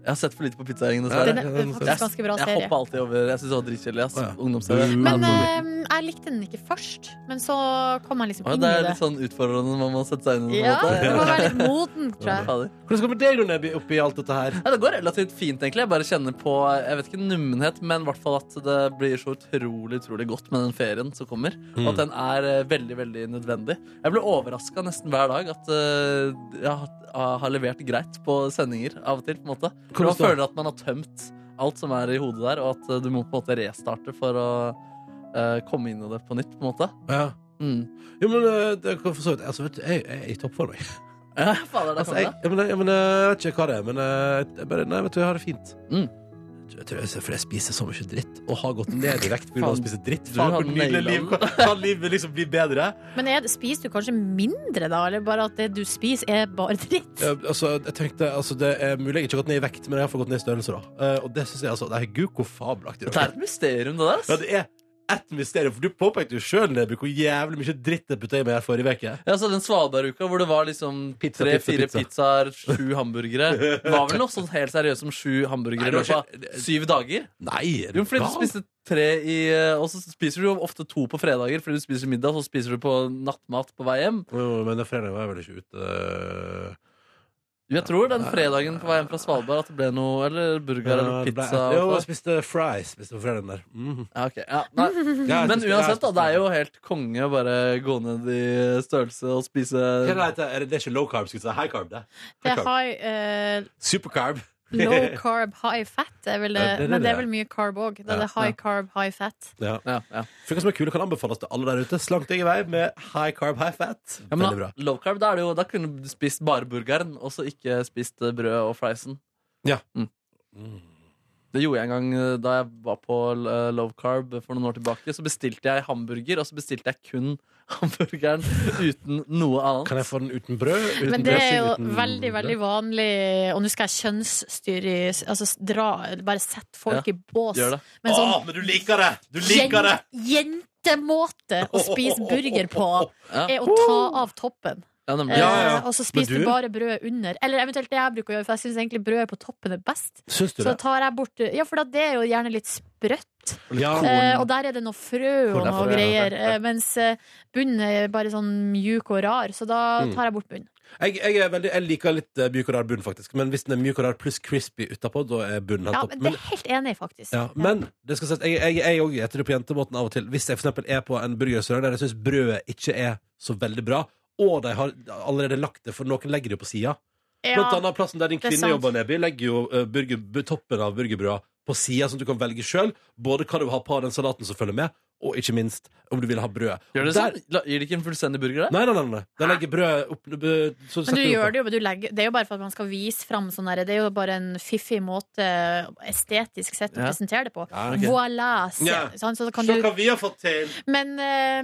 Jeg har sett for lite på pizzaeggen,
Den
dessverre.
er
det må
faktisk ganske bra
Jeg
serie.
hoppa alltid over. Jeg syns det var dritkjedelig. ass.
Å, ja.
Ungdomsserie.
Men
Å,
eh, jeg likte den ikke først. Men så kom jeg liksom
ja,
inn
det
i
er
det.
litt sånn utfordrende når man må sette seg inn i det.
Ja,
på en måte.
det må være litt moden, tror jeg.
Fader.
Hvordan skal det med deg, Neby, oppi alt dette her?
Ja, det går relativt fint, egentlig. Jeg bare kjenner på jeg vet ikke, nummenhet, men i hvert fall at det blir så utrolig utrolig godt med den ferien som kommer. Og
Mm.
at den er eh, veldig veldig nødvendig. Jeg ble overraska nesten hver dag at eh, jeg har, har levert greit på sendinger av og til. på en måte. For
Hvordan
Man
da?
føler at man har tømt alt som er i hodet der, og at eh, du må på en måte restarte for å eh, komme inn i det på nytt. på en måte.
Ja.
Mm.
Jo, men eh, det kan for så vidt Altså, vet du, jeg, jeg er i toppform, jeg.
Ja, fader, der
Altså,
kom
jeg,
det.
jeg, men, jeg, men, eh, jeg vet ikke hva det er, men eh, jeg bare, Nei, vet du, jeg har det fint.
Mm.
Jeg tror jeg, for jeg spiser så mye dritt, og har gått ned i vekt pga. å
Faen.
spise dritt.
Du
Faen,
har
hvor nydelig
naila
liv Kan livet liksom bli bedre?
Men er, det- spiser du kanskje mindre da? Eller bare at det du spiser, er bare dritt?
Eh, altså, jeg tenkte, altså, Det er mulig jeg ikke har gått ned i vekt, men jeg har fått gått ned i størrelse. da Eh, Og det synes jeg altså, det er gud hvor fabelaktig.
Det er et mysterium, det der. ass.
Ja, det er ett mysterium, for du påpekte jo sjøl, Neby, hvor jævlig mye dritt jeg putta i meg her forrige uke.
Ja, så Den Svalbard-uka hvor det var liksom
Pizza, pizza,
tre-fire
pizza.
pizzaer, sju hamburgere. Det var vel noe sånn helt seriøst som sju hamburgere i
Nei, det
løpet
var
av syv dager?
Nei, er
Jo, fordi du
gal?
spiste tre i eh, Og så spiser du jo ofte to på fredager, fordi du spiser middag, så spiser du på nattmat på vei hjem.
Jo, Men den fredagen var jeg vel ikke ute eh,
Jo, Jeg tror den fredagen på vei hjem fra Svalbard at det ble noe Eller burger
ja,
eller
det ble
pizza.
et- Jo,
og-
jeg spiste fries spiste på fredagen der. Mhm.
Ja, ok. ja, nei.
Ja, jeg
Men
spiste- jeg
uansett, da. Det er
spiste-
jo helt konge å bare gå ned i størrelse og spise
Hva er det det heter? Er det- det er ikke low carb, skulle jeg si. High carb, det.
Det er
carb.
high, eh,
Supercarb.
low carb, high fat. Er vel
Ja, det er
det.
det
Men det
det
er
er.
vel mye carb òg. Det
Ja,
er det
ja.
high carb, high fat.
Ja.
ja, ja.
Funker som en kule, kan anbefales til alle der ute. Slank deg i vei med high carb, high fat.
Ja,
Veldig
men da,
bra.
low carb, da, er det jo, da kunne du spist bare burgeren, og så ikke spist eh, brød og friesen.
Ja.
Mm.
Mhm.
Det gjorde jeg en gang eh, da jeg var på eh, low carb for noen år tilbake. Så bestilte jeg hamburger, og så bestilte jeg kun hamburgeren uten noe annet.
Kan jeg få den uten brød? Uten
Men det er
dressing,
jo
uten
veldig, veldig vanlig Og nå skal jeg kjønnsstyre i Altså s- dra, bare sette folk i bås
Gjør det.
Men sånn
Å, men du liker det! Du liker det!
jen, jentemåte Å spise burger på
Ja,
Er å ta av toppen
ja, nemlig.
eh,
Ja, ja.
Og så
Men
spiser
du-
du bare brød under Eller eventuelt det jeg bruker å gjøre For jeg synes egentlig brød på toppen er best
Syns du
Så
det?
tar jeg bort Ja, for da det er jo gjerne litt sprøtt
Ja.
eh, Og der er det noe frø og noe
Kornfrø, ja,
greier
ja, ja.
eh, Mens eh, bunnen er bare sånn mjuk og rar Så da
Mm.
tar jeg bort bunnen
Jeg, jeg, er veldig, jeg liker litt eh, mjuk og rar bunn, faktisk. Men hvis den er mjuk og rar pluss crispy utapå, da er bunnen
Ja,
helt topp.
men det er jeg helt enig i faktisk
Ja, men det skal sies, jeg, jeg, jeg også gjetter det på jentemåten av og til. Hvis jeg for eksempel er på en burgerrestaurant der jeg syns brødet ikke er så veldig bra, og de har allerede lagt det, for noen legger det jo på sida.
Ja.
Blant annet plassen der din
det er
kvinne
sant.
jobber, Neby, legger jo eh, burger, bu- toppen av burgerbrøda på sida, sånn at du kan velge sjøl både hva du vil ha på den salaten som følger med, og ikke minst om du vil ha brød.
Gjør
Der-
det sånn? La- Gir det ikke en fullstendig burger der?
Nei, nei, nei. nei. De legger brød opp bu- så
Men du
setter
gjør
det
det jo, men du legger, det er jo bare for at man skal vise fram sånn der, Det er jo bare en fiffig måte, estetisk sett, å
Ja.
presentere det på.
Ja,
ok.
Voilà! Se,
Ja.
sant? Så da
på.
kan du,
Se hva vi har fått til!
men eh,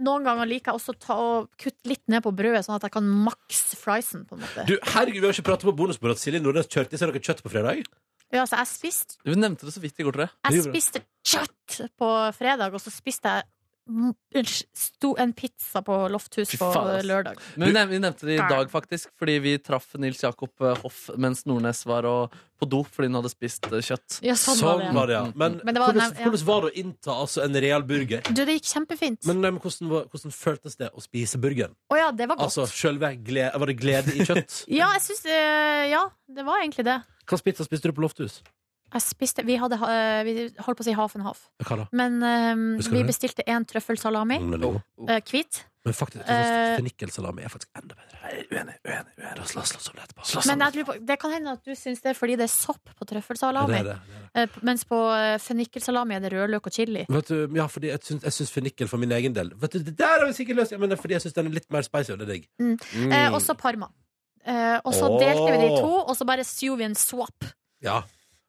noen ganger liker jeg også ta og kutte litt ned på brødet, sånn at jeg kan maks friesen, på en måte.
Du, herregud, vi har ikke pratet på bonusbordet at Silje Nordnes kjørte i seg noe kjøtt på fredag.
Ja, så jeg spiste
Du nevnte det så vidt i går, tror jeg.
Det
jeg
er bra.
spiste kjøtt på fredag, og så spiste jeg m- en s- sto en pizza på Lofthus
Fy
på
faen, ass.
lørdag.
Men vi nev- vi nevnte det i dag, faktisk, fordi vi traff Nils Jakob eh, Hoff mens Nordnes var og, på do fordi hun hadde spist eh, kjøtt.
Ja, sånn var det.
Sånn var det, ja. Men,
Men det var-
hvordan,
nei, ja.
hvordan var det å innta altså, en real burger?
Du, det gikk kjempefint.
Men, nei, men hvordan, var, hvordan føltes det å spise burgeren?
Å ja, det var godt.
Altså, selve gle- Var det glede i kjøtt?
Ja, jeg syns eh, Ja, det var egentlig det.
Hva spiste, spiste du på Lofthus?
Jeg spiste Vi hadde eh, Vi holdt på å si half and half.
Hva da?
Men eh,
Husker du
vi
det?
bestilte en trøffelsalami.
Mm, veldig god.
eh, Hvit.
Men faktisk, jeg
Eh,
synes fennikelsalami er faktisk enda bedre. Uenig, uenig, uenig. La oss la oss slåss om det etterpå. Slåss om
Men jeg lurer på, det kan hende at du syns det er fordi det er sopp på
det.
trøffelsalami.
Det er det, det er det.
Eh, p- Mens på eh, fennikelsalami er det rødløk og chili.
Vet du, ja, fordi jeg syns, jeg syns fennikel for min egen del Vet du, Det der har vi sikkert løst! Ja, men det er fordi jeg syns den er litt mer spicy, og det er digg.
Eh, og så parma. Eh, og så
Mm. Åh.
delte vi de to, og så bare sjo vi en swap.
Ja.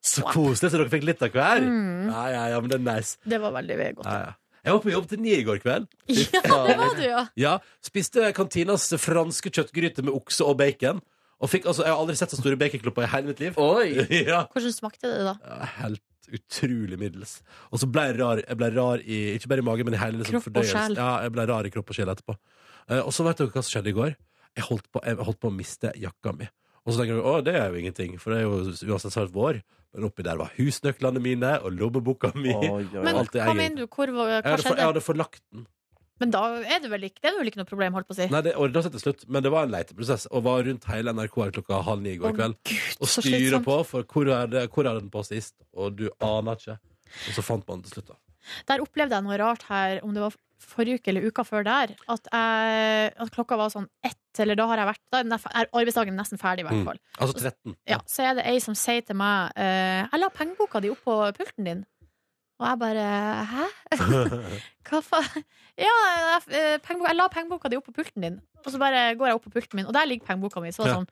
Så
Swap.
koselig så dere fikk litt av hver.
Mm.
Ja, ja, ja, men det er nice.
Det var veldig godt.
Ja, ja. Jeg var på jobb til ni i går kveld.
Ja, det var du, ja.
Ja, Spiste kantinas franske kjøttgryte med okse og bacon. Og fikk, altså, Jeg har aldri sett så store baconklumper i hele mitt liv.
Oi!
Ja,
Hvordan smakte det, da?
Ja, Helt utrolig middels. Og så ble jeg rar, jeg ble rar i, ikke bare i magen, men i hele liksom,
Kropp og sjel.
fordøyelsen. Ja, jeg ble rar i kropp og sjel etterpå. Eh, og så vet dere hva som skjedde i går? Jeg holdt på, jeg holdt på å miste jakka mi. Og så tenker du å, det er jo ingenting, for det er jo uansett snart vår. Men oppi der var husnøklene mine og lommeboka mi.
Men
Alt det
hva
jeg-
mener du? Hvor, var- hva
jeg, hadde for, jeg
skjedde?
hadde forlagt den.
Men da er det vel ikke, det er vel ikke noe problem, holdt på å si.
Nei, det ordna seg til slutt, men det var en leiteprosess. Og var rundt hele NRK her klokka halv ni i går
Å,
kveld.
Gud,
Og
så
styre
slitsomt.
på, for hvor er, det, hvor er den på sist? Og du aner ikke. Og så fant man den til slutt, da.
Der opplevde jeg noe rart her, om det var forrige uke eller uka før der, at, jeg, at klokka var sånn ett, eller da har jeg vært Da er den- er arbeidsdagen nesten ferdig, i hvert
Mm.
fall.
Altså 13.
Ja, så er det ei som sier til meg eh, Jeg la pengeboka di opp på pulten din. Og jeg bare Hæ? Hva faen? Ja, jeg, eh, pengeboka, jeg la pengeboka di opp på pulten din. Og så bare går jeg opp på pulten min, og der ligger pengeboka mi. Så var det
Ja.
sånn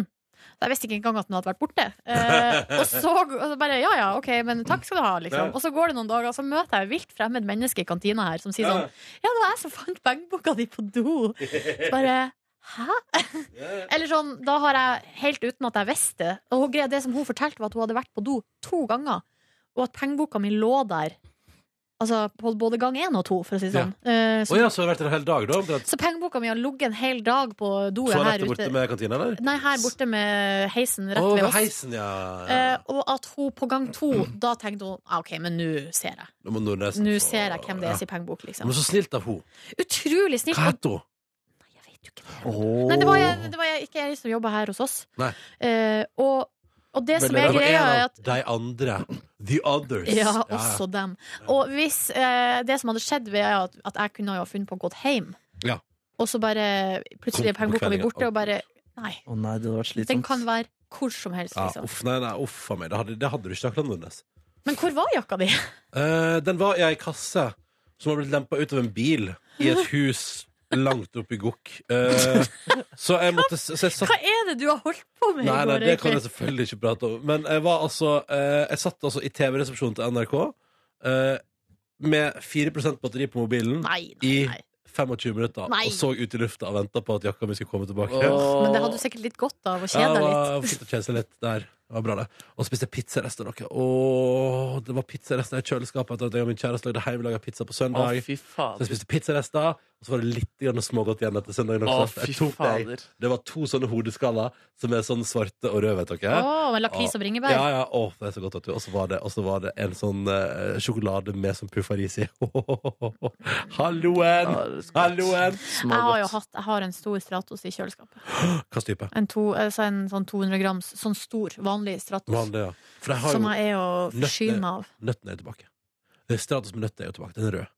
hm. Jeg visste ikke engang at den hadde vært borte. Eh, og, så, og så bare Ja ja, OK, men takk skal du ha, liksom.
Ja.
Og så går det noen dager, og så møter jeg et vilt fremmed menneske i kantina her som sier sånn Ja, det var jeg som fant pengeboka di på do. Så bare Hæ? Eller sånn, da har jeg helt uten at jeg visste det. Og hun, gre- det som hun fortalte, var at hun hadde vært på do to ganger, og at pengeboka mi lå der. Altså på både gang én og to, for å si det sånn. Eh,
Å
så,
ja, så har det vært en hel dag, da? omtrent.
så pengeboka mi har ligget en hel dag på doet her
Toalettet
ute.
borte med kantina, eller?
Nei, her borte med heisen
Å,
rett ved
ved
oss.
heisen, ja. Mm.
Eh, og at hun på gang to, da tenkte hun ah, OK, men nå ser jeg.
Nå må Nordnes
Nå
få-
ser jeg hvem det er
Ja.
sin pengebok, liksom.
Men så snilt av henne.
Utrolig snilt.
Hva het hun?
Nei, jeg vet jo ikke det. Nei, det var, jeg, det var jeg, ikke jeg som jobba her hos oss.
Nei.
Eh, og, og det som
Veldig
er greia, er
rart. En av
at
De andre. The others.
ja, også dem. Og hvis eh, det som hadde skjedd, var at, at jeg kunne jo ha funnet på å gå hjem,
Ja.
og så bare plutselig er
Kom på
pengeboka mi
kvelden,
borte,
ja.
og bare Nei.
Å nei, det hadde vært slitsomt.
Den kan være hvor som helst,
Ja,
liksom.
uff, nei, nei, uff a meg. Det hadde, det hadde du ikke takla, Nordnes.
Men hvor var jakka di?
Eh, den var i ei kasse som har blitt lempa ut av en bil i et hus langt oppi gokk. Eh, så jeg måtte Så jeg satt
Hva er det du har holdt på med
Nei,
i
nei,
går,
det kan jeg
egentlig?
selvfølgelig ikke prate om. Men jeg var altså eh, Jeg satt altså i TV-resepsjonen til NRK eh, med 4 batteri på mobilen
Nei, nei,
i
nei.
25 minutter
Nei.
og så ut i lufta og venta på at jakka mi skulle komme tilbake.
Åh.
Men det hadde du sikkert litt godt av å
Ja,
kjede
det
deg
var
litt.
fint å kjede seg litt der. Det var bra, det. Og spiste pizzarester. dere. Åh, det var pizzarester i kjøleskapet etter at jeg og min kjæreste lagde hjemmelaga pizza på
Å,
søndag.
fy
så jeg
fader.
spiste pizzarester, og så var det litt grann smågodt igjen etter søndagen
Å,
også.
fy
Jeg tok det.
fader.
Det var to sånne hodeskaller som er sånn svarte og røde, vet dere.
Å, med lakris og bringebær.
Ja, ja, Åh, det er så godt at du Og så var, det- og så var det en sånn eh, sjokolade med sånn puffaris i Halloen!
Ja, det er så godt.
Halloen!
Jeg har jo
Smågodt.
hatt, jeg har en stor Stratos i kjøleskapet.
Hva slags type?
En, to, altså en sånn 200 grams, sånn stor, vanlig stratos.
Vanlig, ja. For jeg har
Som
jo
jeg er å
nøtter.
skyne meg av.
Nøtten er jo tilbake. Det er Stratos med nøtter er jo tilbake. Den er rød.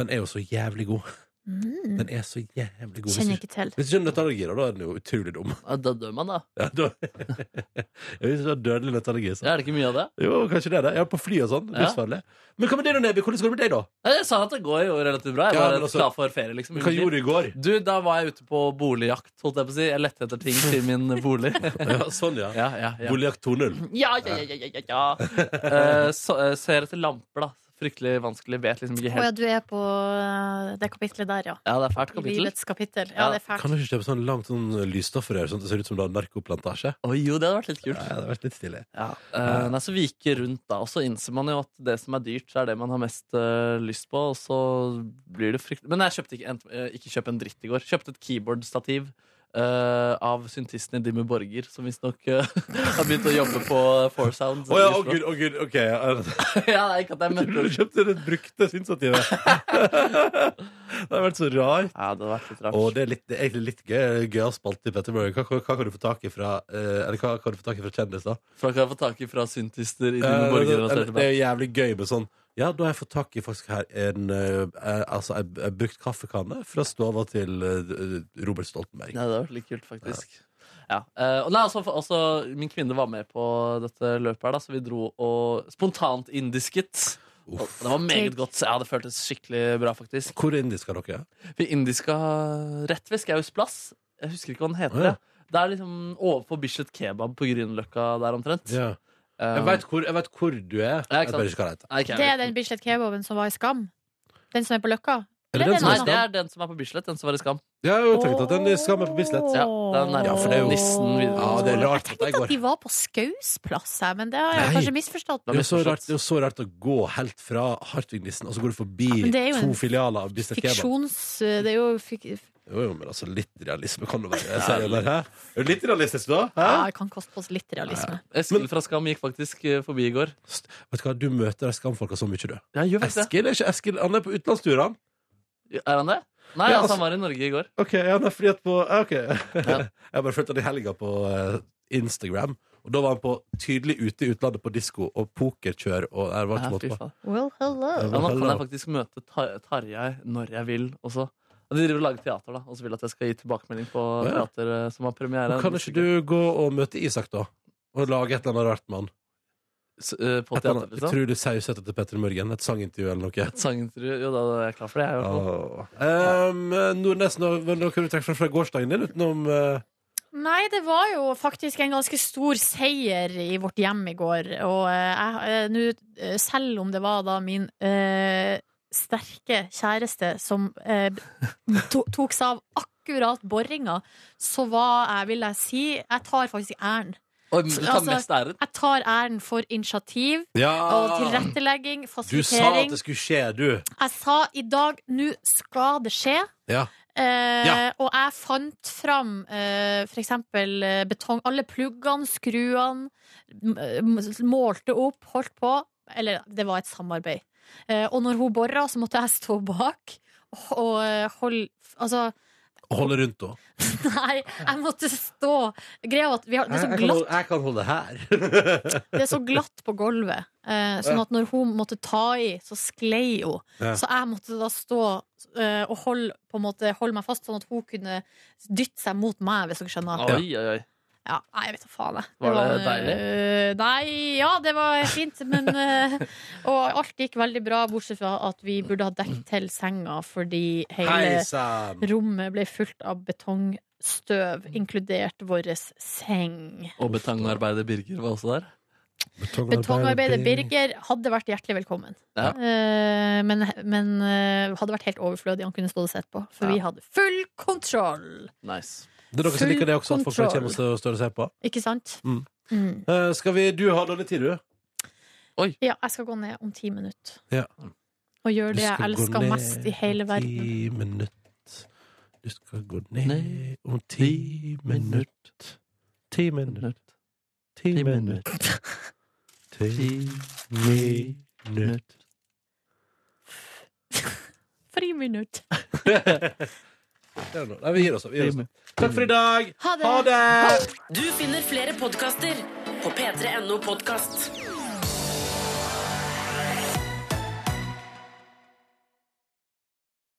Den er jo så jævlig god.
Mm.
Den er så jævlig god. Hvis
Kjenner
du,
ikke til.
hvis du ikke har nøtteallergi, da, da er den jo utrolig dum.
Ja, Da dør man, da.
Ja, da, Ja, hvis du har dødelig nøtteallergi, så
Ja, Er det ikke mye av det?
Jo, kanskje det er det. Ja, Mm, på fly og sånn.
Ja.
Livsfarlig. Men hva med deg, da, Neby? Hvordan går det med deg, da?
Nei, Jeg sa at det går jo relativt bra. Jeg
Ja,
var
men altså-
klar for ferie, liksom.
Hva gjorde du i går?
Du, da var jeg ute på boligjakt, holdt jeg på å si. Jeg lette etter ting til min bolig.
Ja, sånn, ja.
Ja, ja, ja.
Boligjakt 2.0.
Ja, ja, ja, ja, ja, ja. Eh, så, eh, ser etter lamper, da. fryktelig vanskelig. Vet liksom ikke
Å ja,
helt
du er på eh, det kapitlet der, ja.
Ja, det er fælt
I
kapittel.
livets kapittel. Ja,
Ja.
det er fælt.
Kan du ikke kjøpe sånn langt sånn lysstoffrør, sånn at det ser ut som du har narkoplantasje?
Oi, jo, det hadde vært litt kult.
Nei, det hadde vært litt stilig.
Ja. Eh, nei, så vi gikk rundt da, og så innser man jo at det som er dyrt, er det man har mest eh, lyst på, og så blir det fryktelig Men jeg kjøpte ikke, en, eh, ikke kjøp en dritt i går. Kjøpte et keyboardstativ. eh, av syntisten i Dimmu Borger, som visstnok uh, har begynt å jobbe på eh, Four Sounds.
Å ja,
i
å
Oslo.
gud, å gud, ok. ja.
ja, nei, ikke at jeg
Du
mente det.
kjøpte det brukte synstativet. det har vært så rart.
Ja, det hadde vært litt rart.
Og det er, litt, det er egentlig litt gøy, gøy å spalte i Petter Morgan. Hva, hva, hva kan du få tak i fra, eh, eller hva kan du få tak i fra kjendiser?
For da kan jeg få tak i fra syntister i Dimmu
Eh,
Borger.
det,
og så etterpå.
det er jævlig gøy med sånn Ja, da har jeg fått tak i faktisk her en eh, eh, Altså, jeg, jeg brukt kaffekanne fra stova til eh, Robert Stoltenberg.
Nei, det var litt kult, faktisk. Ja. Eh, og nei, altså, altså, min kvinne var med på dette løpet her, da, så vi dro og spontant indisket. Og
Uff.
Det var meget godt. så Ja, det føltes skikkelig bra, faktisk.
Hvor indisk er dere?
Vi indiska rett ved Skaus plass. Jeg husker ikke hva den heter.
Å, ja.
jeg. Det er liksom overfor Bislett Kebab på Grünerløkka der omtrent. Eh,
Jeg veit hvor, jeg vet hvor du er.
Ja, ikke
jeg bare ikke hva det heter.
Nei, ikke jeg
Det
vet
er den Bislett kebaben som var i Skam. Den som er på Løkka.
Eller
Eller den
den som
Nei,
er
det
skam?
er den som er på Bislett. Den som var i Skam.
Ja, jeg har tenkt at den skal med på Bislett.
Ja, den er
Ja, for det er jo-
nissen videre.
Ja, det er rart
Jeg
at jeg
tenkte
går.
at de var på Skaus plass her, men det har jeg
Nei.
kanskje misforstått.
Det er jo så rart, det er jo så rart å gå helt fra Hartvig-nissen, og så går du forbi
Ja, men det er jo en
to filialer av Bislett Kebab.
Fiksjons... eh, Det er jo fik ja,
Jo, jo, men altså, litt realisme kan det være. Jeg ser det der, hæ? Er du litt realistisk, da? Hæ?
det kan koste oss litt realisme.
Eskil fra Skam gikk faktisk eh, forbi i går.
St- Vet du hva, du møter de skamfolka så mye, du.
Ja, gjør faktisk det.
Eskil er ikke Eskil, han er på utenlandstur, han.
Er han det? Nei,
Ja,
altså,
altså-
han var i Norge i går.
Ok, ja, nei, fordi at på ja, Ok. Jeg har bare fulgte han i helga på eh, Instagram, og da var han på tydelig ute i utlandet på disko og pokerkjør og Nei, det var
Ja,
ikke
fy
måte på.
faen.
Well, hello.
Ja, nå kan jeg faktisk møte Tar- Tarjei når jeg vil også. Og De driver og lager teater, da, og så vil at jeg skal gi tilbakemelding på
ja.
teater eh, som har premiere.
Men Kan ikke du gå og møte Isak, da? Og lage et eller annet rart med han?
S- eh,
Et
På
eller
teater,
annet
liksom?
utrolig sausete til Petter Morgen. Et sangintervju eller noe.
Et sangintervju? Jo, da er jeg klar for det. Jeg, i hvert fall.
Åh. Um, Nordnes, nå, hva- nå kan du trekke fram fra gårsdagen din utenom eh,
Nei, det var jo faktisk en ganske stor seier i vårt hjem i går. Og eh, jeg, eh, nå, eh, selv om det var da min eh, sterke kjæreste som eh, to, tok seg av akkurat boringa, så var jeg, vil jeg si, jeg tar faktisk æren.
Oi, men du tar
Altså-
mest æren.
Jeg tar æren for initiativ og
Ja!
tilrettelegging,
Ah. Du sa at
fasilitering.
det skulle skje, du.
Jeg sa i dag nå skal det skje.
Ja.
Eh,
Ja.
Og jeg fant fram eh, for eksempel eh, betong, alle pluggene, skruene, m- eh, m- målte opp, holdt på. Eller, det var et samarbeid. Eh, og når hun bora, så måtte jeg stå bak og, og eh, holde Altså,
Og holde rundt da.
nei, jeg måtte stå. Greia var at vi har, det er så
Jeg kan
glatt
holde- Jeg kan holde her.
Det er så glatt på gulvet, eh, sånn at når hun måtte ta i, så sklei hun.
Ja.
Så jeg måtte da stå eh, og holde, på en måte, holde meg fast, sånn at hun kunne dytte seg mot meg, hvis dere skjønner.
Oi, oi, oi.
Ja, nei, jeg vet da faen, jeg.
Var det deilig?
eh, nei, ja, det var fint, men eh, Og alt gikk veldig bra, bortsett fra at vi burde ha dekket til senga fordi hele
Hei sann!
rommet ble fullt av betongstøv, inkludert vår seng.
Og betangarbeider Birger var også der.
Betongarbeider Birger hadde vært hjertelig velkommen.
Ja.
Eh, men men eh, hadde vært helt overflødig, han kunne stått og sett på. For
Ja.
vi hadde full kontroll!
Nice.
Det er dere som
Full
liker det også, at folk
kontroll.
kommer og står- står og ser på.
Ikke sant?
Mm.
Mm.
Eh, skal vi Du har dårlig tid, du.
Ja, jeg skal gå ned om ti minutter.
Ja.
Og gjøre
Du
det jeg
skal gå
elsker
ned
mest i hele
om
verden.
Ti minutt. Du skal gå ned,
Ned
om ti minutt. Ti minutt. Ti
Ti
minutt.
minutt.
Ti
Ti
minutt.
minutt.
Fri minutt.
Det er noe. Nei, vi gir oss. Vi gir oss. Takk for i dag!
Ha det!
Ha det!
Du finner flere podkaster på p3.no podkast.